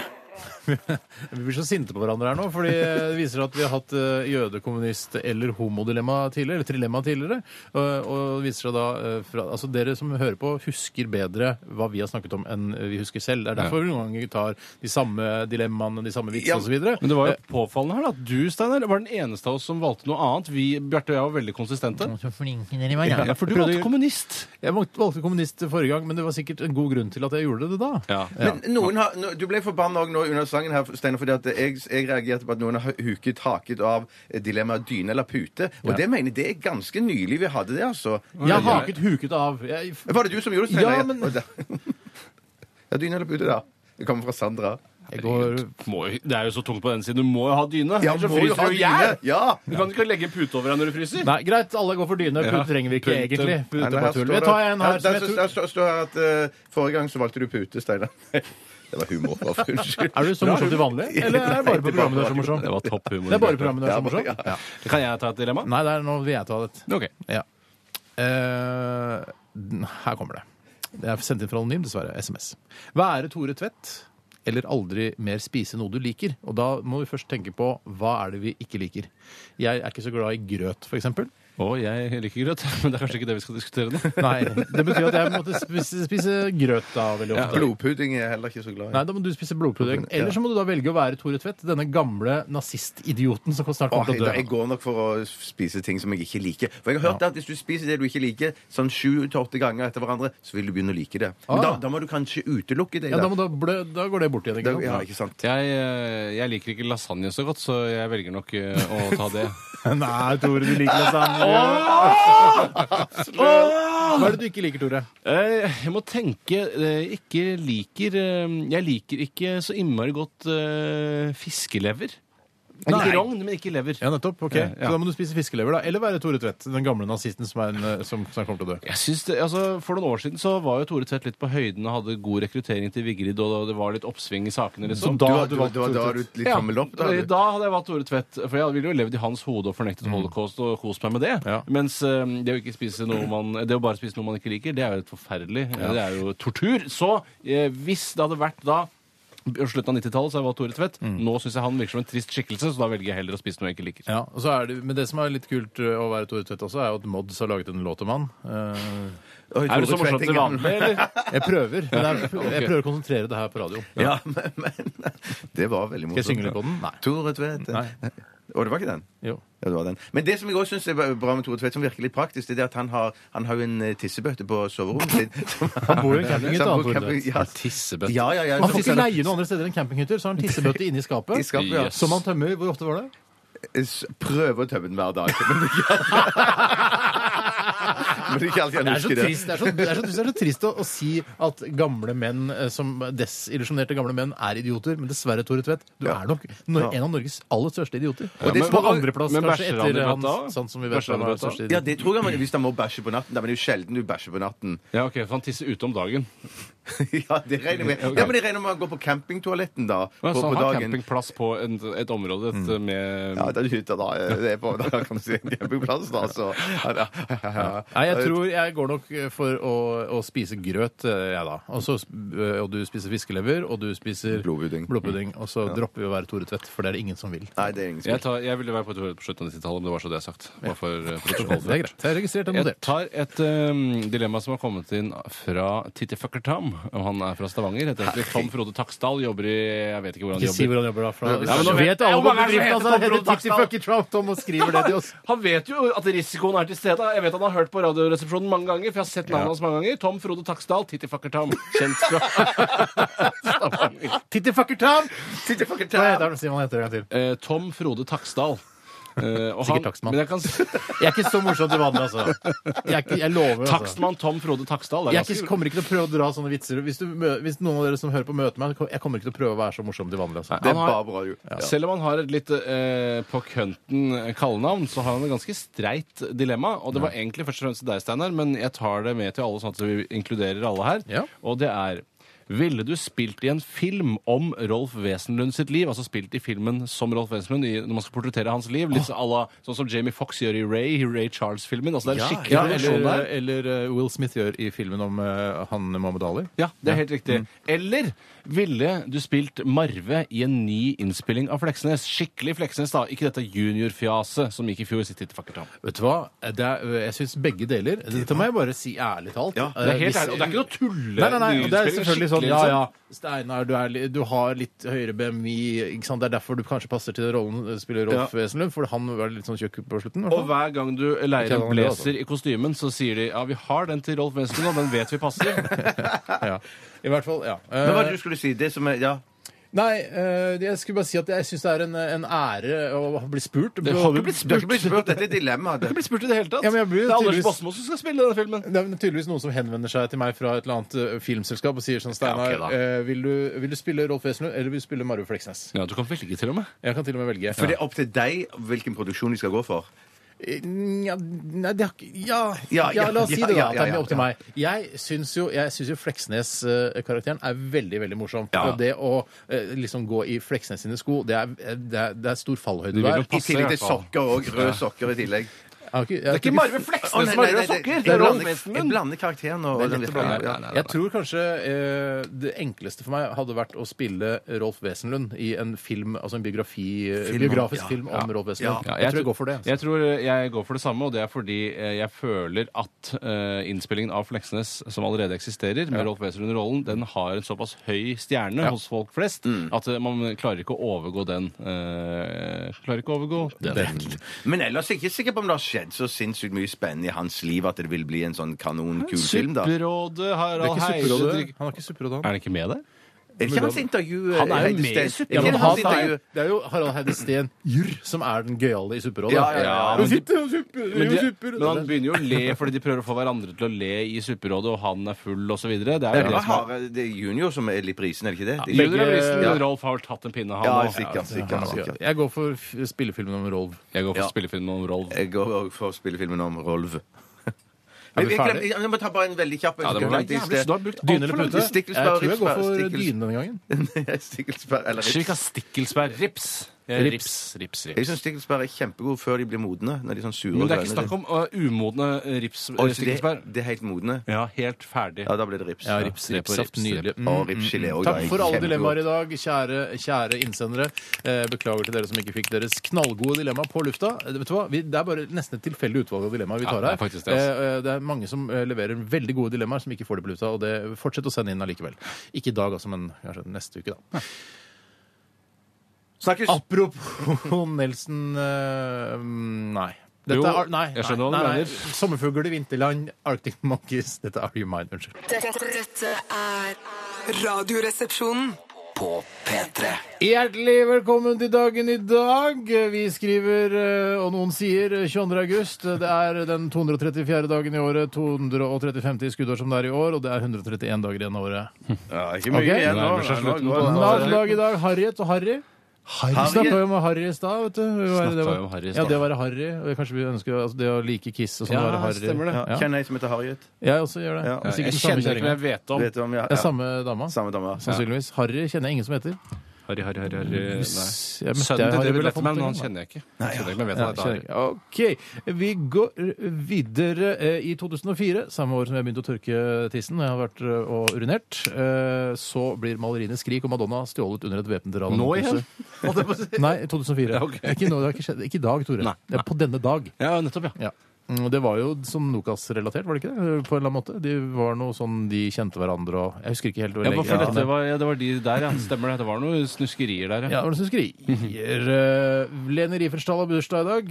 A: Vi blir så sinte på hverandre her nå, fordi det viser at vi har hatt eh, jødekommunist- eller homodilemma tidligere, eller trilemma tidligere. Og, og det viser seg da eh, fra, Altså, dere som hører på, husker bedre hva vi har snakket om, enn vi husker selv. Det er derfor vi noen ganger tar de samme dilemmaene, de samme vitsene
B: Ja,
A: og osv.
C: Men det var jo påfallende her da, at du Steiner, var den eneste av oss som valgte noe annet. Vi, Bjarte og jeg var veldig konsistente. Ja, for du valgte kommunist.
A: Jeg valgte valgte kommunist forrige gang, men det var sikkert en god grunn til at jeg gjorde det da.
C: Ja.
B: Men noen har, no, Du ble forbanna òg nå under sangen her, Steiner, fordi at jeg, jeg reagerte på at noen har huket haket av eh, dilemmaet dyne eller pute. Og det mener jeg det er ganske nylig vi hadde det, altså.
A: Jeg har haket huket av. Jeg,
B: Var det du som gjorde det,
A: Ja,
B: Steiner?
A: men-
B: Og da- ja, dyne eller pute, da. Det kommer fra Sandra.
A: jeg går
C: Må jo, det er jo så tungt på den siden. Du må jo ha dyne.
B: Ja,
C: ellers så
B: må jo
C: fryser
B: ha
C: du i hjel.
B: dyne! Ja!
C: Du kan ikke legge en pute over deg når du fryser.
A: Nei, greit, alle går for dyne.
C: Ja.
A: Pute trenger vi ikke
C: Pute-
A: egentlig. Pute
B: Nei, nei,
A: på
B: her
A: tull.
B: står
A: Jeg
B: det-
A: tar en
B: Ja,
A: her. som
B: Der
A: jeg
B: står-
A: tror-
B: der står står her at eh, forrige gang så valgte du pute, Steinar. Det var humor. bare for- Unnskyld.
A: Er du så morsom til vanlig, eller er det bare på programmet du er så morsom?
C: Det var topp humor.
A: Det er bare programmet du er så morsom?
B: Ja,
A: Ja.
C: Kan jeg ta et dilemma?
A: Nei, det er nå vil jeg ta det.
C: Ok.
A: Ja. Eh, her kommer det. Det er sendt inn fra anonym, dessverre. SMS. Være Tore Tvedt eller aldri mer spise noe du liker. Og da må vi først tenke på hva er det vi ikke liker. Jeg er ikke så glad i grøt, f.eks.
C: Å, jeg liker grøt, men det er kanskje ikke det vi skal diskutere nå.
A: Nei, det betyr at jeg måtte spise, spise grøt da veldig ofte.
B: Blodpudding er jeg heller ikke så glad i.
A: Nei, da må du spise blodpudding. Eller så må du da velge å være Tore Tvedt, denne gamle nazistidioten som snart
B: Åh,
A: kommer til å
B: jeg, jeg
A: dø.
B: går nok for å spise ting som jeg ikke liker. For jeg har hørt at hvis du spiser det du ikke liker, sånn sju til åtte ganger etter hverandre, så vil du begynne å like det. Men
A: Ah.
B: da, da må du kanskje utelukke det.
A: Ja, da,
B: da.
A: må da, blø, da går det bort igjen.
B: Da-
A: Ikke
B: Ja,
A: sant?
B: ikke sant?
C: Jeg, eh, jeg liker ikke lasagne så godt, så jeg velger nok eh, å ta det.
A: Nei, Tore, du liker lasagne. Hva er det du ikke liker, Tore?
C: Eh, Jeg må tenke eh, Ikke liker eh, Jeg liker ikke så innmari godt eh, fiskelever. Jeg
A: Nei.
C: liker rogn, men ikke lever.
A: Ja, nettopp. ok.
C: Ja, ja.
A: Så da må du spise fiskelever, da. Eller være Tore Tvedt, den gamle nazisten som, er en, eh, som, som kommer til å dø.
C: Jeg synes det, altså, For noen år siden så var jo Tore Tvedt litt på høyden og hadde god rekruttering til Vigrid, og det var litt oppsving i sakene. liksom.
A: da
B: Du,
A: har
B: har- du, har- da, da har du litt tommel opp, da.
C: Ja, Eh,
B: du. Mm.
C: da hadde jeg valgt Tore Tvedt, for jeg ville jo levd i hans hode og fornektet holocaust og kost meg med det.
A: Ja.
C: Mens eh, det å, ikke spise noe man, det å bare spise noe man ikke liker, det er jo helt forferdelig. Det er jo tortur. Så eh, hvis det hadde vært da på slutten av 90-tallet så har jeg valgt Tore Tvedt.
B: Mm.
C: Nå syns jeg han virker som en trist skikkelse, så da velger jeg heller å spise noe jeg ikke liker.
A: Ja, og så er det, Men det som er litt kult eh, å være Tore Tvedt også, er jo at Mods har laget en låt om han. Eh,
B: Oi,
C: Er
B: Tore
C: du så morsom
B: Tvedt,
C: til
B: jeg-
C: vanlig, eller?
A: Jeg prøver. Men jeg, jeg prøver å konsentrere det her på radio. Skal
B: Ja, men, men Det var veldig morsomt.
A: jeg synge litt på den? Nei.
B: Tore Tvedt. eh.
A: Nei.
B: Å, det var ikke den?
A: Jo.
B: Ja, det var den. Men det som jeg også syns er bra med Tore Tvedt, som virker litt praktisk, det er at han har, han har jo en eh, tissebøtte på soverommet sitt.
A: Han bor jo i en campinghytte,
B: Så han
A: han,
B: bor i
A: Tore
B: camping-
A: Tvedt.
B: ja.
C: Tissebøtte.
B: Ja, ja, ja.
A: Man får ikke leie noen andre steder enn campinghytter, så har han tissebøtte inne i skapet.
B: I skapet, ja.
A: Som han tømmer. Hvor ofte var det?
B: S- Prøve å tømme den hver dag. Men det men det er ikke alltid han
A: Det er så
B: husker det.
A: trist, det er så, det er så, det er så trist å, å si at gamle menn eh, som desillusjonerte gamle menn er idioter, men dessverre, Tore Tvedt, du
B: Ja.
A: er nok nor
B: Ja.
A: en av Norges aller største idioter.
B: Ja,
A: Og det
B: men-
A: på andreplass,
C: men
A: kanskje,
C: bæsjer han i
A: etter
C: bøtta
A: han
C: også?
A: sånn som vi vet
C: Bæsjer
A: han
C: han i
A: var
C: bøtta?
A: største
B: Ja,
A: idiot.
B: det tror jeg man, hvis han må bæsje på natten. Da, men det er jo sjelden du bæsjer på natten.
C: Ja, ok, For han tisser ute om dagen.
B: Ja, det regner jeg med. Ja, men jeg regner med å gå på campingtoaletten da. På,
C: Ja, så
B: på
C: han har
B: dagen. Mm.
C: campingplass på en, et område et, med
B: Ja, det er hytta da. eh, Det er på da kan du si en campingplass, da. Så. Ja, da.
A: Nei, jeg tror jeg går nok eh, for å, å spise grøt, eh, jeg da. Og, så, eh, og du spiser fiskelever, og du spiser
B: Blodpudding.
A: blodpudding, og så dropper vi å være Tore Tvedt, for det er det ingen som vil.
B: Nei, det er ingen
C: Jeg,
B: spørsmål.
C: tar, jeg ville være på Tore Tvedt på slutten av 90-tallet, om det var så det er sagt. Bare for eh,
A: Det
C: protokollen.
A: er greit. Jeg har registrert og
C: Jeg
A: notert.
C: tar et eh, dilemma som har kommet inn fra Tittifucker Tam. Og han er fra Stavanger. Heter egentlig Tom Frode Taksdal. Jobber i Jeg vet ikke hvor han
A: Ikke si hvor
C: jobber.
A: han jobber, da. For
C: Ja, men
A: så
C: nå vet-
A: vet alle
C: Ja,
A: hvor
C: hvor mange
A: bedriften
C: er det
A: hans
C: som heter
A: heter
C: Tom
A: Titty Fucker Trump Tom og skriver det til oss.
C: Han vet jo at risikoen er til stede. Jeg vet han har hørt på Radioresepsjonen mange ganger. For jeg har sett navnet hans mange ganger. Tom Frode Taksdal, Tittifucker Tam. Kjent fra Stavanger.
A: Titty Fucker Tom!
B: Sitter fucking
A: Hva
B: tar-
A: heter han? Si hva han heter en gang til.
C: Eh, Tom Frode Taksdal. Eh, og
A: Sikkert takstmann.
C: Men jeg kan s-
A: Jeg er ikke så morsom til vanlig, altså. Jeg, er ikke, jeg lover. Altså.
C: Takstmann Tom Frode Taksdal. Det
A: Jeg
C: er
A: er ikke,
C: ganske
A: kommer ikke til å prøve å dra sånne vitser. Hvis, du, mø- hvis noen av dere som hører på, møter meg, jeg kommer ikke til å prøve å være så morsom til vanlig. Altså.
B: Det er
C: Han har-
B: bare bra, jo. Ja.
C: Selv om han har et litt eh, på kønten kallenavn, så har han et ganske streit dilemma. Og det var egentlig først og fremst til deg, Steinar, men jeg tar det med til alle, sånn at vi inkluderer alle her.
A: Ja.
C: Og det er Ville du spilt i en film om Rolf Wesenlund sitt liv? Altså spilt i filmen som Rolf Wesenlund i, når man skal portrettere hans liv? Litt à la sånn som Jamie Fox gjør i Ray, i Ray Charles-filmen. Altså det er en
B: Ja,
C: skikkelig
A: Ja,
C: produksjon
A: eller,
C: der.
A: eller eh, Will Smith gjør i filmen om eh, han Mohammed Ali.
C: Ja, det er helt riktig.
A: Mm.
C: Eller ville du spilt Marve i en ny innspilling av Fleksnes? Skikkelig Fleksnes, da. Ikke dette juniorfjaset som gikk i fjor. Sitt hit, fucker,
A: Vet du hva? Det er, jeg syns begge deler. Dette må jeg bare si ærlig talt. Eh,
B: Ja,
C: Det er helt
A: Hvis-
C: ærlig, og det er ikke noe tulle.
A: Nei, nei, nei, og det er
C: nyinnspilling,
A: selvfølgelig sånn
C: skikkelig,
A: Ja,
C: liksom.
A: ja, Steinar, du, er, li- du har litt høyere BMI. Ikke sant? Det er derfor du kanskje passer til rollen eh, spiller Rolf Wesenlund, for han var litt sånn tjukk på slutten. i hvert
C: Og
A: fall.
C: hver gang du leier
A: Ikke
C: en
A: noe annet,
C: blazer i kostymen, så sier de ja, vi har den til Rolf Wesenlund, og den vet vi passer.
A: Ja. I hvert fall, ja. Eh,
B: Men hva var det du skulle si? Det som er, ja.
A: Nei, eh, jeg skulle bare si at jeg syns det er en, en ære å bli spurt.
C: Det har jo blitt
B: Du har ikke blitt spurt. Dette er dilemmaet.
C: Ikke blitt spurt i det hele tatt.
A: Ja, men jeg blir jo
C: det er Anders
A: tydeligvis-
C: Basmo som skal spille denne filmen.
A: Det er tydeligvis noen som henvender seg til meg fra et eller annet eh, filmselskap og sier sånn Steinar,
C: Ja, ok da.
A: eh, vil, du, vil du spille Rolf Wesenlund eller vil du spille Marve Fleksnes?
C: Ja, du kan velge til og med.
A: Jeg kan til og med velge.
B: For det er opp til deg hvilken produksjon de skal gå for.
A: Ja, nei, det har ikke ja, ja,
B: Ja, ja,
A: la oss si
B: ja,
A: det, da.
B: ja,
A: At det
B: ja,
A: er opp til
B: ja.
A: meg. Jeg syns jo, jeg syns jo Fleksnes-karakteren er veldig veldig morsom.
B: Ja.
A: Og det å eh, liksom gå i Fleksnes sine sko, det er, det er, det er stor fallhøyde
C: vil jo
A: der.
B: I
C: passe
B: tillegg til
C: i hvert fall.
B: sokker òg. Røde sokker i tillegg.
A: Jeg har ikke- jeg
C: Det er
A: tror
C: ikke
A: ikke-
C: Marve
B: Å,
C: Fleksnes
B: nei,
C: som
B: nei,
C: er
B: nei,
C: røde
B: det-
C: sokker!
B: jeg
C: Det er Rolf
B: blander- Jeg
C: Wesenlund.
B: blander karakteren og
A: Det er
B: den
A: lett å
B: virkelige-
A: blande.
B: ja.
C: nei, nei,
A: Jeg tror kanskje eh, det enkleste for meg hadde vært å spille Rolf Wesenlund i en film, altså en biografi,
B: Film om-
A: biografisk
B: ja,
A: film om Rolf Wesenlund.
C: Ja,
A: jeg, tror jeg går for det. altså.
C: Jeg tror jeg går for det samme, og det er fordi eh, jeg føler at eh, innspillingen av Fleksnes, som allerede eksisterer, med Rolf Wesenlund i rollen, den har en såpass høy stjerne hos folk flest at eh, man klarer ikke å overgå den. eh, klarer ikke å overgå den.
B: Men ellers er jeg ikke sikker på om det har skjedd så sinnssykt mye spennende i hans liv at det vil bli en sånn kanonkul film, da. Er
C: Supperådet,
A: Det er
C: Harald
A: ikke
C: Heide
A: supperådet. Han er ikke supperådet, han.
C: Er det ikke med der?
B: ikke hans intervju
C: Han er jo
B: Heide
C: med i
B: Steen? Er
C: Super-
A: Ja,
B: ikke
A: men
C: Eller
B: hans
A: han
B: intervju
A: er, det er jo Harald Heide Steen Jurr som er den gøyale i Supperådet.
B: Ja, ja, ja.
A: Du sitter og supper,
C: Men,
A: du
C: de,
A: supper.
C: men han begynner jo å le fordi de prøver å få hverandre til å le i Supperådet, og han er full osv. Det er jo
B: Det var
C: det som er
B: Harald- det er junior som er litt prisen, er det ikke det? det? er
C: Begge...
B: ikke-
C: Ja.
B: Ja.
C: Rolf har vel tatt en pinne, han
B: Ja,
C: også.
B: sikkert. sikkert, sikkert.
A: Jeg går for f- spillefilmen om Rolv.
C: Jeg går for
B: Ja.
C: spillefilm om Rolf.
B: Jeg går også for spillefilmen om Rolv.
A: Er
B: Men
A: vi
B: jeg,
A: ferdig?
B: glemte- jeg må ta bare en veldig kjapp
C: Ja, det må være jævlig, så du har brukt
A: Dyne
C: alt
A: eller
C: for
A: pute?
C: lang tid.
A: Jeg
B: Stikkelsberg,
A: tror jeg går for
B: Stikkelsberg.
A: dyne denne gangen.
B: Stikkelsberg eller
C: Slik av
B: Rips.
C: stikkelsbær. Rips. Ja, Rips, rips,
B: Jeg
C: rips.
B: syns stikkelsbær er kjempegode før de blir modne. Når de er sånn sure
C: Men det er
B: og
C: ikke
B: grønne.
C: snakk om uh, umodne eh, rips
B: Oi,
C: eh,
B: så det,
C: stikkelsbær.
B: det er helt modne.
C: Ja, helt ferdig.
B: Ja, da blir det rips.
A: Ja, rips,
C: Ja,
A: rips,
C: se på rips,
A: rips, nydelig.
C: rips.
A: Mm.
B: Og ripsgelé òg.
A: Takk for alle dilemmaer i dag, kjære, kjære innsendere. Eh, Beklager til dere som ikke fikk deres knallgode dilemma på lufta. Eh, Vet du hva? Vi, det er bare nesten et tilfeldig utvalg av dilemmaer vi
C: Ja,
A: tar
C: det er
A: her.
C: faktisk det, altså.
A: Eh, eh, det er mange som eh, leverer veldig gode dilemmaer som ikke får det på lufta, og det fortsett å sende inn allikevel. Ikke i dag, altså, men kanskje neste uke, da.
B: Snakkes!
A: Apropos Nelson eh, mm, Nei. Dette
C: Jo,
A: er, ar- nei,
C: jeg skjønner hva du
A: nei, nei,
C: mener.
A: nei. Sommerfugler i vinterland, Arctic Monkeys. Dette er You Mine, unnskyld.
D: Dette, dette er Radioresepsjonen.
E: På P3
A: Hjertelig velkommen til dagen i dag. Vi skriver, eh, og noen sier, eh, 22. august. Det er den 234. dagen i året, 235 i skuddår som det er i år, og det er 131 dager igjen av året.
B: Ja, ikke mye
A: Ok.
B: igjen nå.
C: Nærmer seg
B: Nå
C: slutten
B: går
C: på
B: det.
C: den.
A: Navndag i dag, Harriet og Harry. Vi snakka jo om Harry i stad, vet du. Hva er det det
C: Snakket
A: var?
C: jo om Harry i
A: Ja,
C: stad.
A: det å være Harry. og Kanskje vi ønsker altså, det å like Kiss og sånn.
C: Ja,
A: å være Harry.
C: stemmer det.
A: Ja.
B: Kjenner jeg som heter Harriet.
A: Jeg også gjør det.
B: Ja.
A: det er sikkert den samme
C: Jeg kjenner ikke, men
A: kjerringa.
C: jeg vet om.
B: Vet du om jeg
A: Det er samme dama.
B: Samme dame. ja.
A: Sannsynligvis. Harry kjenner jeg ingen som heter.
C: Harry, Harry, Harry, Harry. Nei.
A: Jeg møtte
C: Sønnen til
A: Harry
C: David
A: Belafonte en
C: Letterman,
A: gang,
C: han
A: da.
C: kjenner jeg ikke. Kjenner jeg ikke, men jeg vet
A: Ja,
C: at det er
A: kjenner
C: Harry.
A: jeg. OK. Vi går videre eh, i 2004, samme år som jeg begynte å tørke tissen. Jeg har vært eh, og urinert. Eh, Så blir maleriene 'Skrik' og 'Madonna' stjålet under et væpnet ran.
C: Nå igjen?
A: Nei, i 2004.
C: Ja, ok.
A: Ikke nå, det har ikke skjedd. Ikke i dag, Tore.
C: Nei,
A: Det er på denne dag.
C: Ja, nettopp,
A: Ja.
C: ja.
A: Mm, Det var jo sånn Nokas-relatert, var det ikke det? På en eller annen måte. De var noe sånn, de kjente hverandre og Jeg husker ikke helt
C: Ja, for
A: Ja,
C: dette var, ja, det var de der, ja. Stemmer det. Det var noen snuskerier der,
A: Ja, det
C: ja.
A: var det som skriver. Eh, Leni Riefenstahl har bursdag i dag.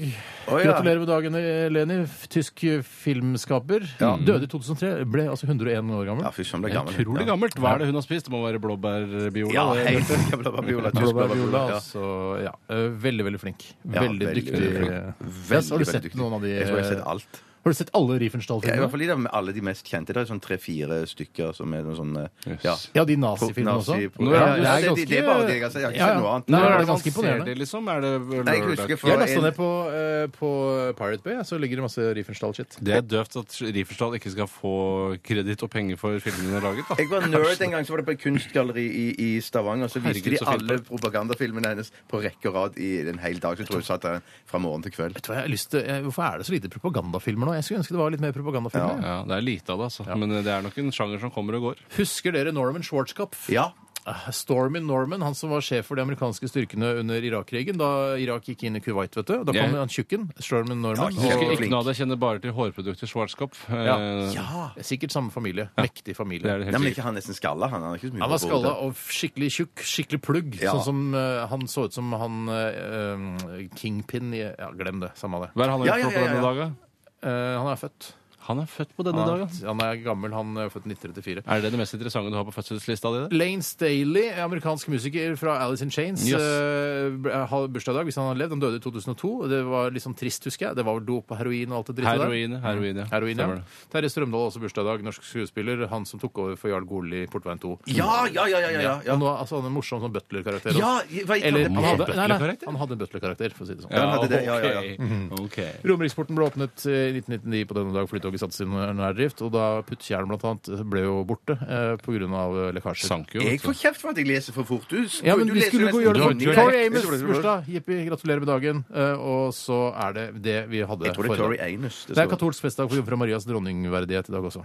B: Å, ja.
A: Gratulerer med dagen, eh, Leni. F- Tysk eh, filmskaper. Døde i 2003. Ble altså 101 år gammel.
B: Ja, fy søren, ble gammel.
C: Utrolig gammelt. Hva er det hun har spist? Det må være blåbærbiola.
B: Ja,
C: det-
B: helt jævla babiola. tysk
A: Blåbær Viola,
B: babiola, ja.
A: altså. Ja. Eh, Veldig, veldig flink.
B: Ja,
A: Veldig
B: veldig,
A: dyktig.
B: veldig flink.
A: eh,
B: Veldig,
A: har du
B: veldig
A: sett
B: dyktig.
A: noen av de eh,
B: Jeg tror jeg har sett alt.
A: Har du sett alle Riefenstahl-filmer?
B: Ja, I hvert fall de der med alle de mest kjente. Det er sånn tre-fire stykker som er noen sånne ja.
C: Yes.
A: Ja, de nazifilmene også.
B: Nazi-
C: Nå er
B: Ja,
C: det-
B: ja,
A: det er
B: det, det er
A: ganske-
B: bare det jeg har sett. Jeg har ikke
A: Ja, ja.
B: sett noe annet.
A: Nei, det er
C: Hvordan
A: ganske
C: ser
A: imponerende.
C: det, liksom? Er det
B: Nei, jeg husker
C: lørdag?
B: for
A: Jeg lasta
B: en,
A: ned på, eh, på Pirate Bay, ja, så ligger det masse Riefenstahl-shit.
C: Det er døvt at Riefenstahl ikke skal få kreditt og penger for filmene hun har laget. da.
B: jeg var nerd en gang, så var det på et kunstgalleri i, i Stavanger. Så viste
C: Herregud,
B: de
C: så fint.
B: alle propagandafilmene hennes på rekke og rad i en hel dag. Så jeg tror jeg satt der fra morgen til kveld.
A: Vet du hva, jeg har lyst til, eh, hvorfor er det så lite propagandafilmer nå? Jeg skulle ønske det var litt mer propagandafilmer.
C: Ja, Det er lite av det, altså. Men det er nok en sjanger som kommer og går.
A: Husker dere Norman Schwarzkopf?
B: Ja.
A: Eh, Stormy Norman, han som var sjef for de amerikanske styrkene under Irak-krigen, da Irak gikk inn i Kuwait, vet du. Da kom
C: Ja.
A: han tjukken, Stormy Norman.
B: Ja,
C: Jeg
B: kjempe-
A: og,
B: flink.
C: husker ikke noe av det. Jeg kjenner bare til hårprodukter Schwarzkopf.
A: ja,
C: Eh,
A: ja, sikkert samme familie. Mektig familie.
C: Det er
B: Nei,
C: det helt
B: men
C: sikkert.
B: ikke han nesten skalla, han. Han har ikke så mye
A: Han var
B: på
A: skalla
B: hodet.
A: og skikkelig tjukk, skikkelig plugg.
B: Ja.
A: Sånn som eh, han så ut som han eh, eh, Kingpin i Ja, glem det. Samme av det.
C: Hva er han
B: Ja,
C: har
B: ja,
C: gjort på
B: ja,
C: denne
B: ja.
C: dagen?
A: Eh, han er født.
C: Han er født på denne
A: Han er,
C: dagen.
A: han er gammel, han er født 1934.
C: Er det det mest interessante du har på fødselslista di? det?
A: Lane Staley, amerikansk musiker fra Alice in Chains,
C: Yes.
A: eh, b- har bursdag i dag hvis han har levd. Han døde i 2002. og Det var litt sånn trist, husker jeg. Det var vel dop og heroin og alt det drittet der.
C: Heroin, heroin, ja.
A: Heroin,
C: Stemmer
A: ja.
C: det.
A: Terje Strømdal har også bursdag i dag. Norsk skuespiller. Han som tok over for Jarl Goli i Portveien 2.
B: Ja, ja, ja, ja, ja, ja, ja.
A: Og nå, altså, han er en morsom sånn butler-karakter.
B: Ja,
A: også.
B: jeg vet
A: Eller,
B: ikke om
A: han,
B: det-
A: hadde, nei, nei,
C: Butler-karakter?
A: han hadde en butler-karakter, for å si det sånn.
C: Ja,
B: han hadde det, ja, ja, ja.
C: ok. Ok.
A: Romeriksporten ble åpnet eh, i 1999 på denne dag flytoget satte sin nærdrift, og da Puttjern blant annet ble jo borte eh, på grunn av eh, lekkasjer.
C: Sank jo. altså,
B: Jeg
C: vet du.
B: får kjeft for at jeg leser for fort. Du,
A: Ja, men
B: du
A: vi
B: leser
A: skulle
B: nesten-
A: gå og gjøre
C: Du-
A: det
C: du-
A: for Tori
B: jeg-
A: Amos
B: jeg- jeg-
A: bursdag. Jippi, gratulerer med dagen. Eh, Og så er det det vi hadde
B: Jeg tror
A: for
B: det er
A: i
B: Tori
A: dag.
B: Amos.
A: Det er katolsk festdag for jomfru Marias dronningverdighet i dag også.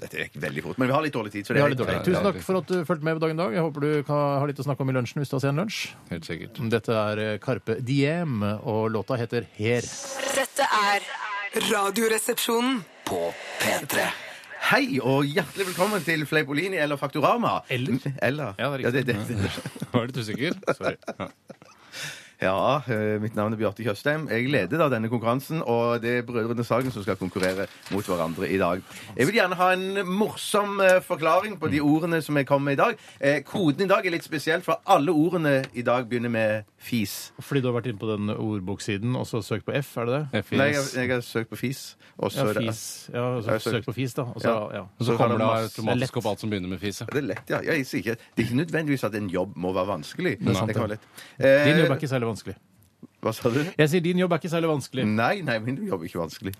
B: Dette gikk veldig fort. Men vi har litt dårlig tid. Så det
A: Vi
B: er
A: har litt
B: helt
A: dårlig.
B: greit.
A: Tusen takk for at du fulgte med på dagen i dag. Jeg håper du kan ha litt å snakke om i lunsjen hvis du har sen lunsj.
C: Helt sikkert.
A: Dette er eh, Carpe Diem, og låta heter Her.
D: Dette er Radioresepsjonen.
E: På P3
B: Hei og hjertelig velkommen til Fleipolini eller Faktorama.
A: Eller?
B: Eller.
A: Ja, det er riktig.
B: Ja, det, det.
C: Var du litt usikker? Sorry.
B: Ja, eh, mitt navn er Bjarte Tjøstheim. Jeg leder da denne konkurransen, og det er Brødrene Sagen som skal konkurrere mot hverandre i dag. Jeg vil gjerne ha en morsom eh, forklaring på de
A: Mm.
B: ordene som jeg kommer med i dag. Eh, Koden i dag er litt spesiell, for alle ordene i dag begynner med fis.
A: Fordi du har vært inne på den ordboksiden og så søkt på F, er det det?
B: Nei, jeg,
C: Fis.
B: jeg har søkt på fis. og så
A: Ja,
B: er det-
A: fis. Ja,
B: Jeg har
A: så
B: søkt-
A: søkt på fis, da. Og så,
B: Ja.
A: ja.
C: Og så kommer det automatisk
A: lett.
C: opp alt som begynner med fis. ja.
B: Det er lett, ja. Jeg sier ikke, det er ikke nødvendigvis at en jobb må være vanskelig. Det,
C: sant,
B: kan være
C: det.
B: lett.
A: Din jobb er
B: Eh,
A: ikke særlig vanskelig.
B: hva sa du?
A: Jeg sier din jobb er ikke særlig
C: Mm.
A: vanskelig.
B: Nei, nei, min jobb er ikke vanskelig.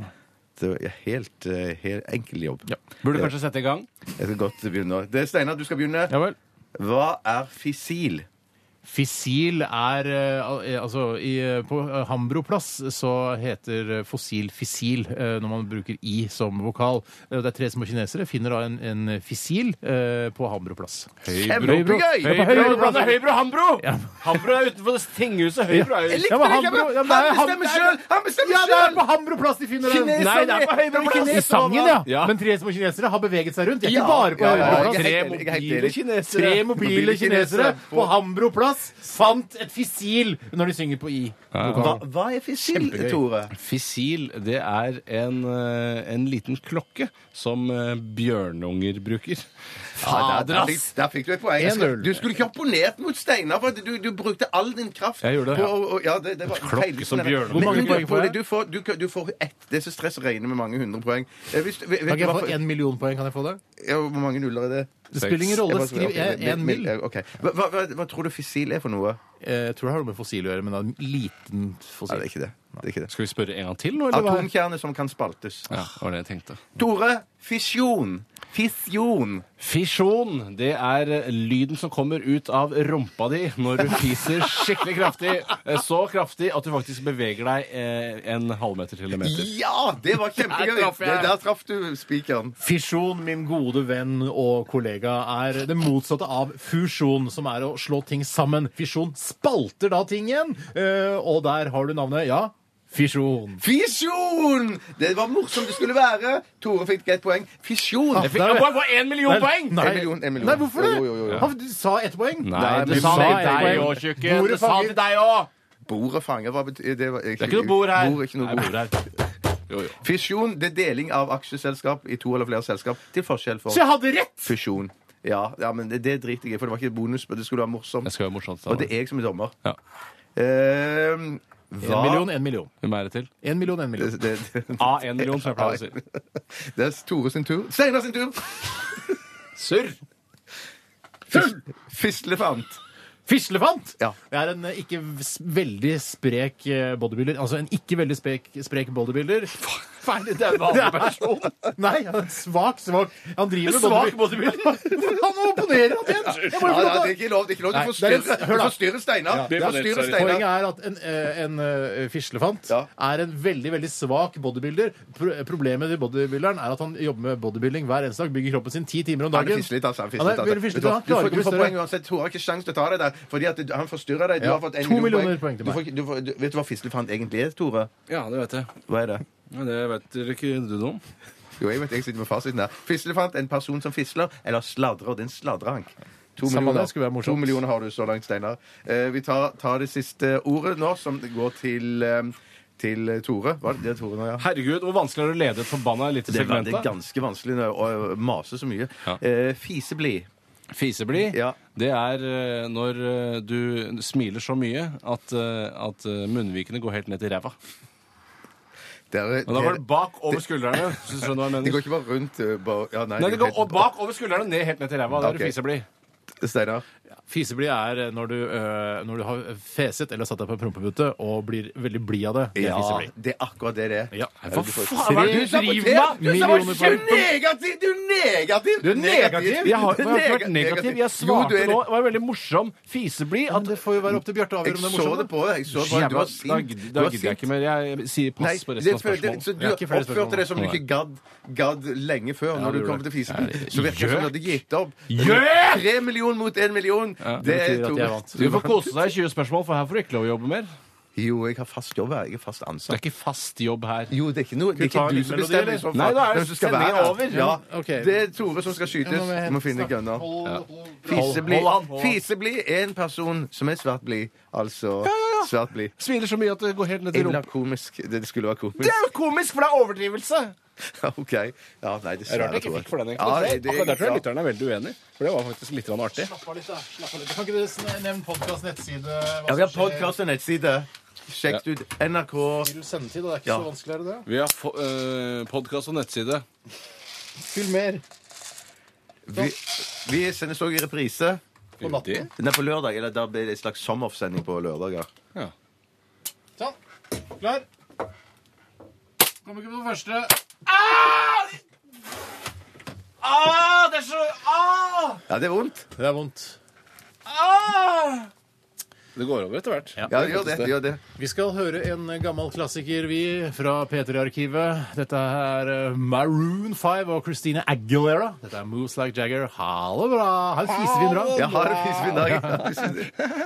B: Det er helt, eh, helt enkel jobb.
C: Burde kanskje sette i gang?
B: Jeg skal godt begynne. Det er Steinar, du skal begynne.
A: Ja vel.
B: Hva er fisil?
A: Fisil er eh, al- eh, Altså, i, eh, på eh, Hambroplass så heter eh, fossil fisil eh, når man bruker i som vokal. Eh, Det er tre små kinesere finner da en, en fisil eh, på Hambroplass.
B: Kjempegøy!
A: Høybro. Høybro.
C: Blander Høybro og Hambro!
A: Ja.
C: Hambro er utenfor tinghuset. Høybro er
B: Jeg
C: jo
B: likte
A: Ja, men
B: det,
A: Hambro-
B: Kjempegøy!
A: ja, men det
B: Han
A: er Ham-
B: bestemmer sjøl! Han bestemmer
A: Ja, det er
B: sjøl!
A: på Hambroplass de finner den!
B: Kineserne!
C: Nei, det er på Høybroplass!
A: I sangen, ja.
C: Ja.
A: Men tre små kinesere har beveget seg rundt. De er
B: Ja,
A: ikke bare på
B: ja, ja,
A: Høybroplass.
B: jeg er
C: Tre
B: helt enig, jeg er helt
C: mobile
B: enig.
C: kinesere.
A: Tre mobile kinesere på Hambro plass fant et fisil når de synger på i.
B: Hva, hva er fisil, Tore?
C: Fisil, det er en, eh, en liten klokke som eh, bjørnunger bruker.
B: Ja, der, der, fikk- der fikk du et poeng.
A: 1-0.
B: Du skulle ikke opponert mot Steinar, for at du, du brukte all din kraft.
C: Jeg gjorde det,
B: på
C: ja.
B: å- å- ja, det, det var
C: Klokke
B: feil-
C: som bjørn.
B: Men-
A: Hvor mange
B: men du-
A: poeng får jeg?
B: Du får, du, du får ett. Det er så stress å regne med mange hundre poeng. Eh, Hvis, vet, vet
A: Kan
B: du
A: jeg
B: hva
A: få
B: for-
A: én million poeng? Kan jeg få det?
B: ja, hvor mange nuller er det?
A: Det spiller ingen
B: Jeg
A: rolle.
B: bare-
A: Skriv
B: ok, mil-
A: én
B: mil-
A: mil.
B: eh, ok. Hva, hva, hva, hva tror du fisil er for noe?
A: Eh, Jeg tror det har noe med fossil å gjøre, men det er en liten
B: Nei, det
A: fossil.
B: er ikke det. det, er ikke det.
C: Skal vi spørre en gang til nå, eller hva?
B: Atomkjerne som kan spaltes.
C: Ja, det var det jeg tenkte.
B: Tore, fisjon. Fisjon.
C: Fisjon, det er eh, lyden som kommer ut av rumpa di når du fiser skikkelig kraftig. Eh, Så kraftig at du faktisk beveger deg eh, en halvmeter til en meter.
B: Ja, det var kjempegøy!
A: Der traff jeg.
B: Det- Der traff du spikeren.
A: Fisjon, min gode venn og kollega, er det motsatte av fusjon, som er å slå ting sammen. Fisjon spalter da ting igjen, eh, og der har du navnet, ja, fisjon.
B: Fisjon! Det var morsomt det skulle være. Tore fikk ett poeng. Fisjon.
C: Jeg fikk jeg bare får én million poeng!
B: En million, en million.
A: Ah, Nei, hvorfor det?
B: Jo, jo, jo, jo.
A: Han- Du sa ett poeng.
C: Nei,
B: Nei,
C: det
B: men
C: sa
B: sa
C: jeg
B: jeg
C: til deg
B: poeng.
C: òg, tjukken.
A: Bordet
C: Det sa
A: fanger.
C: til deg òg!
B: Bordet fanger, hva betyr det? Var,
C: Det er ikke noe bord her.
B: Bord, er ikke noe
C: Nei,
B: bord.
C: bord her. Jo, jo.
B: Fisjon det er deling av aksjeselskap i to eller flere selskap til forskjell for
A: Så jeg hadde rett!
B: fusjon. Ja, ja men det, det driter jeg i, for det var ikke bonus, men det skulle være morsomt.
C: Jeg skal være morsomt.
B: Og det er jeg som er dommer.
C: Ja.
B: Eh,
A: En million, en million.
C: Hvem er det til?
A: En million, en million.
B: Det, det, det.
C: A, en million, som jeg pleier å si.
B: det er Tore sin tur. Steinar sin tur!
A: Surr!
B: Fislefant.
A: Fislefant!
B: Ja.
A: Det er en eh, ikke s- veldig sprek eh, bodybuilder. Altså en ikke veldig sprek, sprek bodybuilder. Ferdig, det er en vanlig person. Nei, han er svak, svak. Han driver med
C: Svak
A: bodybuilder. han opponerer at en! Jeg må jo
B: Ja,
A: få
B: ja,
A: lov
B: det er
A: til å-
B: ikke lov. Det er ikke lov. Du
A: Nei,
B: forstyrrer,
A: det er en-
B: du
A: hør da.
B: forstyrrer Steinar.
A: Ja,
B: Du
C: det er på
B: forstyrrer
C: nett, sorry.
B: Steinar.
A: Poenget er at en, eh, en eh, fislefant
B: Ja.
A: er en veldig veldig svak bodybuilder. Pro problemet til bodybuilderen er at han jobber med bodybuilding hver eneste dag. Bygger kroppen sin ti timer om
B: Han
A: dagen.
B: er fislete, altså. Han
A: Han
B: er
A: er veldig
B: fislete, altså.
A: fislete, han
B: du, får,
A: klarer ikke
B: du
A: å
B: får
A: forstørre.
B: poeng uansett. Hun har ikke sjanse til å ta deg der, fordi at du- han forstyrrer deg. Du
A: Ja.
B: har fått en
A: To millioner poeng til
B: Du
A: meg.
B: får, ikke- du får, du, vet du hva fislefant egentlig er, Tore?
C: Ja, det vet jeg.
B: Hva er det?
C: Ja, Det vet dere ikke du noe om.
B: Jo, jeg vet, jeg sitter med fasiten her. Fislefant, en person som fisler, eller sladrer, og det er en sladrehank. To
A: Samme
B: millioner.
A: det, skulle være morsomt.
B: to millioner har du så langt, Steinar. Eh, vi tar, tar det siste ordet nå, som går til, eh, til eh, Tore. Var det det Tore nå, ja?
C: Herregud, hvor vanskelig er det å lede et forbanna lite
B: Det var
C: segment?
B: det er
C: da?
B: ganske vanskelig når jeg- å mase så mye.
C: Ja.
B: Eh, Fisebli.
C: Fisebli,
B: Ja.
C: det er eh, når eh, du smiler så mye at, eh, at eh, munnvikene går helt ned til ræva.
B: Det, er,
C: Men da går det
B: det,
C: bak over skuldrene. hvis du skjønner hva jeg
B: det
C: mener.
B: går ikke bare rundt eh, bare, ja, nei,
C: Nei, det går
B: helt-
C: opp- bak over skuldrene, ned helt ned til ræva. Da er
B: Ok.
C: du fisebli.
B: Steinar.
A: Fisebli er når du, øh, når du har feset eller satt deg på en prompepute og blir veldig blid av det. Det er
B: Ja,
A: fisebli.
B: det er akkurat det det er.
A: Ja.
C: Hva faen
A: Tre
C: hva er det du driver
B: saboterer!
C: med?
B: Du
A: Millioner
B: saboterer!
A: poeng.
B: Du er negativ! Du er negativ!
A: Du er negativ!
C: Jeg har,
B: Du er
C: jeg har ikke
B: nega-
C: vært negativ. Jeg
B: Jo, du
C: svarte
B: er-
C: nå. Det var en veldig morsom fisebli.
A: Men
C: At
A: det får jo være opp til Bjarte å
B: Jeg
A: avgjøre om det er
B: så
A: morsomt.
B: det på deg. Jeg så på deg. Du
C: Jævla,
B: var
C: da
B: sint.
C: gidder
B: Du var
C: da gidder jeg ikke
B: sint.
C: mer. Jeg sier
B: Nei,
C: pass på
B: det
C: resten av
B: føler- det- så
C: spørsmålet.
B: du
A: Ja, ikke flere
B: oppførte deg som du
C: spørsmål.
B: ikke gadd, gadd lenge før, når
C: du
B: du kom
C: gjorde
B: til
C: det.
B: fisebli.
C: Ja, det-
B: Så virker det som du hadde gitt opp.
C: Gjøk!
B: Tre millioner mot én million. Det
A: betyr
B: er
A: at
B: to.
A: jeg vant.
C: Du får kose deg i 20 spørsmål, for her får du ikke lov å jobbe mer.
B: Jo, jeg har fast jobb her. Jeg er fast ansatt.
C: Det er ikke fast jobb her.
B: Jo, det er ikke noe Det er
A: ta
B: ikke du
A: litt
B: som
A: melodi,
B: bestemmer.
A: eller?
B: i så fall
C: Nei, da er
B: hvem som skal
C: sendingen
B: være her.
C: over.
B: Ja,
A: Ok.
B: Det er Tore som skal skytes.
A: Ja, nå må jeg
B: Du må finne
A: snakke.
B: gunna.
A: Hold- hold-
B: Fisebli
C: Hold han, hold han.
B: Fisebli er en person som er svært blid. Altså svært blid.
C: Smiler så mye at det går helt ned
B: Jeg vil
C: til
B: ha
C: rumpa.
B: komisk. Det skulle være komisk.
C: Det er jo komisk, for det er overdrivelse!
B: OK. Ja, nei, dessverre,
C: jeg ikke
B: Tore.
C: fikk for den,
B: Ja,
C: egentlig. det, Akkurat der tror jeg
B: ja.
C: lytterne er veldig uenig, for det var faktisk litt grann artig.
A: Slapp av litt, da. Slapp av litt. Kan ikke du sn- nevne podkast, nettside hva
B: Ja, vi har
A: som skjer?
B: podkast og nettside. Sjekk det ut NRK.
A: Vil du sende til, da? Det er ikke
B: Ja.
A: så vanskelig, er det det?
C: Vi har podkast og nettside.
A: Fyll mer
B: Vi, vi sendes òg i reprise.
A: på natten.
B: Den er på lørdag, eller da blir det en slags sommeroffsending på lørdager.
A: Sånn. Klar. Kommer ikke på den første.
B: Ja, det er vondt.
A: Det er vondt.
C: Det går over etter hvert.
B: Ja, det gjør det. det, gjør det.
A: Vi skal høre en gammel klassiker, vi, fra P3-arkivet. Dette er eh, Maroon 5 og Christina Aguilera. Dette er Moves Like Jagger. Ha det bra! Ha en fisefin bra.
B: Jeg har en fisefin dag.